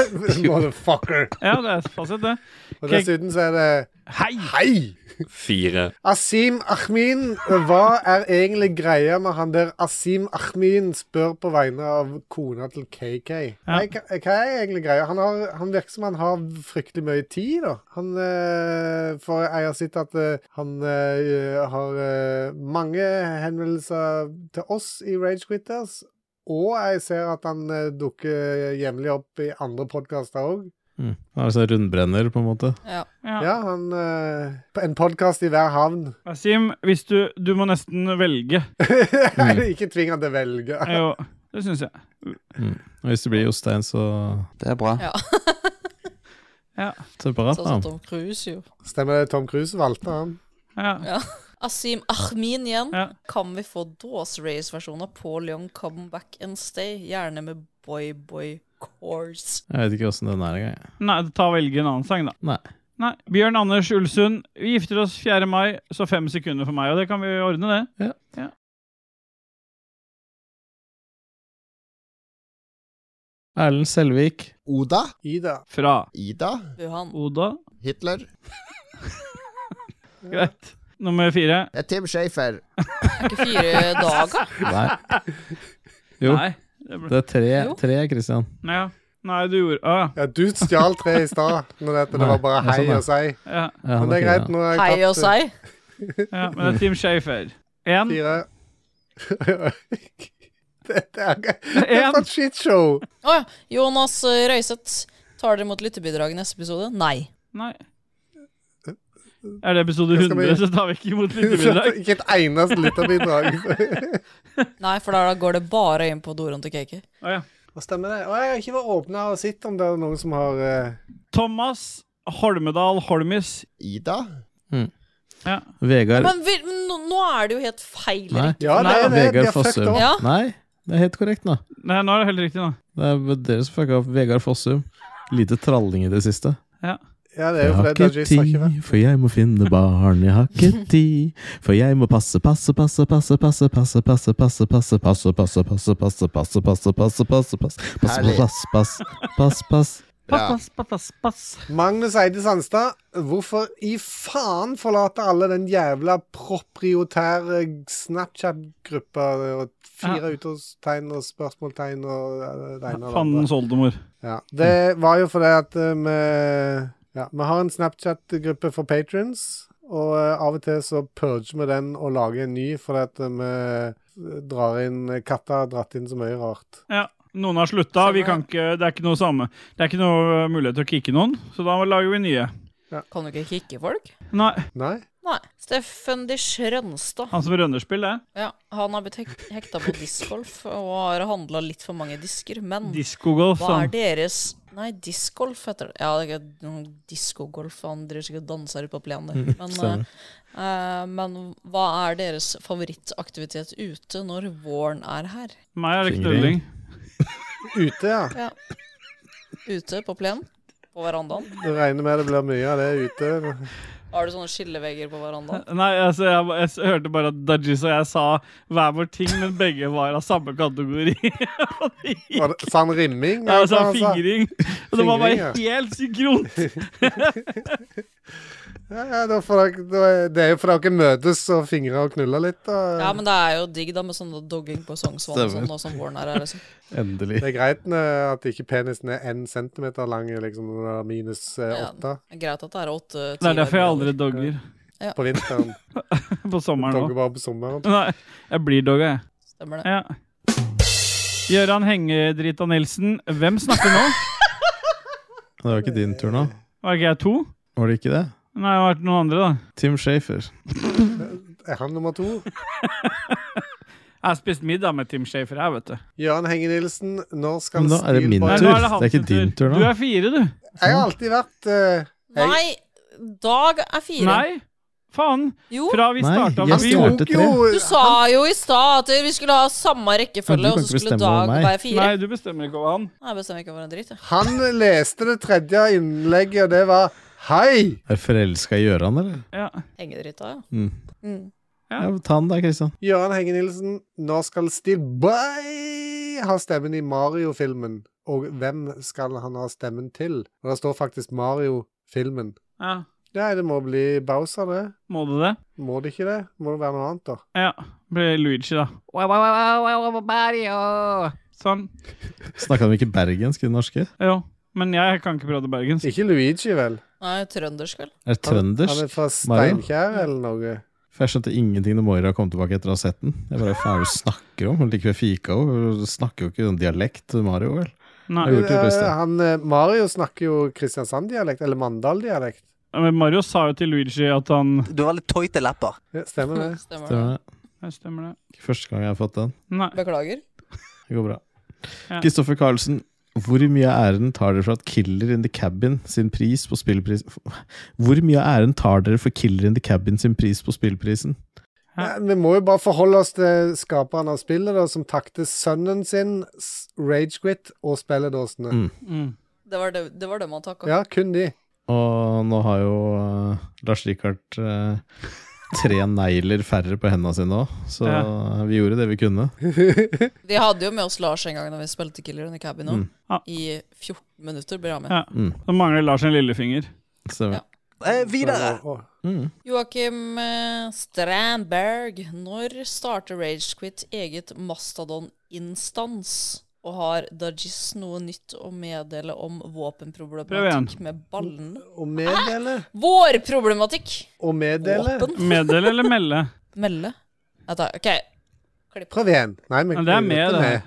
[SPEAKER 5] Motherfucker.
[SPEAKER 3] Ja, det er fasit, det.
[SPEAKER 5] Og dessuten så er det
[SPEAKER 3] Hei!
[SPEAKER 5] Hei!
[SPEAKER 7] Fire.
[SPEAKER 5] Asim Ahmin, hva er egentlig greia med han der Asim Ahmin spør på vegne av kona til KK? Nei, hva hva er egentlig greia? Han, har, han virker som han har fryktelig mye tid, da. Han eh, får eier sitt at eh, han eh, har eh, mange henvendelser til oss i Rage Quitters, og jeg ser at han eh, dukker jevnlig opp i andre podkaster òg.
[SPEAKER 1] Mm. Han er sånn rundbrenner, på en måte.
[SPEAKER 2] Ja.
[SPEAKER 3] Ja.
[SPEAKER 5] Ja, han eh, En podkast i hver havn. [LAUGHS]
[SPEAKER 3] Wasim, hvis du Du må nesten velge.
[SPEAKER 5] ikke tving han til å velge.
[SPEAKER 3] Er Jo, det syns jeg.
[SPEAKER 1] Og Hvis det blir Jostein, så
[SPEAKER 4] Det er bra.
[SPEAKER 2] Ja.
[SPEAKER 1] separat,
[SPEAKER 2] [LAUGHS] Sånn som
[SPEAKER 1] da.
[SPEAKER 2] Tom Cruise, jo.
[SPEAKER 5] Stemmer det, Tom Cruise valgte han.
[SPEAKER 3] Ja.
[SPEAKER 2] Asim Ahmin igjen.
[SPEAKER 3] Ja.
[SPEAKER 2] Kan vi få Dås Race-versjoner på Leon Come Back and Stay? Gjerne med Boy Boy Course.
[SPEAKER 1] Jeg vet ikke åssen den er engang.
[SPEAKER 3] Nei, ta og velge en annen sang, da.
[SPEAKER 1] Nei.
[SPEAKER 3] Nei. Bjørn Anders Ulsund, vi gifter oss 4. mai, så fem sekunder for meg, og det kan vi ordne, det.
[SPEAKER 1] Erlend Selvik.
[SPEAKER 6] Oda?
[SPEAKER 5] Ida.
[SPEAKER 3] Fra
[SPEAKER 6] Ida?
[SPEAKER 2] Wuhan.
[SPEAKER 3] Oda. [LAUGHS]
[SPEAKER 6] Hitler?
[SPEAKER 3] Greit. Nummer fire.
[SPEAKER 6] Det er Tim Schafer.
[SPEAKER 2] Er ikke
[SPEAKER 5] [LAUGHS]
[SPEAKER 2] fire dager?
[SPEAKER 1] Nei. Jo.
[SPEAKER 3] Nei. Det ble...
[SPEAKER 1] Det er tre,
[SPEAKER 2] [LAUGHS] Jo.
[SPEAKER 1] tre Christian.
[SPEAKER 3] Nei, ja. Nei, du gjorde ah,
[SPEAKER 5] Ja, du stjal tre i stad, når dette, det var bare
[SPEAKER 1] Nei,
[SPEAKER 5] hei
[SPEAKER 1] det er
[SPEAKER 5] og si.
[SPEAKER 3] ja,
[SPEAKER 1] Ja, han
[SPEAKER 5] Men det er
[SPEAKER 1] fire,
[SPEAKER 5] greit, nå har
[SPEAKER 2] Hei
[SPEAKER 5] jeg
[SPEAKER 2] og
[SPEAKER 5] tatt
[SPEAKER 2] sei.
[SPEAKER 3] ja, men det er Team Shafer. Én.
[SPEAKER 5] fire. [LAUGHS] Dette er det er sånn
[SPEAKER 3] En.
[SPEAKER 5] for et
[SPEAKER 1] [LAUGHS]
[SPEAKER 5] shitshow.
[SPEAKER 2] Å ja. Jonas eh, Røiseth. Tar dere imot lytterbidrag i neste episode? Nei.
[SPEAKER 3] Nei. Er det episode
[SPEAKER 5] Hva skal vi-
[SPEAKER 3] 100, så tar vi ikke imot lytterbidrag.
[SPEAKER 5] Ikke et eneste lytterbidrag.
[SPEAKER 2] Nei, for da går det bare inn på Doron til Kake.
[SPEAKER 3] Å, Ah, ja.
[SPEAKER 5] Hva stemmer det? Å, jeg har ikke vært åpen her og sett om det er noen som har eh,
[SPEAKER 3] Thomas Holmedal Holmis.
[SPEAKER 6] Ida?
[SPEAKER 3] Ja.
[SPEAKER 1] Vegard
[SPEAKER 2] Men, vi, men nå, nå er det jo helt feil.
[SPEAKER 1] Nei,
[SPEAKER 5] Ja, det er det. De
[SPEAKER 1] Vegard
[SPEAKER 5] har fucket
[SPEAKER 1] Fossum.
[SPEAKER 5] opp.
[SPEAKER 2] Ja.
[SPEAKER 1] Nei, det er helt korrekt nå.
[SPEAKER 3] Nei, nå er det helt riktig, nå.
[SPEAKER 1] Det er dere som fucka opp. Vegard Fossum. Lite tralling i det siste.
[SPEAKER 5] Ja, det er
[SPEAKER 1] Jeg
[SPEAKER 5] jo
[SPEAKER 1] har
[SPEAKER 5] fordi
[SPEAKER 1] ikke
[SPEAKER 5] Dajis har ikke vært
[SPEAKER 1] tid, for jeg må finne barn. Jeg har ikke tid, for jeg må passe, passe, passe, passe, passe, passe, passe, passe, passe, passe, passe, passe, passe, passe, passe, passe, passe, passe,
[SPEAKER 6] Herlig.
[SPEAKER 1] pass, pass, pass, pass.
[SPEAKER 3] Pass,
[SPEAKER 6] Ja.
[SPEAKER 3] pass, pass, pass, pass.
[SPEAKER 5] Magnus Eide Sandstad, hvorfor i faen forlater alle den jævla propriotære Snapchat-gruppa og fire utropstegn og spørsmålstegn og eh, det ene og det andre?
[SPEAKER 3] Fannens oldemor.
[SPEAKER 5] Ja, det var jo fordi at eh, vi ja, vi har en Snapchat-gruppe for patrons, og eh, av og til så purger vi den og lager en ny fordi at eh, vi eh, drar inn Katta har dratt inn så mye rart.
[SPEAKER 3] Ja. Noen har slutta, vi kan ikke Det er ikke noe samme. Det er ikke noe øh, mulighet til å kicke noen, så da lager vi nye.
[SPEAKER 2] Kan du ikke kikke folk?
[SPEAKER 3] Nei,
[SPEAKER 5] Nei?
[SPEAKER 2] Nei. Steffen de Schrønstad.
[SPEAKER 3] han som rønnespill, det.
[SPEAKER 2] Ja, han har blitt hek- hekta på discgolf og har handla litt for mange disker. Men
[SPEAKER 3] Diskogolf.
[SPEAKER 2] hva er
[SPEAKER 3] Sånn.
[SPEAKER 2] deres Nei, discgolf heter det. Ja, det er ikke noen diskogolf. Han driver sikkert og danser ute på plenen der. Men,
[SPEAKER 1] Mm, stemmer.
[SPEAKER 2] eh, eh, men hva er deres favorittaktivitet ute når våren er her?
[SPEAKER 3] Meg er det knulling.
[SPEAKER 1] Fingring.
[SPEAKER 5] Ute, ja.
[SPEAKER 2] Ute på plenen? På verandaen?
[SPEAKER 5] Du regner med det blir mye av det ute.
[SPEAKER 2] Har du sånne skillevegger på verandaen?
[SPEAKER 3] Nei, altså, jeg, jeg, s- hørte bare at Dajis og jeg sa hver vår ting, men begge var av samme kategori. Og det gikk-
[SPEAKER 5] Var det, sa han rimming?
[SPEAKER 3] [LAUGHS] Ja, [LAUGHS]
[SPEAKER 5] eller
[SPEAKER 3] jeg sa
[SPEAKER 5] hva han sa?
[SPEAKER 3] fingring. Og det var bare
[SPEAKER 5] Fingring, ja.
[SPEAKER 3] helt synkront.
[SPEAKER 5] Ja, ja, da får dere, da, er- det er jo fordi dere møtes og fingrer og knuller litt. Og,
[SPEAKER 2] Ja, men det er jo digg da med sånn dogging på Sognsvann og sånn nå som våren er her. Liksom.
[SPEAKER 1] Endelig.
[SPEAKER 5] Det er greit eh, at ikke penisen er én centimeter lang, liksom når det er minus eh,
[SPEAKER 2] Ja.
[SPEAKER 5] åtte
[SPEAKER 2] Det er Greit at det er åtte
[SPEAKER 3] Det er derfor jeg aldri dogger
[SPEAKER 5] på vinteren.
[SPEAKER 3] [LAUGHS] på sommeren
[SPEAKER 5] Dogger
[SPEAKER 3] òg.
[SPEAKER 5] bare på sommeren.
[SPEAKER 3] Nei, jeg blir dogga, jeg.
[SPEAKER 2] Stemmer det.
[SPEAKER 3] Ja. Gøran Hengedrita Nilsen, hvem snakker nå?
[SPEAKER 1] Det var ikke din tur nå.
[SPEAKER 3] Var ikke jeg to?
[SPEAKER 1] Var det ikke det?
[SPEAKER 3] Nei, det har vært noen andre, da.
[SPEAKER 1] Tim Shafer.
[SPEAKER 5] Er han nummer to?
[SPEAKER 3] Jeg har spist middag med Tim Shafer her, vet du.
[SPEAKER 5] Jøran Henge-Nielsen, når skal
[SPEAKER 1] Men da er det min
[SPEAKER 5] Steelboy-
[SPEAKER 1] tur.
[SPEAKER 3] nå
[SPEAKER 1] Det er ikke
[SPEAKER 3] sin
[SPEAKER 1] din tur nå.
[SPEAKER 3] Du er fire, du.
[SPEAKER 5] Jeg har alltid vært eh, jeg-
[SPEAKER 2] Nei, Dag er fire.
[SPEAKER 3] Nei, faen.
[SPEAKER 2] Jo,
[SPEAKER 3] Fra vi
[SPEAKER 1] Nei,
[SPEAKER 3] starta
[SPEAKER 1] jeg
[SPEAKER 3] med
[SPEAKER 5] Han
[SPEAKER 1] startet
[SPEAKER 5] tok jo
[SPEAKER 1] tre.
[SPEAKER 2] du sa jo i stad at vi skulle ha samme rekkefølge,
[SPEAKER 1] Ja, du kan
[SPEAKER 2] og
[SPEAKER 1] ikke
[SPEAKER 2] så skulle
[SPEAKER 1] bestemme
[SPEAKER 2] Dag
[SPEAKER 1] over meg.
[SPEAKER 2] være fire.
[SPEAKER 3] Nei,
[SPEAKER 2] Nei,
[SPEAKER 3] du bestemmer ikke over han.
[SPEAKER 2] jeg bestemmer ikke over en dritt, jeg.
[SPEAKER 5] Han leste det tredje innlegget, og det var Hei!
[SPEAKER 1] Er forelska i Gøran, eller?
[SPEAKER 3] Ja.
[SPEAKER 2] Hengedrita, ja.
[SPEAKER 1] Mm.
[SPEAKER 2] Mm.
[SPEAKER 1] Ja, ta den da, Kristian.
[SPEAKER 5] Gøran Henge Nilsen, nå skal Steve Bay ha stemmen i Mario-filmen. Og hvem skal han ha stemmen til? Og det står faktisk Mario-filmen.
[SPEAKER 3] ja.
[SPEAKER 5] Nei, det må bli Bowser, det.
[SPEAKER 3] Må du det?
[SPEAKER 5] Må det ikke det? Må det være noe annet, da?
[SPEAKER 3] Ja. Blir Luigi, da. Wow, wow, wow, wow, wow, Mario! Sånn.
[SPEAKER 1] Snakka de ikke bergensk i det norske?
[SPEAKER 3] Jo. Men jeg kan ikke prate bergensk.
[SPEAKER 5] Ikke Luigi, vel?
[SPEAKER 2] Nei, trøndersk, vel.
[SPEAKER 1] Er det trøndersk?
[SPEAKER 5] Han er fra
[SPEAKER 1] Mario?
[SPEAKER 5] Steinkjer eller noe?
[SPEAKER 1] For jeg skjønte ingenting når Moira kom tilbake etter å ha sett den. Jeg bare, Hva er det du snakker om? Hun liker ved fika jo. Hun snakker jo ikke sånn dialekt, Mario, vel?
[SPEAKER 3] Nei.
[SPEAKER 1] Jeg gjorde det beste.
[SPEAKER 5] Eh, Han, eh, Mario snakker jo Kristiansand-dialekt, eller Mandal-dialekt.
[SPEAKER 3] Men Mario sa jo til Luigi at han
[SPEAKER 9] Du har litt tøyte lepper.
[SPEAKER 5] Ja, Stemmer det?
[SPEAKER 2] Stemmer
[SPEAKER 1] Stemmer
[SPEAKER 2] det.
[SPEAKER 1] det?
[SPEAKER 3] Ja, Stemmer det.
[SPEAKER 1] Ikke første gang jeg har fått den.
[SPEAKER 3] Nei.
[SPEAKER 2] Beklager.
[SPEAKER 1] Det går bra.
[SPEAKER 3] Ja.
[SPEAKER 1] Kristoffer Carlsen, hvor mye av æren tar dere for at Killer in the Cabin sin pris på spillpris Hvor mye av æren tar dere for Killer in the Cabin sin pris på spillprisen?
[SPEAKER 5] Nei, Vi må jo bare forholde oss til skaperen av spillet, da, som takte sønnen sin, s- Ragequit og spilledåsene.
[SPEAKER 1] Mm.
[SPEAKER 3] Mm.
[SPEAKER 2] Det var det, det, var det man takka.
[SPEAKER 5] Ja, kun de.
[SPEAKER 1] Og nå har jo eh, Lars Rikard eh, tre [LAUGHS] negler færre på hendene sine òg, så vi gjorde det vi kunne.
[SPEAKER 2] Vi hadde jo med oss Lars en gang da vi spilte Killer in the Cabin òg.
[SPEAKER 1] Mm.
[SPEAKER 3] Ja.
[SPEAKER 2] I 14 minutter ble han med.
[SPEAKER 3] Ja.
[SPEAKER 1] Mm,
[SPEAKER 3] Da mangler Lars en lillefinger.
[SPEAKER 1] stemmer.
[SPEAKER 9] Eh, videre.
[SPEAKER 5] Og- og-
[SPEAKER 1] Mm.
[SPEAKER 2] Joakim eh, Strandberg, når starter Ragequit eget mastodon-instans? Og har Dajis noe nytt å meddele om
[SPEAKER 3] Prøv
[SPEAKER 2] våpenproblematikk
[SPEAKER 3] igjen.
[SPEAKER 2] med ballen?
[SPEAKER 5] Og meddele.
[SPEAKER 2] Vår problematikk!
[SPEAKER 5] Og meddele.
[SPEAKER 2] Våpen?
[SPEAKER 3] Meddele eller melde?
[SPEAKER 2] Melde? Ja, da, OK.
[SPEAKER 5] Prøv igjen. Nei, men
[SPEAKER 3] Ja, det er med,
[SPEAKER 5] dette
[SPEAKER 3] det.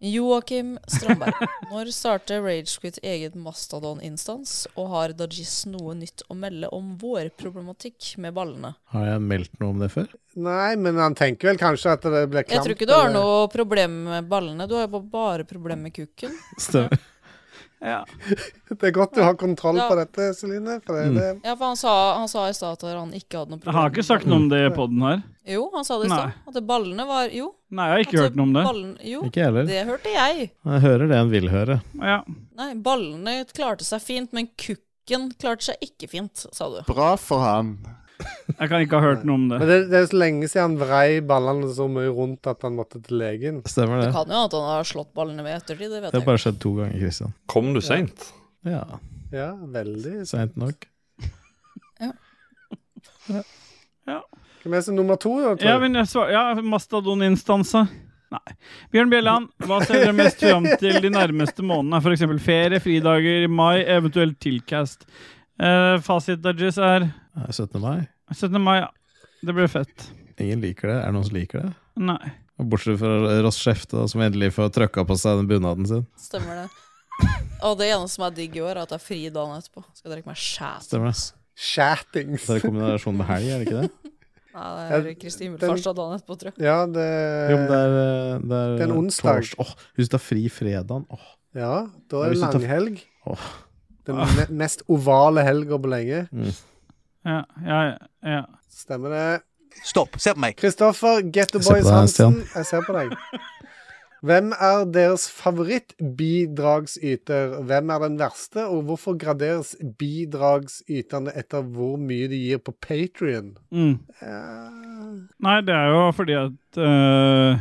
[SPEAKER 2] Joakim Strandberg, når starter Ragequit eget mastodon-instans? Og har Dajis noe nytt å melde om vår problematikk med ballene?
[SPEAKER 1] Har jeg meldt noe om det før?
[SPEAKER 5] Nei, men han tenker vel kanskje at det ble klamt.
[SPEAKER 2] Jeg tror ikke du har
[SPEAKER 5] eller-
[SPEAKER 2] noe problem med ballene, du har jo bare problem med kukken.
[SPEAKER 1] Stemmer.
[SPEAKER 3] Ja.
[SPEAKER 5] Det er godt du har kontroll
[SPEAKER 2] Ja.
[SPEAKER 5] på dette, Celine. For det,
[SPEAKER 1] Mm.
[SPEAKER 5] det,
[SPEAKER 2] Ja, for han sa, han sa i stad at han ikke hadde noe
[SPEAKER 3] Jeg
[SPEAKER 2] problem.
[SPEAKER 3] har ikke sagt noe om det i poden her.
[SPEAKER 2] Jo, han sa det i stad.
[SPEAKER 3] Nei.
[SPEAKER 2] At det ballene var Jo.
[SPEAKER 3] Nei, jeg har ikke
[SPEAKER 2] at
[SPEAKER 3] hørt noe om det.
[SPEAKER 2] Ballen, jo,
[SPEAKER 1] Ikke jeg heller.
[SPEAKER 2] det hørte jeg.
[SPEAKER 1] Jeg hører det en vil høre.
[SPEAKER 3] Ja.
[SPEAKER 2] Nei, ballene klarte seg fint, men kukken klarte seg ikke fint, sa du.
[SPEAKER 4] Bra for han.
[SPEAKER 3] Jeg kan ikke ha hørt noe om
[SPEAKER 5] men
[SPEAKER 3] det.
[SPEAKER 5] det, det er så lenge siden han vrei ballene så mye rundt at han måtte til legen.
[SPEAKER 1] Stemmer
[SPEAKER 2] Det
[SPEAKER 1] det.
[SPEAKER 2] kan jo at han har slått ballene med i ettertid, det vet
[SPEAKER 1] Det har
[SPEAKER 2] jeg. ikke.
[SPEAKER 1] bare skjedd to ganger, Christian.
[SPEAKER 7] Kom du seint?
[SPEAKER 1] Ja,
[SPEAKER 5] Ja, veldig.
[SPEAKER 1] seint nok.
[SPEAKER 5] Hvem er som nummer to, da? tror
[SPEAKER 3] Ja,
[SPEAKER 5] jeg?
[SPEAKER 3] men jeg svar, ja Mastadon-instanse. Nei. Bjørn Bjelland, hva ser dere mest fram til de nærmeste månedene? F.eks. ferie, fridager i mai, eventuelt tilcast. Eh, fasit dodges er
[SPEAKER 1] Det er 17. mai.
[SPEAKER 3] 17. mai. Ja. Det blir fett.
[SPEAKER 1] Ingen liker det. Er det noen som liker det?
[SPEAKER 3] Nei.
[SPEAKER 1] Og Bortsett fra Ross Skjefte, da, som endelig får trøkka på seg den bunaden sin.
[SPEAKER 2] Stemmer det. Og det eneste som er digg i år, er at det er fri dagen etterpå. Skal drikke meg skjæt.
[SPEAKER 1] Stemmer det.
[SPEAKER 5] Chatings.
[SPEAKER 1] Så det er kombinasjon med helg, er det ikke det?
[SPEAKER 2] Nei, det er Kristi himmelfartsdag dagen etterpå, tror jeg.
[SPEAKER 5] Ja,
[SPEAKER 1] [LAUGHS] Jo, men det
[SPEAKER 5] det
[SPEAKER 1] er, eh, det er
[SPEAKER 5] Det er en onsdag.
[SPEAKER 1] tors- Åh, hvis du tar fri fredagen Åh,
[SPEAKER 5] Ja, da
[SPEAKER 1] Ja,
[SPEAKER 5] er det
[SPEAKER 1] hvis du tar-
[SPEAKER 5] langhelg.
[SPEAKER 1] Åh.
[SPEAKER 5] Den me mest ovale helga på lenge.
[SPEAKER 3] Ja, ja, ja.
[SPEAKER 5] Stemmer det.
[SPEAKER 9] Stopp. Se på meg.
[SPEAKER 5] Kristoffer Getto
[SPEAKER 1] Jeg ser på
[SPEAKER 5] Boys
[SPEAKER 1] deg,
[SPEAKER 5] Hansen, jeg ser på deg. Hvem er deres favorittbidragsyter? Hvem er den verste, og hvorfor graderes bidragsyterne etter hvor mye de gir på Eh, Patrion?
[SPEAKER 3] Mm. Nei, det er jo fordi at eh,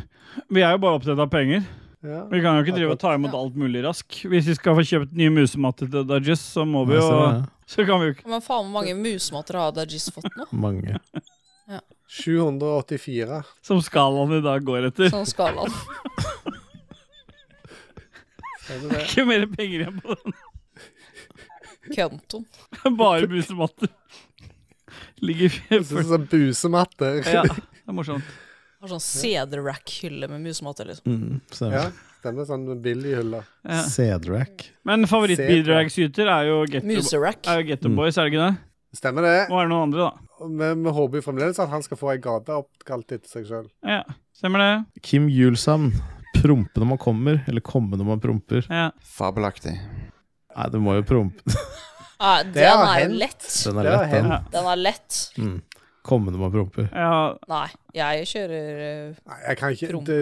[SPEAKER 3] Vi er jo bare opptatt av penger.
[SPEAKER 5] Ja.
[SPEAKER 3] Vi kan jo ikke drive og ta imot alt mulig rask. Hvis vi skal få kjøpt nye musematter til Dodges, så må vi
[SPEAKER 1] jeg
[SPEAKER 3] jo
[SPEAKER 1] ser det.
[SPEAKER 3] Så kan vi jo ikke
[SPEAKER 2] Men faen, hvor mange musmatter har Dajis fått nå?
[SPEAKER 1] Mange.
[SPEAKER 5] 784.
[SPEAKER 3] Som skalaen i dag går etter. [LAUGHS]
[SPEAKER 2] Sånn skalaen.
[SPEAKER 3] [LAUGHS]
[SPEAKER 5] Stemmer det?
[SPEAKER 3] Ikke mer penger igjen på den.
[SPEAKER 2] Kønton.
[SPEAKER 3] Bare musematter. Ligger
[SPEAKER 5] Det
[SPEAKER 3] for
[SPEAKER 5] er sånn busematter.
[SPEAKER 3] Ja, det er morsomt.
[SPEAKER 2] Har sånn cederrack-hylle med musmatter, liksom.
[SPEAKER 1] Mm,
[SPEAKER 5] Ja,
[SPEAKER 1] stemmer.
[SPEAKER 5] stemmer sånn billig hylle.
[SPEAKER 3] Ja.
[SPEAKER 1] Cedrack.
[SPEAKER 3] Men favorittbidragsyter er jo Getto
[SPEAKER 2] Muserack.
[SPEAKER 3] er jo Getto Boys, er det ikke det?
[SPEAKER 5] Stemmer det.
[SPEAKER 3] Må være noen andre, da.
[SPEAKER 5] Men vi håper jo fremdeles at han skal få ei gate oppkalt etter seg sjøl.
[SPEAKER 3] Ja, Stemmer det?
[SPEAKER 1] Kim Julsand. Prompe når man kommer, eller komme når man promper.
[SPEAKER 3] Ja.
[SPEAKER 4] Fabelaktig.
[SPEAKER 1] Nei, du må jo prompe.
[SPEAKER 2] Nei,
[SPEAKER 5] Det
[SPEAKER 2] den er
[SPEAKER 5] har
[SPEAKER 2] jo
[SPEAKER 5] hendt.
[SPEAKER 2] lett.
[SPEAKER 1] Den er
[SPEAKER 5] Det har
[SPEAKER 1] lett, den.
[SPEAKER 5] hendt.
[SPEAKER 2] Den er lett.
[SPEAKER 1] Mm. Komme når man promper.
[SPEAKER 3] ja.
[SPEAKER 2] Nei, jeg kjører eh,
[SPEAKER 5] Nei, jeg kan ikke
[SPEAKER 2] Prom.
[SPEAKER 5] det,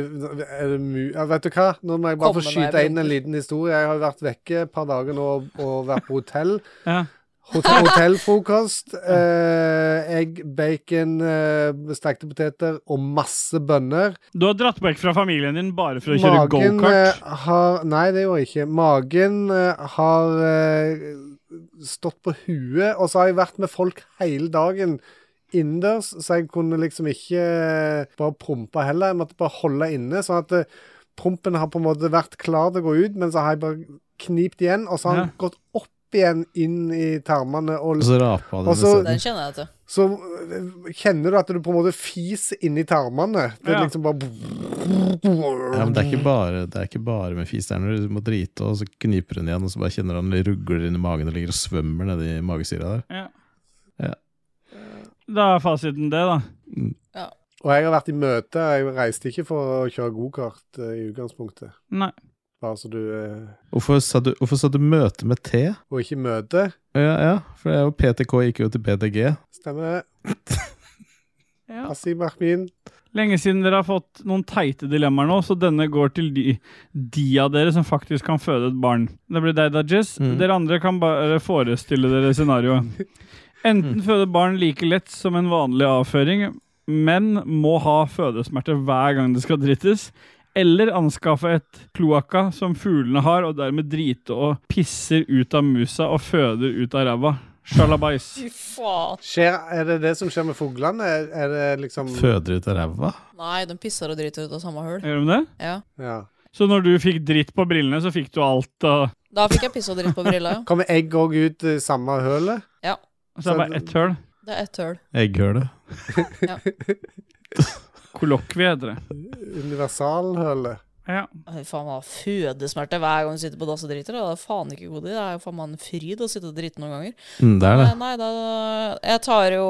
[SPEAKER 5] er det mu ja, Vet du hva, nå må jeg bare
[SPEAKER 2] Kommer
[SPEAKER 5] få
[SPEAKER 2] når jeg
[SPEAKER 5] skyte inn en
[SPEAKER 2] promper.
[SPEAKER 5] liten historie. Jeg har vært vekke et par dager nå og vært på hotell.
[SPEAKER 3] ja.
[SPEAKER 5] Hotell, hotellfrokost. Eh, egg, bacon, eh, stekte poteter og masse bønner.
[SPEAKER 3] Du har dratt vekk fra familien din bare for å kjøre gokart.
[SPEAKER 5] eh, har Nei, det gjorde jeg ikke. Magen eh, har eh, stått på huet, og så har jeg vært med folk hele dagen innendørs, så jeg kunne liksom ikke eh, bare prompe heller. Jeg måtte bare holde inne, sånn at eh, prompen har på en måte vært klar til å gå ut, men så har jeg bare knipt igjen, og så har den gått opp igjen inn i tarmene og
[SPEAKER 1] Og så rapa du
[SPEAKER 5] Og
[SPEAKER 1] nesten.
[SPEAKER 5] så-
[SPEAKER 2] Den kjenner jeg til.
[SPEAKER 5] så øh, kjenner du at du på en måte fiser inni tarmene. Det er
[SPEAKER 3] Ja.
[SPEAKER 5] liksom bare
[SPEAKER 1] Ja, men det er, ikke bare, det er ikke bare med fis. Det er når du må drite, og så kniper hun igjen, og så bare kjenner han det rugler inn i magen og ligger og svømmer nedi magesyra der.
[SPEAKER 3] Ja.
[SPEAKER 1] Ja.
[SPEAKER 3] Da er fasiten det, da.
[SPEAKER 5] Og jeg har vært i møte. Jeg reiste ikke for å kjøre gokart eh, i utgangspunktet.
[SPEAKER 3] Nei.
[SPEAKER 5] Bare så du eh,
[SPEAKER 1] Hvorfor sa du, hvorfor sa du møte med T?
[SPEAKER 5] Og ikke møte.
[SPEAKER 1] Ja, ja, for det er jo PTK gikk jo til PTG.
[SPEAKER 5] Stemmer det?
[SPEAKER 3] Ja.
[SPEAKER 5] Asim Ahmin.
[SPEAKER 3] Lenge siden dere har fått noen teite dilemmaer nå, så denne går til de, de av dere som faktisk kan føde et barn. Det blir deg, Dajis.
[SPEAKER 1] Mm.
[SPEAKER 3] Dere andre kan bare forestille dere scenarioet. Enten føde barn like lett som en vanlig avføring, men må ha fødesmerter hver gang det skal drittes. Eller anskaffe et kloakka som fuglene har, og dermed drite og pisser ut av musa og føder ut av ræva. Sjalabais.
[SPEAKER 2] Fy faen.
[SPEAKER 5] Skjer, er det det som skjer med fuglene? Er, er det liksom
[SPEAKER 1] Føder ut av ræva?
[SPEAKER 2] Nei, den pisser og driter ut av samme høl.
[SPEAKER 3] Gjør de det?
[SPEAKER 2] Ja.
[SPEAKER 5] ja.
[SPEAKER 3] Så når du fikk dritt på brillene, så fikk du alt av
[SPEAKER 2] Da fikk jeg piss og dritt på brilla, jo.
[SPEAKER 5] Kommer egg òg ut i samme hølet?
[SPEAKER 3] Så det er bare ett høl.
[SPEAKER 2] Det er ett høl.
[SPEAKER 1] Egghølet.
[SPEAKER 3] Kollokvie heter det.
[SPEAKER 5] Universalhølet?
[SPEAKER 3] Ja.
[SPEAKER 2] Fy faen, man har fødesmerter hver gang du sitter på dass og driter. og Det er faen ikke god i. Det er jo faen meg en fryd å sitte og drite noen ganger.
[SPEAKER 1] Mm, det er det.
[SPEAKER 2] Nei, nei, da Jeg tar jo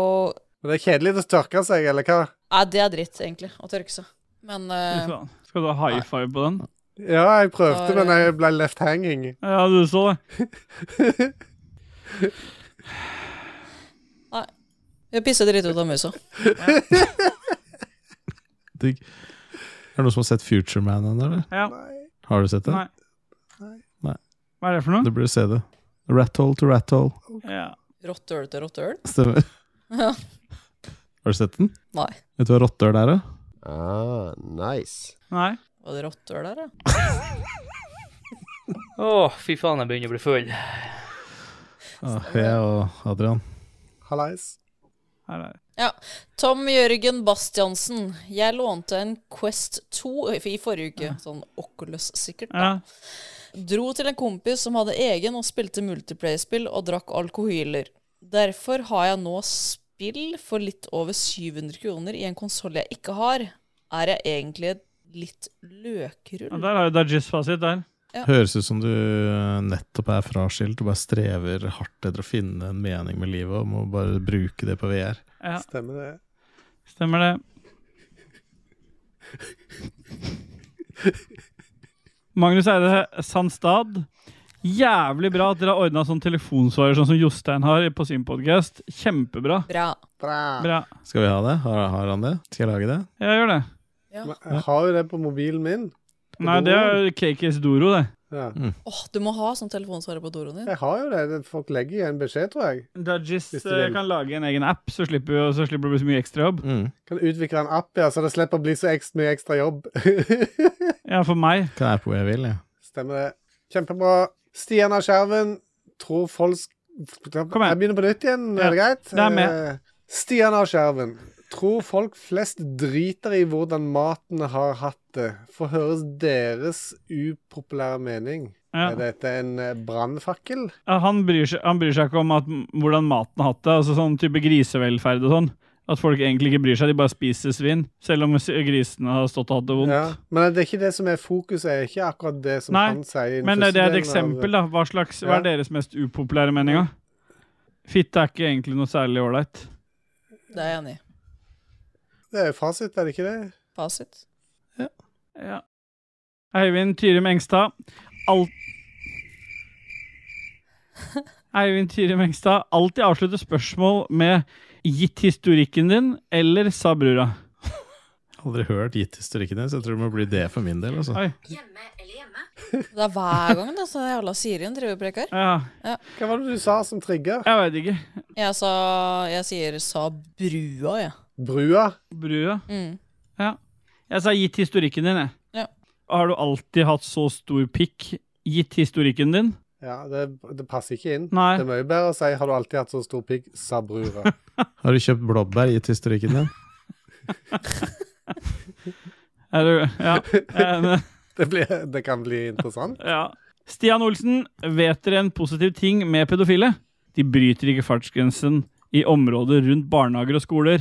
[SPEAKER 5] Men det er kjedelig å tørke seg, eller hva?
[SPEAKER 2] Nei, det er dritt, egentlig, å tørke seg. Men eh,
[SPEAKER 3] Sånn. Skal du ha high five på den?
[SPEAKER 5] Ja, jeg prøvde,
[SPEAKER 2] Da er
[SPEAKER 5] men jeg ble left hanging.
[SPEAKER 3] Ja, du så det.
[SPEAKER 2] jeg pisser dritt ut av musa.
[SPEAKER 1] Digg. Er det noen som har sett Future Man ennå, eller?
[SPEAKER 3] Ja.
[SPEAKER 1] Har du sett det?
[SPEAKER 3] Nei.
[SPEAKER 1] Nei.
[SPEAKER 3] Hva er det for noe?
[SPEAKER 1] Du burde se det. Rat hole to rat hole.
[SPEAKER 3] Ja.
[SPEAKER 2] Rottøl til rottøl.
[SPEAKER 1] Stemmer.
[SPEAKER 2] Ja.
[SPEAKER 1] Har du sett den?
[SPEAKER 2] Nei.
[SPEAKER 1] Vet du hva rottøl er, da?
[SPEAKER 6] Ah, nice.
[SPEAKER 3] Nei.
[SPEAKER 2] Var det rottøl der, ja?
[SPEAKER 10] Å, fy faen, jeg begynner å bli full.
[SPEAKER 1] Ah, jeg og Adrian.
[SPEAKER 5] Hallais.
[SPEAKER 3] Her er det.
[SPEAKER 2] Tom Jørgen Bastiansen. Jeg lånte en Quest 2 i forrige uke. Sånn Oculus, sikkert.
[SPEAKER 3] Ja.
[SPEAKER 2] da. Dro til en kompis som hadde egen og spilte multiplayer-spill og drakk alkohyler. Derfor har jeg nå spill for litt over 700 kroner i en konsoll jeg ikke har. Er jeg egentlig litt
[SPEAKER 3] ja.
[SPEAKER 2] løkrull?
[SPEAKER 3] Der har jo Dajis fasit der.
[SPEAKER 1] Høres ut som du eh, nettopp er fraskilt og bare strever hardt etter å finne en mening med livet og må bare bruke det på VR.
[SPEAKER 3] Ja,
[SPEAKER 5] Stemmer det.
[SPEAKER 3] stemmer det. Magnus Eide Sandstad. Jævlig bra at dere har ordna sånn telefonsvarer sånn som Jostein har på sin podkast. Kjempebra.
[SPEAKER 2] Bra.
[SPEAKER 5] Bra.
[SPEAKER 3] Bra.
[SPEAKER 1] Skal vi ha det? Har, har han det? Skal jeg lage det?
[SPEAKER 3] Ja, gjør det.
[SPEAKER 2] Ja.
[SPEAKER 5] Men Jeg har jo det på mobilen min.
[SPEAKER 3] Nei, det er KKS Doro, det.
[SPEAKER 5] Ja.
[SPEAKER 2] Åh, du må ha sånn telefonsvarer på doroen din.
[SPEAKER 5] Jeg har jo det. det. Folk legger igjen beskjed, tror jeg.
[SPEAKER 3] Dudgies
[SPEAKER 5] Hvis du
[SPEAKER 3] eh,
[SPEAKER 5] vil.
[SPEAKER 3] kan lage en egen app, så slipper, vi- så slipper det å bli så mye ekstrajobb.
[SPEAKER 1] Mm.
[SPEAKER 5] Kan utvikle en app, ja, så det slipper å bli så ekstra mye ekstra jobb. [LAUGHS]
[SPEAKER 3] Ja, for meg.
[SPEAKER 1] Kan jeg på hvor jeg vil, jeg.
[SPEAKER 5] Stemmer det. Kjempebra. Stian av Skjerven tror folk Jeg
[SPEAKER 3] igjen.
[SPEAKER 5] begynner på nytt igjen,
[SPEAKER 3] Ja,
[SPEAKER 5] er det greit?
[SPEAKER 3] det er med.
[SPEAKER 5] Eh, Stian av Skjerven tror folk flest driter i hvordan maten har hatt det. Få høre deres upopulære mening.
[SPEAKER 3] Ja.
[SPEAKER 5] Er dette en eh, brannfakkel?
[SPEAKER 3] Ja, Han, bryr seg, han bryr seg ikke om at, m- hvordan maten har hatt det, altså sånn type grisevelferd og sånn. At folk egentlig ikke bryr seg, de bare spiser svin. Selv om s- grisene har stått og hatt det vondt.
[SPEAKER 5] Ja. Men det er ikke det som er fokuset, er ikke akkurat det som
[SPEAKER 3] Nei,
[SPEAKER 5] han sier. i den
[SPEAKER 3] Men eh, det, det er et
[SPEAKER 5] første delen av-
[SPEAKER 3] eksempel, da. Hva, slags, hva er
[SPEAKER 5] Ja.
[SPEAKER 3] deres mest upopulære meninga? Fitte er ikke egentlig noe særlig ålreit.
[SPEAKER 2] Det er jeg enig i.
[SPEAKER 5] Det er jo fasit, er det ikke det?
[SPEAKER 2] Fasit.
[SPEAKER 3] Ja. Eivind Tyrim Engstad. Alt Eivind Tyrim Engstad. Alltid avslutte spørsmål med 'gitt historikken din' eller 'sa brura'.
[SPEAKER 1] Aldri hørt gitt historikken din, så jeg tror det må bli det for min del. Altså.
[SPEAKER 3] Oi.
[SPEAKER 2] Det er hver gang det, så jævla Siri hun driver og preker.
[SPEAKER 3] Ja.
[SPEAKER 5] Hva var det du sa som trigger?
[SPEAKER 3] Jeg vet ikke.
[SPEAKER 2] Jeg sa Jeg sier sa brua, jeg.
[SPEAKER 5] Brua?
[SPEAKER 3] Brua.
[SPEAKER 2] Mm.
[SPEAKER 3] Ja. Jeg sa gitt historikken din, jeg.
[SPEAKER 2] Ja.
[SPEAKER 3] Har du alltid hatt så stor pikk gitt historikken din?
[SPEAKER 5] Ja, det, det passer ikke inn.
[SPEAKER 3] Nei.
[SPEAKER 5] Det er mye bedre å si 'Har du alltid hatt så stor pigg?'
[SPEAKER 3] [LAUGHS]
[SPEAKER 5] sa brura.
[SPEAKER 6] Har du kjøpt blåbær i historikken [LAUGHS] din?
[SPEAKER 3] Er du Ja. Eh,
[SPEAKER 5] Det, blir, det kan bli interessant.
[SPEAKER 3] ja. Stian Olsen, vet dere en positiv ting med pedofile? De bryter ikke fartsgrensen i området rundt barnehager og skoler.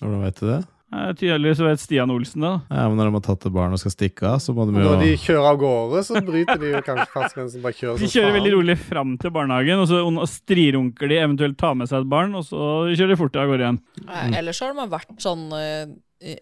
[SPEAKER 6] Hvordan vet du det?
[SPEAKER 3] Eh, Tydeligvis vet Stian Olsen det. da.
[SPEAKER 6] Ja, men Når de har tatt et barn og skal stikke av, så må de jo
[SPEAKER 5] Når de kjører av gårde, så bryter de jo kanskje fartsgrensen. Bare kjører
[SPEAKER 3] De
[SPEAKER 5] som
[SPEAKER 3] kjører
[SPEAKER 5] faen.
[SPEAKER 3] veldig rolig fram til barnehagen, og så on- og strirunker de, eventuelt tar med seg et barn, og så kjører de fort av gårde igjen.
[SPEAKER 2] Nei, Ellers så har de vært sånn eh, i-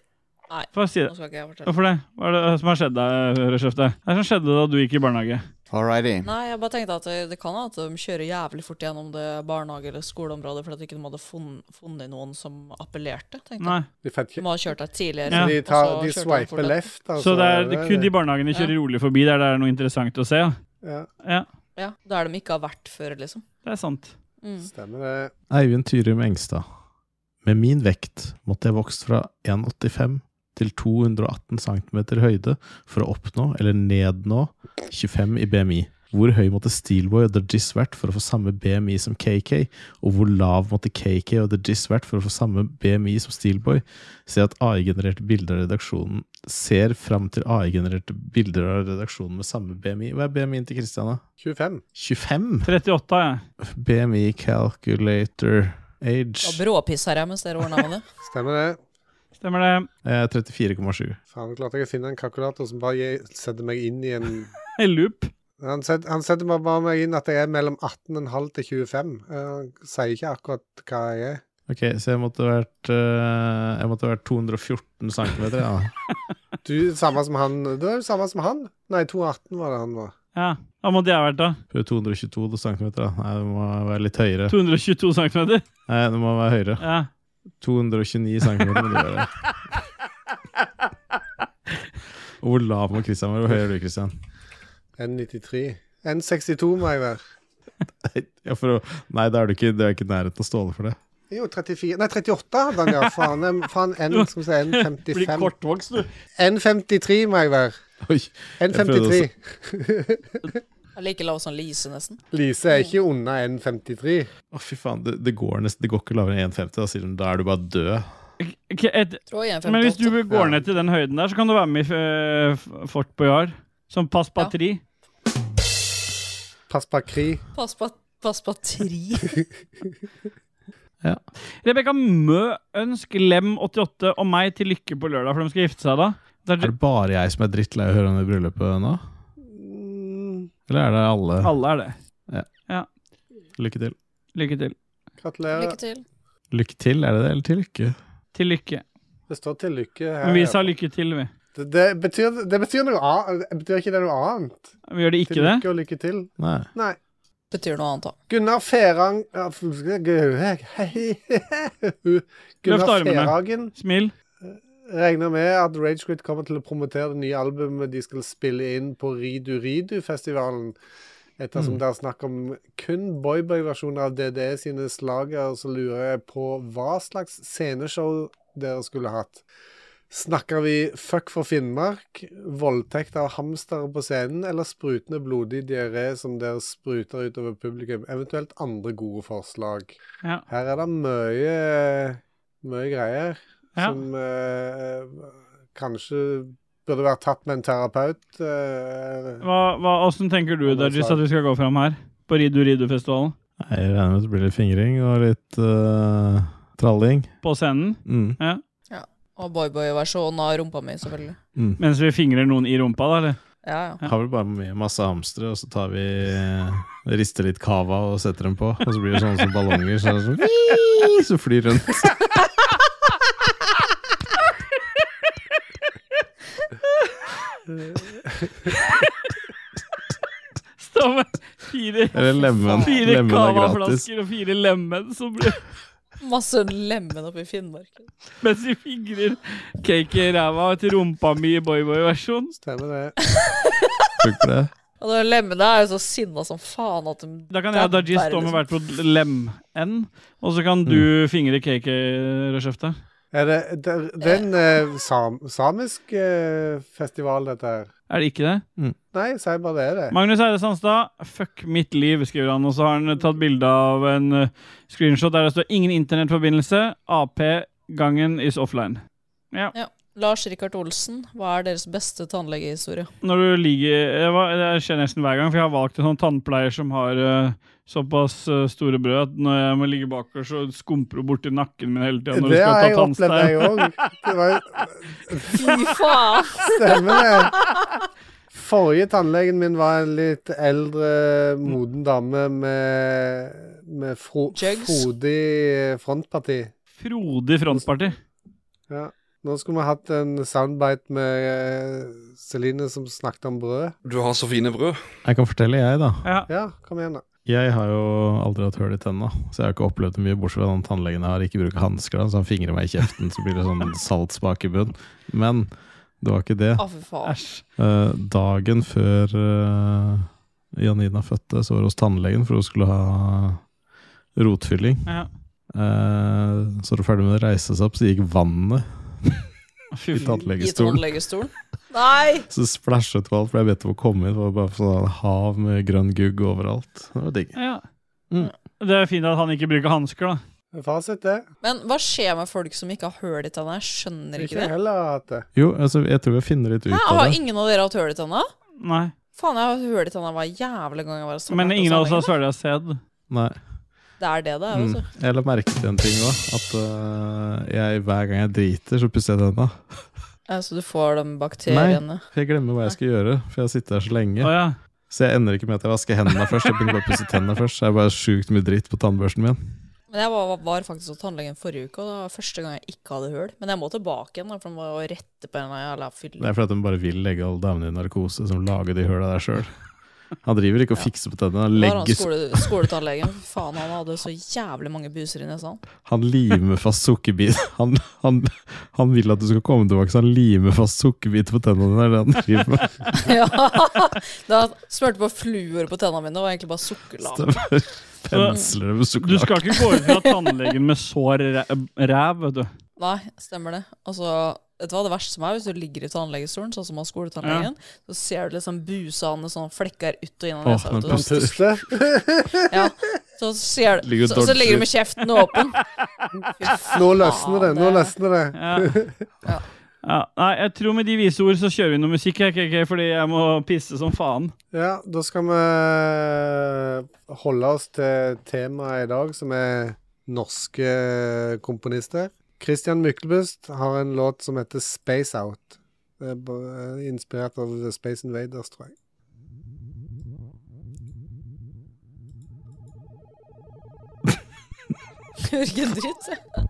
[SPEAKER 2] Nei,
[SPEAKER 3] Få si
[SPEAKER 2] nå
[SPEAKER 3] det.
[SPEAKER 2] skal ikke jeg fortelle.
[SPEAKER 3] Hvorfor det? Hva er det som har skjedd deg, Rødskjefte? Hva er det som skjedde da du gikk i barnehage?
[SPEAKER 4] Alrighty.
[SPEAKER 2] Nei, jeg bare tenkte at det, det kan hende at de kjører jævlig fort gjennom det barnehage- eller skoleområdet fordi at ikke de ikke hadde funnet, funnet noen som appellerte. tenkte jeg.
[SPEAKER 3] Nei.
[SPEAKER 5] De, fant
[SPEAKER 2] De
[SPEAKER 5] ikke-
[SPEAKER 2] må ha kjørt deg tidligere.
[SPEAKER 3] Ja.
[SPEAKER 5] de,
[SPEAKER 2] og så
[SPEAKER 5] tar, de
[SPEAKER 2] kjørte de fort
[SPEAKER 5] swiper
[SPEAKER 2] etter.
[SPEAKER 5] left. Altså,
[SPEAKER 3] Så det er det, kun de barnehagene kjører rolig forbi der det er noe interessant å se? ja.
[SPEAKER 5] Ja,
[SPEAKER 3] Ja,
[SPEAKER 2] Ja, Der de ikke har vært før, liksom.
[SPEAKER 3] det er sant.
[SPEAKER 2] Mm.
[SPEAKER 5] stemmer det.
[SPEAKER 6] Eivind Tyrum Engstad. Med min vekt måtte jeg vokst fra 1,85 til 218 cm høyde for å oppnå, eller nednå, 25 i BMI. Hvor høy måtte Steelboy og The Jizz vært for å få samme BMI som KK? Og hvor lav måtte KK og The Jizz vært for å få samme BMI som Steelboy? Se at AI-genererte bilder av redaksjonen ser fram til AI-genererte bilder av redaksjonen med samme BMI. Hva er BMI-en til Christian, da?
[SPEAKER 5] 25.
[SPEAKER 6] 25?
[SPEAKER 3] 38, ja.
[SPEAKER 6] BMI calculator
[SPEAKER 2] Da
[SPEAKER 6] age
[SPEAKER 2] bråpisser jeg mens dere ordna med det.
[SPEAKER 5] Stemmer det.
[SPEAKER 3] Stemmer det.
[SPEAKER 6] eh, 34,7.
[SPEAKER 5] Faen, jeg klarte ikke å finne en kalkulator som bare gir- setter meg inn i en
[SPEAKER 3] En loop.
[SPEAKER 5] Han setter, han setter bare bare meg inn at jeg er mellom 18,5 til 25. Eh, Han sier ikke akkurat hva jeg er.
[SPEAKER 6] Ok, så jeg måtte vært eh, Jeg måtte vært 214 cm, ja.
[SPEAKER 5] Du, samme som han. Det er jo samme som han. Nei, 218 var det han var.
[SPEAKER 3] Ja, Hva måtte jeg ha vært, da?
[SPEAKER 6] På 222 cm, da. Nei, det må være litt høyere.
[SPEAKER 3] 222 cm?
[SPEAKER 6] Nei, det må være høyere.
[SPEAKER 3] Ja.
[SPEAKER 6] 229 cm må det være. Og hvor lav må Christian være? Hvor høy er du, Christian?
[SPEAKER 5] 1,93. 1,62 må jeg være.
[SPEAKER 6] Ja, for å, nei, da er du ikke, det er ikke i nærheten av Ståle for det.
[SPEAKER 5] Jo, 34 Nei, 38 hadde han, ja. Faen, jeg- faen en, skal vi si
[SPEAKER 3] Blir
[SPEAKER 5] 1,55.
[SPEAKER 3] kortvokst, du.
[SPEAKER 5] 1,53 må jeg være.
[SPEAKER 6] Oi,
[SPEAKER 5] 1,53.
[SPEAKER 2] Jeg er like lav som Lise, nesten.
[SPEAKER 5] Lise er ikke unna 1,53.
[SPEAKER 6] å fy faen, det, det går nesten Det går ikke lavere enn 1,50. Da sier de da er du bare død.
[SPEAKER 3] Ok, et,
[SPEAKER 2] Tror jeg er
[SPEAKER 3] men hvis du
[SPEAKER 2] 58.
[SPEAKER 3] går ned til den høyden der, så kan du være med i eh, F- Fort Boyard. Som pass batteri.
[SPEAKER 5] Pass på krig.
[SPEAKER 2] Pass på Pass på tri.
[SPEAKER 5] [LAUGHS]
[SPEAKER 3] Rebekka Mø, ønsk Lem88 og meg til lykke på lørdag, for de skal gifte seg da. Det
[SPEAKER 6] Er
[SPEAKER 3] er,
[SPEAKER 6] det bare jeg som er drittlei av å høre om det bryllupet nå?
[SPEAKER 5] Mm,
[SPEAKER 6] Eller er det alle?
[SPEAKER 3] alle er det.
[SPEAKER 6] Lykke til.
[SPEAKER 3] Lykke til.
[SPEAKER 5] Gratulerer.
[SPEAKER 2] Lykke til.
[SPEAKER 6] Lykke til, er det det? Eller til lykke?
[SPEAKER 3] Til lykke.
[SPEAKER 5] Det står til lykke her.
[SPEAKER 3] Men vi sa lykke til, vi.
[SPEAKER 5] Det, det, betyr, det betyr noe annet. Betyr ikke det noe annet?
[SPEAKER 3] Vi gjør det
[SPEAKER 5] Til
[SPEAKER 3] ikke det.
[SPEAKER 5] lykke og lykke til.
[SPEAKER 6] Nei.
[SPEAKER 5] Nei.
[SPEAKER 2] Betyr noe annet, da.
[SPEAKER 5] Gunnar Ferang ja, f- Gunnar
[SPEAKER 3] armene.
[SPEAKER 5] Ferhagen
[SPEAKER 3] Smil.
[SPEAKER 5] regner med at Ragequit kommer til å promotere det nye albumet de skal spille inn på Ridu Ridu-festivalen. Ettersom det er snakk om kun boyboy-versjoner av DDE sine slager, så lurer jeg på hva slags sceneshow dere skulle hatt. Snakker vi fuck for Finnmark, voldtekt av hamstere på scenen, eller sprutende blodig diaré som dere spruter utover publikum, eventuelt andre gode forslag?
[SPEAKER 3] Ja.
[SPEAKER 5] Her er det mye, mye greier
[SPEAKER 3] Ja.
[SPEAKER 5] som eh, kanskje burde vært tatt med en terapeut. eh,
[SPEAKER 3] Hva, hva, hvordan tenker du,
[SPEAKER 5] Alle
[SPEAKER 3] Dajis,
[SPEAKER 5] svar.
[SPEAKER 3] at vi skal gå fram her? På Ridu Ridu-festivalen?
[SPEAKER 6] Nei, Jeg regner med at det blir litt fingring og litt eh, tralling.
[SPEAKER 3] På scenen?
[SPEAKER 6] Mm.
[SPEAKER 2] Og boyboy-versjonen av rumpa mi, selvfølgelig.
[SPEAKER 6] Mm.
[SPEAKER 3] Mens vi fingrer noen i rumpa, da? eller?
[SPEAKER 2] Ja, ja.
[SPEAKER 6] Har vel bare med masse hamstere, og så tar vi eh, rister litt cava og setter dem på. Og så blir det sånne som ballonger sånn som Wii! så flyr [LAUGHS] rundt.
[SPEAKER 3] Stå med fire,
[SPEAKER 6] Eller lemen.
[SPEAKER 3] fire
[SPEAKER 6] Lemen er gratis.
[SPEAKER 3] cavaflasker og fire lemen som blir
[SPEAKER 2] Masse lemen oppi Finnmark.
[SPEAKER 3] Mens vi fingrer cake i ræva til rumpa mi i boyboy-versjon.
[SPEAKER 5] Stemmer det.
[SPEAKER 1] Funker det?
[SPEAKER 2] [LAUGHS] Og de lemmene er jo så sinna som faen at de
[SPEAKER 3] Da kan jeg og Dajis
[SPEAKER 2] dabber,
[SPEAKER 3] stå med
[SPEAKER 2] liksom.
[SPEAKER 3] hvert vårt lem-n, og så kan du fingre cake i rødskjeftet.
[SPEAKER 5] Er det, det, det er en eh, sam, samisk eh, festival, dette her?
[SPEAKER 3] Er det ikke det?
[SPEAKER 5] Nei, si bare det er det.
[SPEAKER 3] Magnus Eide Sandstad, 'fuck mitt liv', skriver han. Og så har han tatt bilde av en eh, screenshot der det står 'ingen internettforbindelse'. AP-gangen is offline. Ja.
[SPEAKER 2] Lars Rikard Olsen, hva er deres beste tannlegehistorie?
[SPEAKER 3] Når du ligger jeg var- Det skjer nesten hver gang, for jeg har valgt en sånn tannpleier som har eh, såpass eh, store brød at når jeg må ligge bakover, så skumper hun borti nakken min hele tida.
[SPEAKER 5] Det har jeg opplevd, jeg òg.
[SPEAKER 2] Fy faen! [LAUGHS]
[SPEAKER 5] Stemmer det. Forrige tannlegen min var en litt eldre, moden dame med, med fro,
[SPEAKER 2] Jugs?
[SPEAKER 5] frodig frontparti.
[SPEAKER 3] Frodig frontparti.
[SPEAKER 5] Ja. Nå skulle vi hatt en soundbite med eh, Celine som snakket om brød.
[SPEAKER 7] Du har så fine brød.
[SPEAKER 1] Jeg kan fortelle, jeg, da.
[SPEAKER 5] Ja, kom igjen, da.
[SPEAKER 1] Jeg har jo aldri hatt hull i tenna, så jeg har ikke opplevd det mye, bortsett fra den tannlegen jeg har ikke bruker hansker, så han fingrer meg i kjeften, så blir det sånn saltsmak i bunnen. Men det var ikke det.
[SPEAKER 2] Å, fy faen.
[SPEAKER 3] Æsj.
[SPEAKER 1] Eh, dagen før eh, Janina fødte, så var hun hos tannlegen for hun skulle ha rotfylling.
[SPEAKER 3] Ja.
[SPEAKER 1] Eh, så var hun ferdig med å reise seg opp, så gikk vannet
[SPEAKER 3] Fy
[SPEAKER 1] i
[SPEAKER 3] faen.
[SPEAKER 2] I
[SPEAKER 1] tannlegestolen.
[SPEAKER 2] tannlegestolen? Nei!
[SPEAKER 1] Så splæsjet hun alt, ble bedt om å komme inn. Det var bare sånn hav med grønn gugg overalt. Det var digg.
[SPEAKER 3] Ja.
[SPEAKER 1] Mm.
[SPEAKER 3] Det er fint at han ikke bruker hansker, da.
[SPEAKER 5] Fasit, det.
[SPEAKER 2] Men hva skjer med folk som ikke har hull i tenna? Jeg skjønner ikke
[SPEAKER 5] Ikke
[SPEAKER 2] det.
[SPEAKER 5] heller har hatt det.
[SPEAKER 1] Jo, altså, jeg tror jeg finner litt ut
[SPEAKER 2] Hæ,
[SPEAKER 1] av
[SPEAKER 2] har
[SPEAKER 1] det.
[SPEAKER 2] ingen av dere hatt hull i tenna?
[SPEAKER 3] Nei.
[SPEAKER 2] Faen, jeg har hatt hull i tenna hver jævla gang jeg var hos
[SPEAKER 3] Men
[SPEAKER 2] tannlegen.
[SPEAKER 3] ingen av oss har svelga sæd.
[SPEAKER 1] Nei.
[SPEAKER 2] Det er det det er,
[SPEAKER 1] Mm.
[SPEAKER 2] altså.
[SPEAKER 1] Jeg la merke til en ting òg. At eh, jeg, hver gang jeg driter, så pusser jeg tenna.
[SPEAKER 2] Ja, Så du får de bakteriene.
[SPEAKER 1] For jeg glemmer hva jeg skal gjøre, for jeg har sittet her så lenge.
[SPEAKER 3] Å ja.
[SPEAKER 1] Så jeg ender ikke med at jeg vasker hendene først. Jeg begynner bare å pusse tennene først. Så er det bare sjukt mye dritt på tannbørsten min.
[SPEAKER 2] Men jeg var, var faktisk hos tannlegen forrige uke, og det var første gang jeg ikke hadde hull. Men jeg må tilbake igjen, da, for de må jo rette på en jævla
[SPEAKER 1] Det
[SPEAKER 2] fylle.
[SPEAKER 1] er fordi at de bare vil legge alle damene i narkose, som lager de høla der sjøl. Han driver ikke og fikser på tennene. Han,
[SPEAKER 2] Det var han
[SPEAKER 1] legger,
[SPEAKER 2] skole, skoletannlegen. Fy faen, han hadde så jævlig mange buser i nesa. han.
[SPEAKER 1] han limer fast sukkerbit. [LAUGHS] Han, han, han vil at du skal komme tilbake, så han limer fast sukkerbit på tennene dine. Det er det [LAUGHS] han driver med.
[SPEAKER 2] [LAUGHS] Ja. Da smurte på fluor på tennene mine, og egentlig bare sukkerlake.
[SPEAKER 1] Stemmer. Pensler det med
[SPEAKER 3] Du
[SPEAKER 1] sukkerlakk.
[SPEAKER 3] skal ikke gå ut fra tannlegen med sår ræ- ræv, vet du.
[SPEAKER 2] Nei, stemmer det. Altså, vet du hva det verste som er, hvis du ligger i tannlegestolen, sånn som hos skoletannlegen, så ser du liksom busene sånn flekker ut og inn av
[SPEAKER 1] Åh,
[SPEAKER 2] nesa.
[SPEAKER 1] men
[SPEAKER 2] vet du, sånn.
[SPEAKER 1] puster.
[SPEAKER 5] Pusle.
[SPEAKER 2] Ja, så, ser du,
[SPEAKER 1] Ligger
[SPEAKER 2] så, så
[SPEAKER 1] dodgy.
[SPEAKER 2] ligger du med kjeften åpen.
[SPEAKER 5] [LAUGHS]
[SPEAKER 2] [LAUGHS]
[SPEAKER 5] Nå løsner det, nå løsner det.
[SPEAKER 3] Ja. [LAUGHS] Ja. Nei, jeg tror med de vise ord så kjører vi noe musikk, jeg, KK, fordi jeg må pisse som faen.
[SPEAKER 5] Ja, da skal vi holde oss til temaet i dag, som er norske eh, komponister. Christian Myklebust har en låt som heter Space Out. Det er ba- Inspirert av The Space Invaders, tror jeg.
[SPEAKER 2] Hører ikke en dritt. jeg.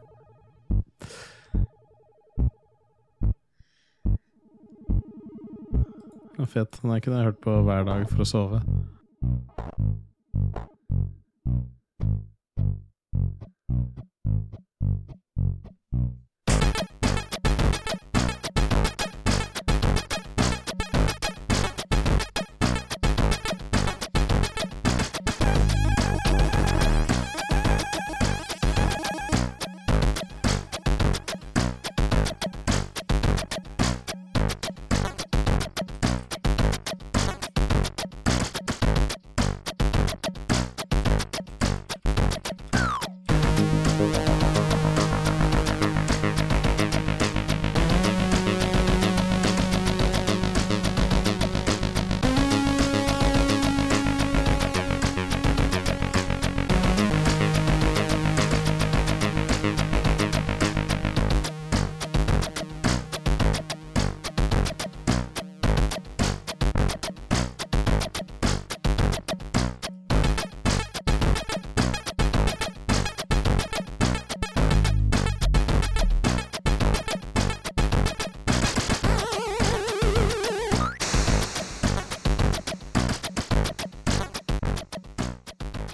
[SPEAKER 1] Ja, Fett. Den er ikke det jeg har hørt på hver dag for å sove.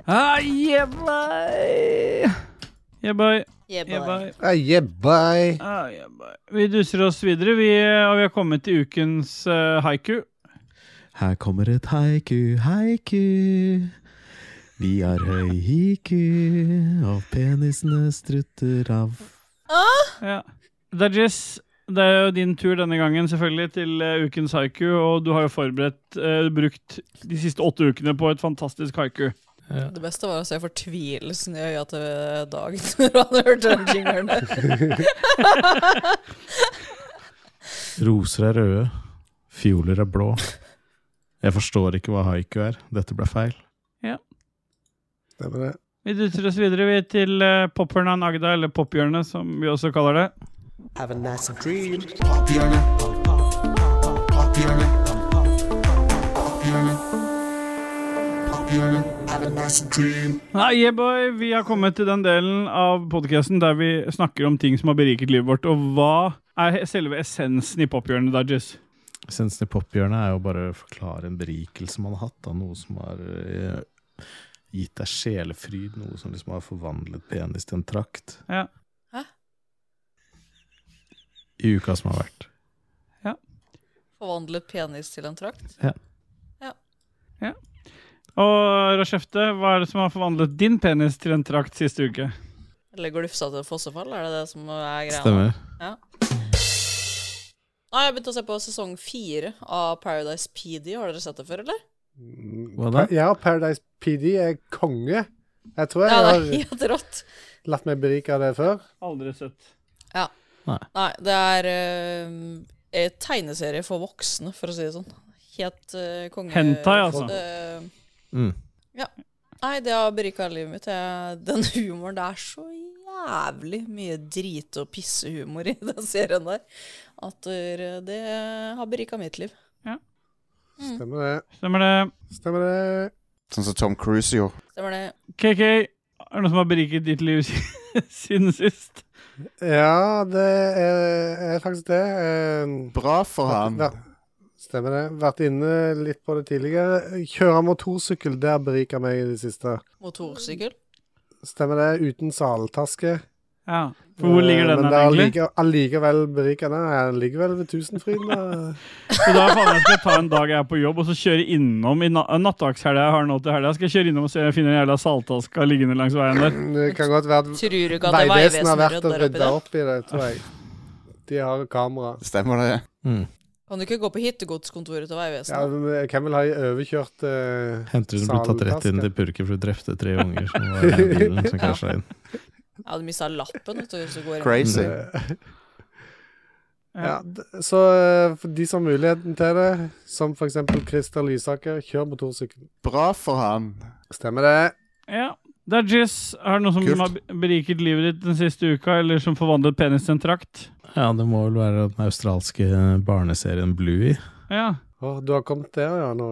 [SPEAKER 3] Ah, yeah, boy. Yeah, boy.
[SPEAKER 2] Jebbai.
[SPEAKER 5] Jebbai.
[SPEAKER 3] Ah, jebbai. Vi duser oss videre, vi, og vi har kommet til ukens eh, haiku.
[SPEAKER 1] Her kommer et haiku, haiku. Vi har høy hiku, og penisene strutter av.
[SPEAKER 3] Ja. Dajis, det er jo din tur denne gangen selvfølgelig til eh, ukens haiku, og du har jo forberedt, eh, brukt de siste åtte ukene på et fantastisk haiku.
[SPEAKER 2] Det beste var å se fortvilelsen i øya til Dag [LAUGHS] når han hørte den
[SPEAKER 1] [LAUGHS]
[SPEAKER 2] jingeren.
[SPEAKER 1] Roser er røde, fioler er blå. Jeg forstår ikke hva haiku er. Dette ble feil.
[SPEAKER 5] Det var det.
[SPEAKER 3] Vi dutter oss videre vi til eh, Pophørnan Agda, eller Pophjørnet, som vi også kaller det.
[SPEAKER 8] Have a nice dream. Have a nice dream.
[SPEAKER 3] Nei, yeah boy, vi har kommet til den delen av podcasten der vi snakker om ting som har beriket livet vårt, og hva er selve essensen i Pophjørnet, Dajis?
[SPEAKER 1] Essensen i pophjørnet er jo bare å forklare en berikelse man har hatt av noe som har eh, gitt deg sjelefryd, noe som liksom har forvandlet penis til en trakt
[SPEAKER 3] Ja.
[SPEAKER 1] i uka som har vært.
[SPEAKER 2] Forvandlet penis til en trakt.
[SPEAKER 3] Og Rashefte, hva er det som har forvandlet din penis til en trakt siste uke?
[SPEAKER 2] Eller glufsa til fossefall, er det det som er greia?
[SPEAKER 1] Stemmer.
[SPEAKER 2] Ja. Nei, jeg begynte å se på sesong fire av Paradise PD. Har dere sett det før, eller?
[SPEAKER 1] Hva da?
[SPEAKER 5] Ja, Paradise PD er konge. Jeg tror jeg
[SPEAKER 2] Ja, det
[SPEAKER 5] har
[SPEAKER 2] er [LAUGHS] helt rått.
[SPEAKER 5] latt meg berike av det før.
[SPEAKER 3] Aldri sett.
[SPEAKER 2] Nei, det er eh, en tegneserie for voksne, for å si det sånn. Helt uh, konge...
[SPEAKER 3] Hentai, altså.
[SPEAKER 2] Eh,
[SPEAKER 1] Mm.
[SPEAKER 2] Ja. Nei, det har berika livet mitt. Jeg, den humoren Det er så jævlig mye drite- og pissehumor i [LAUGHS] den serien der at eh, det har berika mitt liv. Mm.
[SPEAKER 5] Stemmer det.
[SPEAKER 3] Stemmer det.
[SPEAKER 5] Stemmer det.
[SPEAKER 4] Sånn som Tom Cruise gjorde.
[SPEAKER 2] Stemmer det?
[SPEAKER 3] KK, er det noe som har beriket ditt liv [LAUGHS] siden sist?
[SPEAKER 5] Ja, det er, er faktisk det. Eh,
[SPEAKER 4] Bra for han.
[SPEAKER 5] Vært- Stemmer det. Vært inne litt på det tidligere. Kjøre motorsykkel, det har berika meg i det siste.
[SPEAKER 2] Motorsykkel.
[SPEAKER 5] Stemmer det. Uten saltaske.
[SPEAKER 3] Ja. For hvor ligger
[SPEAKER 5] Eh,
[SPEAKER 3] den
[SPEAKER 5] Men
[SPEAKER 3] her,
[SPEAKER 5] det er
[SPEAKER 3] egentlig?
[SPEAKER 5] allike- allikevel berikende. Jeg ligger vel ved Tusenfryd. da.
[SPEAKER 3] Så da faen, jeg skal ta en dag jeg er på jobb, og så kjøre innom i na nattdagshelga jeg har nå til helga. Skal jeg kjøre innom og se om jeg finner en jævla saltaska liggende langs veien der.
[SPEAKER 5] Det kan godt være
[SPEAKER 2] Tror du ikke at det er
[SPEAKER 5] Vegvesenet Mm. har
[SPEAKER 2] Vegvesenet
[SPEAKER 5] vært og
[SPEAKER 2] rydder opp i
[SPEAKER 5] rydda
[SPEAKER 2] det?
[SPEAKER 5] opp i det, tror jeg. De har kamera.
[SPEAKER 4] Stemmer det?
[SPEAKER 1] Mm.
[SPEAKER 2] Kan du ikke gå på hittegodskontoret til
[SPEAKER 5] Ja,
[SPEAKER 2] Vegvesenet?
[SPEAKER 5] men eh, Hvem vil ha ei overkjørt eh,
[SPEAKER 1] Henter du blir tatt rett inn til purken for du drepte tre unger som var i bilen som krasja inn.
[SPEAKER 2] Jeg hadde mista lappen. Vet du, hvis du går inn.
[SPEAKER 5] [LAUGHS]
[SPEAKER 4] Crazy.
[SPEAKER 5] eh,
[SPEAKER 3] Ja.
[SPEAKER 5] Ja, d- så eh, for de som har muligheten til det, som f.eks. Christer Lysaker, kjør motorsykkel.
[SPEAKER 4] Bra for han.
[SPEAKER 5] Stemmer det.
[SPEAKER 3] ja. Det er Jizz. Er det noe som
[SPEAKER 4] Kult.
[SPEAKER 3] har beriket livet ditt den siste uka, eller som forvandlet penis til en trakt?
[SPEAKER 1] Ja, det må vel være den australske barneserien Bluey.
[SPEAKER 3] Ja.
[SPEAKER 5] Å, du har kommet der, ja, nå.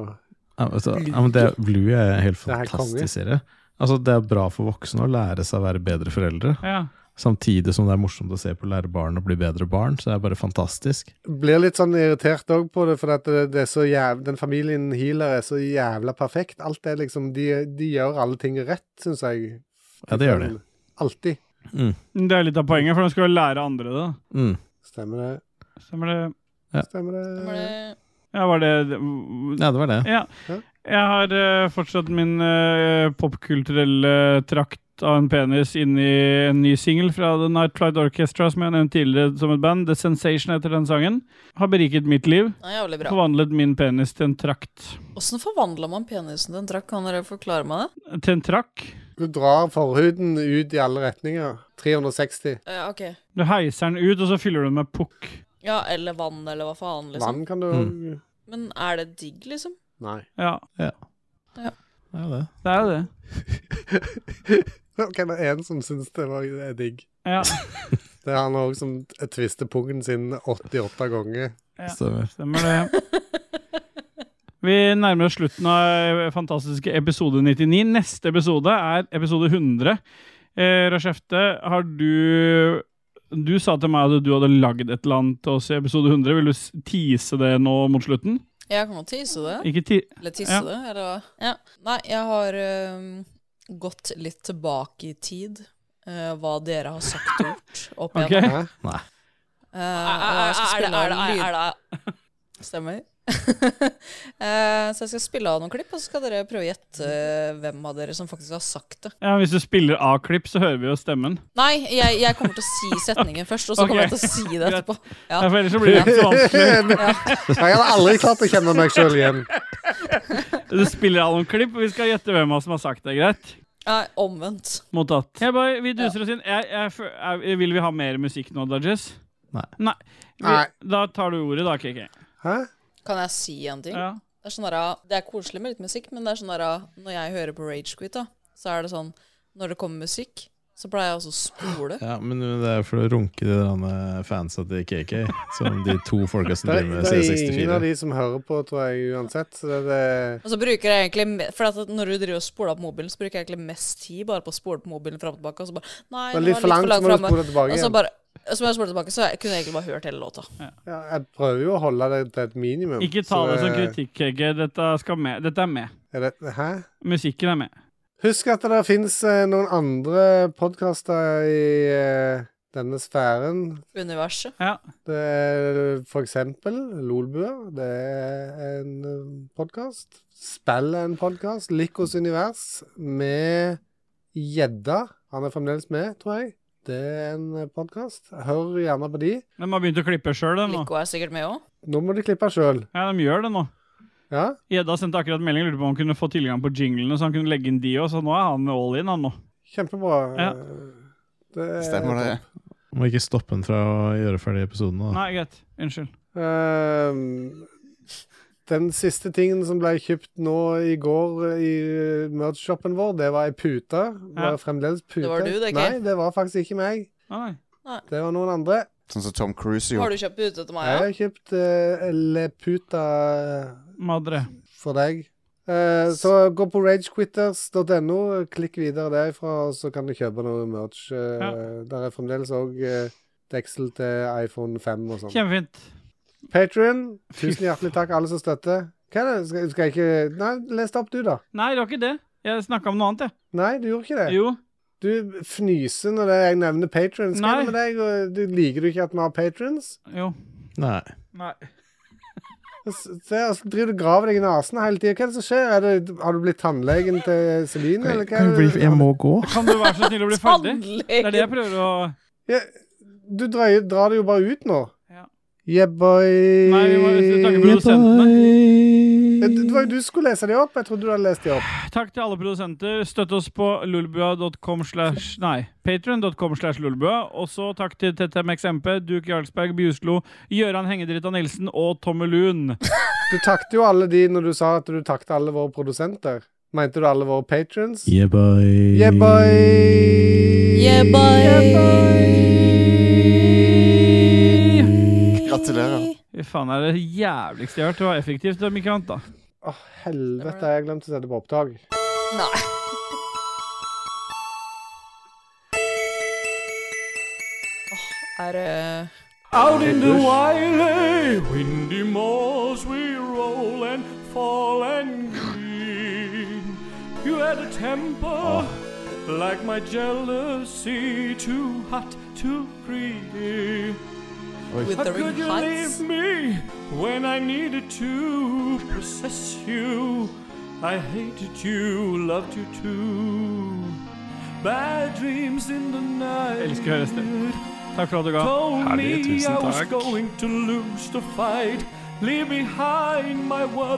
[SPEAKER 1] Ja, men så- ja, men det, Bluey er en helt
[SPEAKER 5] Det er helt konge.
[SPEAKER 1] fantastisk serie. Altså, det er bra for voksne å lære seg å være bedre foreldre.
[SPEAKER 3] ja.
[SPEAKER 1] Samtidig som det er morsomt å se på å lære barn å bli bedre barn, så det er bare fantastisk.
[SPEAKER 5] Blir litt sånn irritert òg på det, for at det, det er så jæv den familien Healer er så jævla perfekt. Alt er liksom De, de gjør alle ting rett, syns jeg.
[SPEAKER 1] Ja, det gjør de.
[SPEAKER 5] Alltid.
[SPEAKER 1] Mm.
[SPEAKER 3] Det er litt av poenget, for de skal jo lære andre det.
[SPEAKER 1] Mm.
[SPEAKER 5] Stemmer det.
[SPEAKER 3] Stemmer det?
[SPEAKER 5] Stemmer det.
[SPEAKER 2] Var det-
[SPEAKER 3] Ja, var det
[SPEAKER 1] Ja, det var det.
[SPEAKER 3] Ja.
[SPEAKER 5] Ja.
[SPEAKER 3] Jeg har eh, fortsatt min eh, popkulturelle trakt av en penis inni en ny singel fra The Nightlight Orchestra, som jeg nevnte tidligere som et band. The Sensation heter den sangen. Har beriket mitt liv.
[SPEAKER 2] Nei, jævlig bra.
[SPEAKER 3] Forvandlet min penis til en trakt.
[SPEAKER 2] Åssen forvandla man penisen til en trakk? Kan dere forklare meg det?
[SPEAKER 3] Til en trakk?
[SPEAKER 5] Du drar forhuden ut i alle retninger. 360.
[SPEAKER 2] Ja, Eh, ok.
[SPEAKER 3] Du heiser den ut, og så fyller du den med pukk.
[SPEAKER 2] Ja, eller vann, eller hva faen, liksom.
[SPEAKER 5] Vann
[SPEAKER 1] Mm.
[SPEAKER 5] kan du
[SPEAKER 2] Men er det digg, liksom?
[SPEAKER 5] Nei.
[SPEAKER 3] Ja,
[SPEAKER 1] Det er jo det.
[SPEAKER 3] det er jo det.
[SPEAKER 5] [LAUGHS] Ok, det er en som syns det var det er digg.
[SPEAKER 3] Ja,
[SPEAKER 5] Det er han òg som tvister pungen sin 88 ganger.
[SPEAKER 3] Ja.
[SPEAKER 1] Stemmer.
[SPEAKER 3] stemmer det. Vi nærmer oss slutten av eh, fantastiske episode 99. Neste episode er episode 100. Eh, Rashefte, har du Du sa til meg at du hadde lagd et eller annet til oss i episode 100. Vil du s- tease det nå mot slutten?
[SPEAKER 2] Jeg kan jo tise det.
[SPEAKER 3] Ikke ti...
[SPEAKER 2] Eller tisse
[SPEAKER 3] Ja.
[SPEAKER 2] det, eller hva? Ja. Nei, jeg har øhm, gått litt eh, tilbake i tid eh, hva dere har sagt og gjort, opp
[SPEAKER 3] Ok.
[SPEAKER 2] igjennom.
[SPEAKER 1] Nei.
[SPEAKER 2] Eh, og jeg skal
[SPEAKER 11] Er det-
[SPEAKER 2] spille av
[SPEAKER 11] er det- er
[SPEAKER 2] lyd- [LAUGHS] Stemmer. Eh, så jeg skal spille av noen klipp, og så skal dere prøve å gjette eh, hvem av dere som faktisk har sagt det.
[SPEAKER 3] Ja, Hvis du spiller A-klipp, så hører vi jo stemmen.
[SPEAKER 2] Nei, jeg, jeg kommer til å si setningen
[SPEAKER 11] [LAUGHS]
[SPEAKER 2] først, og så kommer
[SPEAKER 3] Ok.
[SPEAKER 2] jeg til å si det etterpå.
[SPEAKER 3] Ja, for ellers så blir det [LAUGHS] litt [LAUGHS]
[SPEAKER 5] [LAUGHS]
[SPEAKER 3] vanskelig.
[SPEAKER 5] Jeg hadde aldri klart å kjenne meg sjøl igjen.
[SPEAKER 3] Du spiller av noen klipp, og vi skal gjette hvem av oss som har sagt det. Greit?
[SPEAKER 2] Ja, omvendt.
[SPEAKER 3] Mottatt. Jeg bare, vi duser oss inn. Jeg, jeg, fø- jeg, vil vi ha mer musikk nå, Dodges?
[SPEAKER 1] Nei.
[SPEAKER 3] Nei. Vi,
[SPEAKER 5] Nei.
[SPEAKER 3] da tar du ordet, da, KK.
[SPEAKER 2] Kan jeg si en ting?
[SPEAKER 3] Ja.
[SPEAKER 2] Det, er sånn der, det er koselig med litt musikk, men det er sånn der, når jeg hører på Rage Quit, da, så er det sånn Når det kommer musikk, så pleier jeg også å spole.
[SPEAKER 1] Ja, men det er for å runke de derne fansa til KK, som de to folka som
[SPEAKER 5] Det
[SPEAKER 1] driver
[SPEAKER 5] er,
[SPEAKER 1] med
[SPEAKER 5] det er ingen
[SPEAKER 1] C64.
[SPEAKER 5] av de som hører på, tror jeg, uansett. Så det, det,
[SPEAKER 2] Og så bruker jeg egentlig me- For at når du driver og spoler på mobilen, så bruker jeg egentlig mest tid bare på å spole på mobilen fram og tilbake, og så bare Nei,
[SPEAKER 5] Det er
[SPEAKER 2] nå
[SPEAKER 5] litt for langt, så må du
[SPEAKER 2] fremme.
[SPEAKER 5] spole
[SPEAKER 2] Og
[SPEAKER 5] tilbake
[SPEAKER 2] så
[SPEAKER 5] igjen.
[SPEAKER 2] bare og så må jeg spole tilbake, så jeg kunne egentlig bare hørt hele låta.
[SPEAKER 5] ja, jeg prøver jo å holde det til et minimum.
[SPEAKER 3] Ikke ta
[SPEAKER 5] så,
[SPEAKER 3] det som
[SPEAKER 5] eh,
[SPEAKER 3] kritikk, KK. Dette, skal med. Dette er med.
[SPEAKER 5] Er det, hæ?
[SPEAKER 3] Musikken er med.
[SPEAKER 5] Husk at det finnes eh, noen andre podkaster i eh, denne sfæren.
[SPEAKER 2] Universet.
[SPEAKER 3] Ja.
[SPEAKER 5] Det er for eksempel Lolbua. Det er en podkast. Spill er en podkast. Likos univers med Gjedda. Han er fremdeles med, tror jeg. Det er en podkast. Hør gjerne på de.
[SPEAKER 3] De har begynt å klippe sjøl, de nå.
[SPEAKER 2] Lico er sikkert med òg.
[SPEAKER 5] Nå må du klippe sjøl.
[SPEAKER 3] Ja, de gjør det nå.
[SPEAKER 5] Ja?
[SPEAKER 3] Gjedda sendte akkurat en melding lurte på om han kunne få tilgang på jinglene, så han kunne legge inn de òg, så nå er han all in, han nå.
[SPEAKER 5] Kjempebra.
[SPEAKER 3] Ja.
[SPEAKER 5] Det er
[SPEAKER 4] Stemmer det.
[SPEAKER 1] Må ikke stoppe den fra å gjøre ferdig episoden nå. da.
[SPEAKER 3] Nei, greit. Unnskyld.
[SPEAKER 5] Ehm, den siste tingen som ble kjøpt nå i går i eh, merch-shoppen vår, det var ei pute. Det
[SPEAKER 3] Ja.
[SPEAKER 5] var fremdeles pute.
[SPEAKER 2] Det var du, det, Kev.
[SPEAKER 5] Nei, det var faktisk ikke meg.
[SPEAKER 3] Ah, nei.
[SPEAKER 5] Det var noen andre.
[SPEAKER 4] Sånn som Tom Cruise
[SPEAKER 2] Har
[SPEAKER 4] gjorde.
[SPEAKER 2] du kjøpt det ute til meg?
[SPEAKER 5] Jeg
[SPEAKER 2] Ja?
[SPEAKER 5] har kjøpt uh, Le Puta eh,
[SPEAKER 3] Madre.
[SPEAKER 5] for deg. Eh, så gå på ragequitters.no, klikk videre derfra, og så kan du kjøpe noe merch. Eh,
[SPEAKER 3] Ja.
[SPEAKER 5] Der er fremdeles òg uh, deksel til iPhone 5 og sånn.
[SPEAKER 3] Kjempefint.
[SPEAKER 5] Patrion, tusen hjertelig takk, alle som støtter. Hva er det? Skal, skal jeg ikke Nei, les det opp, du, da.
[SPEAKER 3] Nei, det var ikke det. Jeg snakka om noe annet, jeg.
[SPEAKER 5] Nei, du gjorde ikke det.
[SPEAKER 3] Jo.
[SPEAKER 5] Du fnyser når det- jeg nevner patrons. Hva er
[SPEAKER 3] Nei.
[SPEAKER 5] det med deg? og Du, liker du ikke at vi har patrons?
[SPEAKER 3] Jo.
[SPEAKER 1] Nei.
[SPEAKER 3] Nei.
[SPEAKER 5] Se, og så driver du og graver deg i nesen hele tida. Hva er det som skjer? Er det, har du blitt tannlegen til Celine, eller hva?
[SPEAKER 1] Kan
[SPEAKER 5] er
[SPEAKER 1] vi
[SPEAKER 5] det-
[SPEAKER 1] bli, jeg må gå.
[SPEAKER 3] Kan du være så snill å bli ferdig? Det er det jeg
[SPEAKER 2] Tannlegen!
[SPEAKER 3] prøver å
[SPEAKER 5] Ja, du drar, drar det jo bare ut nå.
[SPEAKER 3] Ja.
[SPEAKER 5] Yeah, boy.
[SPEAKER 3] Nei, vi må takke produsentene.
[SPEAKER 5] Ja, Eh, Det det var jo du som skulle lese de opp. Jeg trodde du hadde lest de opp.
[SPEAKER 3] Takk til alle produsenter. Støtt oss på lulbua.com slash Nei, patron.com slash lulbua. Også takk til TTMXMP, Duke Jarlsberg Bjuslo, Gøran Hengedritta Nilsen og Tommy Lund.
[SPEAKER 5] Du takte jo alle de når du sa at du takte alle våre produsenter. Mente du alle våre patrons?
[SPEAKER 1] Yeah, boy.
[SPEAKER 5] Yeah, boy.
[SPEAKER 2] Yeah,
[SPEAKER 4] Gratulerer.
[SPEAKER 3] Fy faen, det er det jævligste jeg har hørt. Det var effektivt og mikant, da.
[SPEAKER 5] Å, helvete, jeg glemte å sette på opptak.
[SPEAKER 2] Nei. Åh, er eh, det
[SPEAKER 3] Out in the wild, eh, windy moors we roll and fall and green. You had a temper like my jealousy, too hot, too greedy.
[SPEAKER 2] Withering Heights?
[SPEAKER 3] me when I needed to possess you? I hated you, loved you too. Bad dreams in the night. Elsker å høre stemmen. Takk for at du ga.
[SPEAKER 6] Herlig, tusen takk.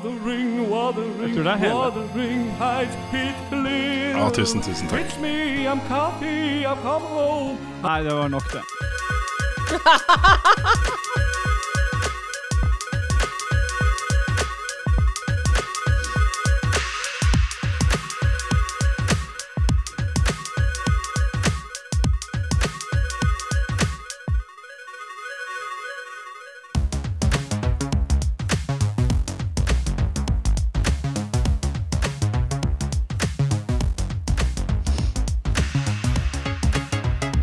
[SPEAKER 3] Jeg tror det er hele.
[SPEAKER 6] Ja, tusen, tusen takk.
[SPEAKER 3] Nei, det var nok, det.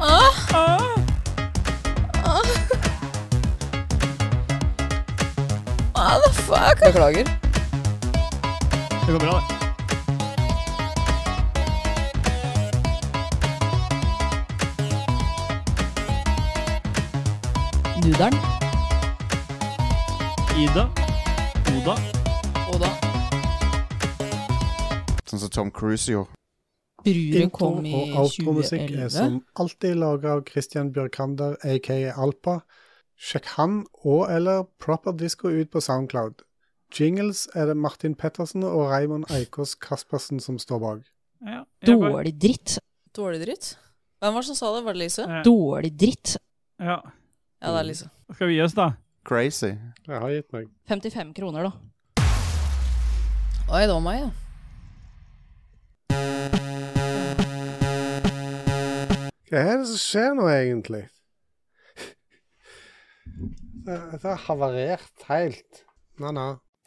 [SPEAKER 2] Åh,
[SPEAKER 3] Ah,
[SPEAKER 2] åh. What the fuck? Beklager.
[SPEAKER 3] det går bra, det.
[SPEAKER 12] Duderen.
[SPEAKER 3] Ida. Oda.
[SPEAKER 12] Oda.
[SPEAKER 4] Sånn som Tom Cruise gjorde.
[SPEAKER 12] Bruret
[SPEAKER 5] Intro-
[SPEAKER 12] kom i
[SPEAKER 5] og outromusikk er
[SPEAKER 12] 2011.
[SPEAKER 5] som alltid laga av Christian Bjørkander, aka Alpa. Sjekk han og eller Proper Disco ut på Soundcloud. Jingles er det Martin Pettersen og Raymond Eikås Kaspersen som står bak.
[SPEAKER 10] Dårlig dritt.
[SPEAKER 12] Dårlig dritt? Hvem var det som sa det? Var det Lise?
[SPEAKER 10] Dårlig dritt.
[SPEAKER 3] Ja.
[SPEAKER 12] Ja, det er Lise.
[SPEAKER 3] Skal vi gi oss, da?
[SPEAKER 4] Crazy.
[SPEAKER 5] Jeg har gitt meg.
[SPEAKER 10] 55 kroner, da.
[SPEAKER 12] Oi, det var meg, ja.
[SPEAKER 5] Hva er det som skjer nå, egentlig? Dette har havarert helt. Na-na.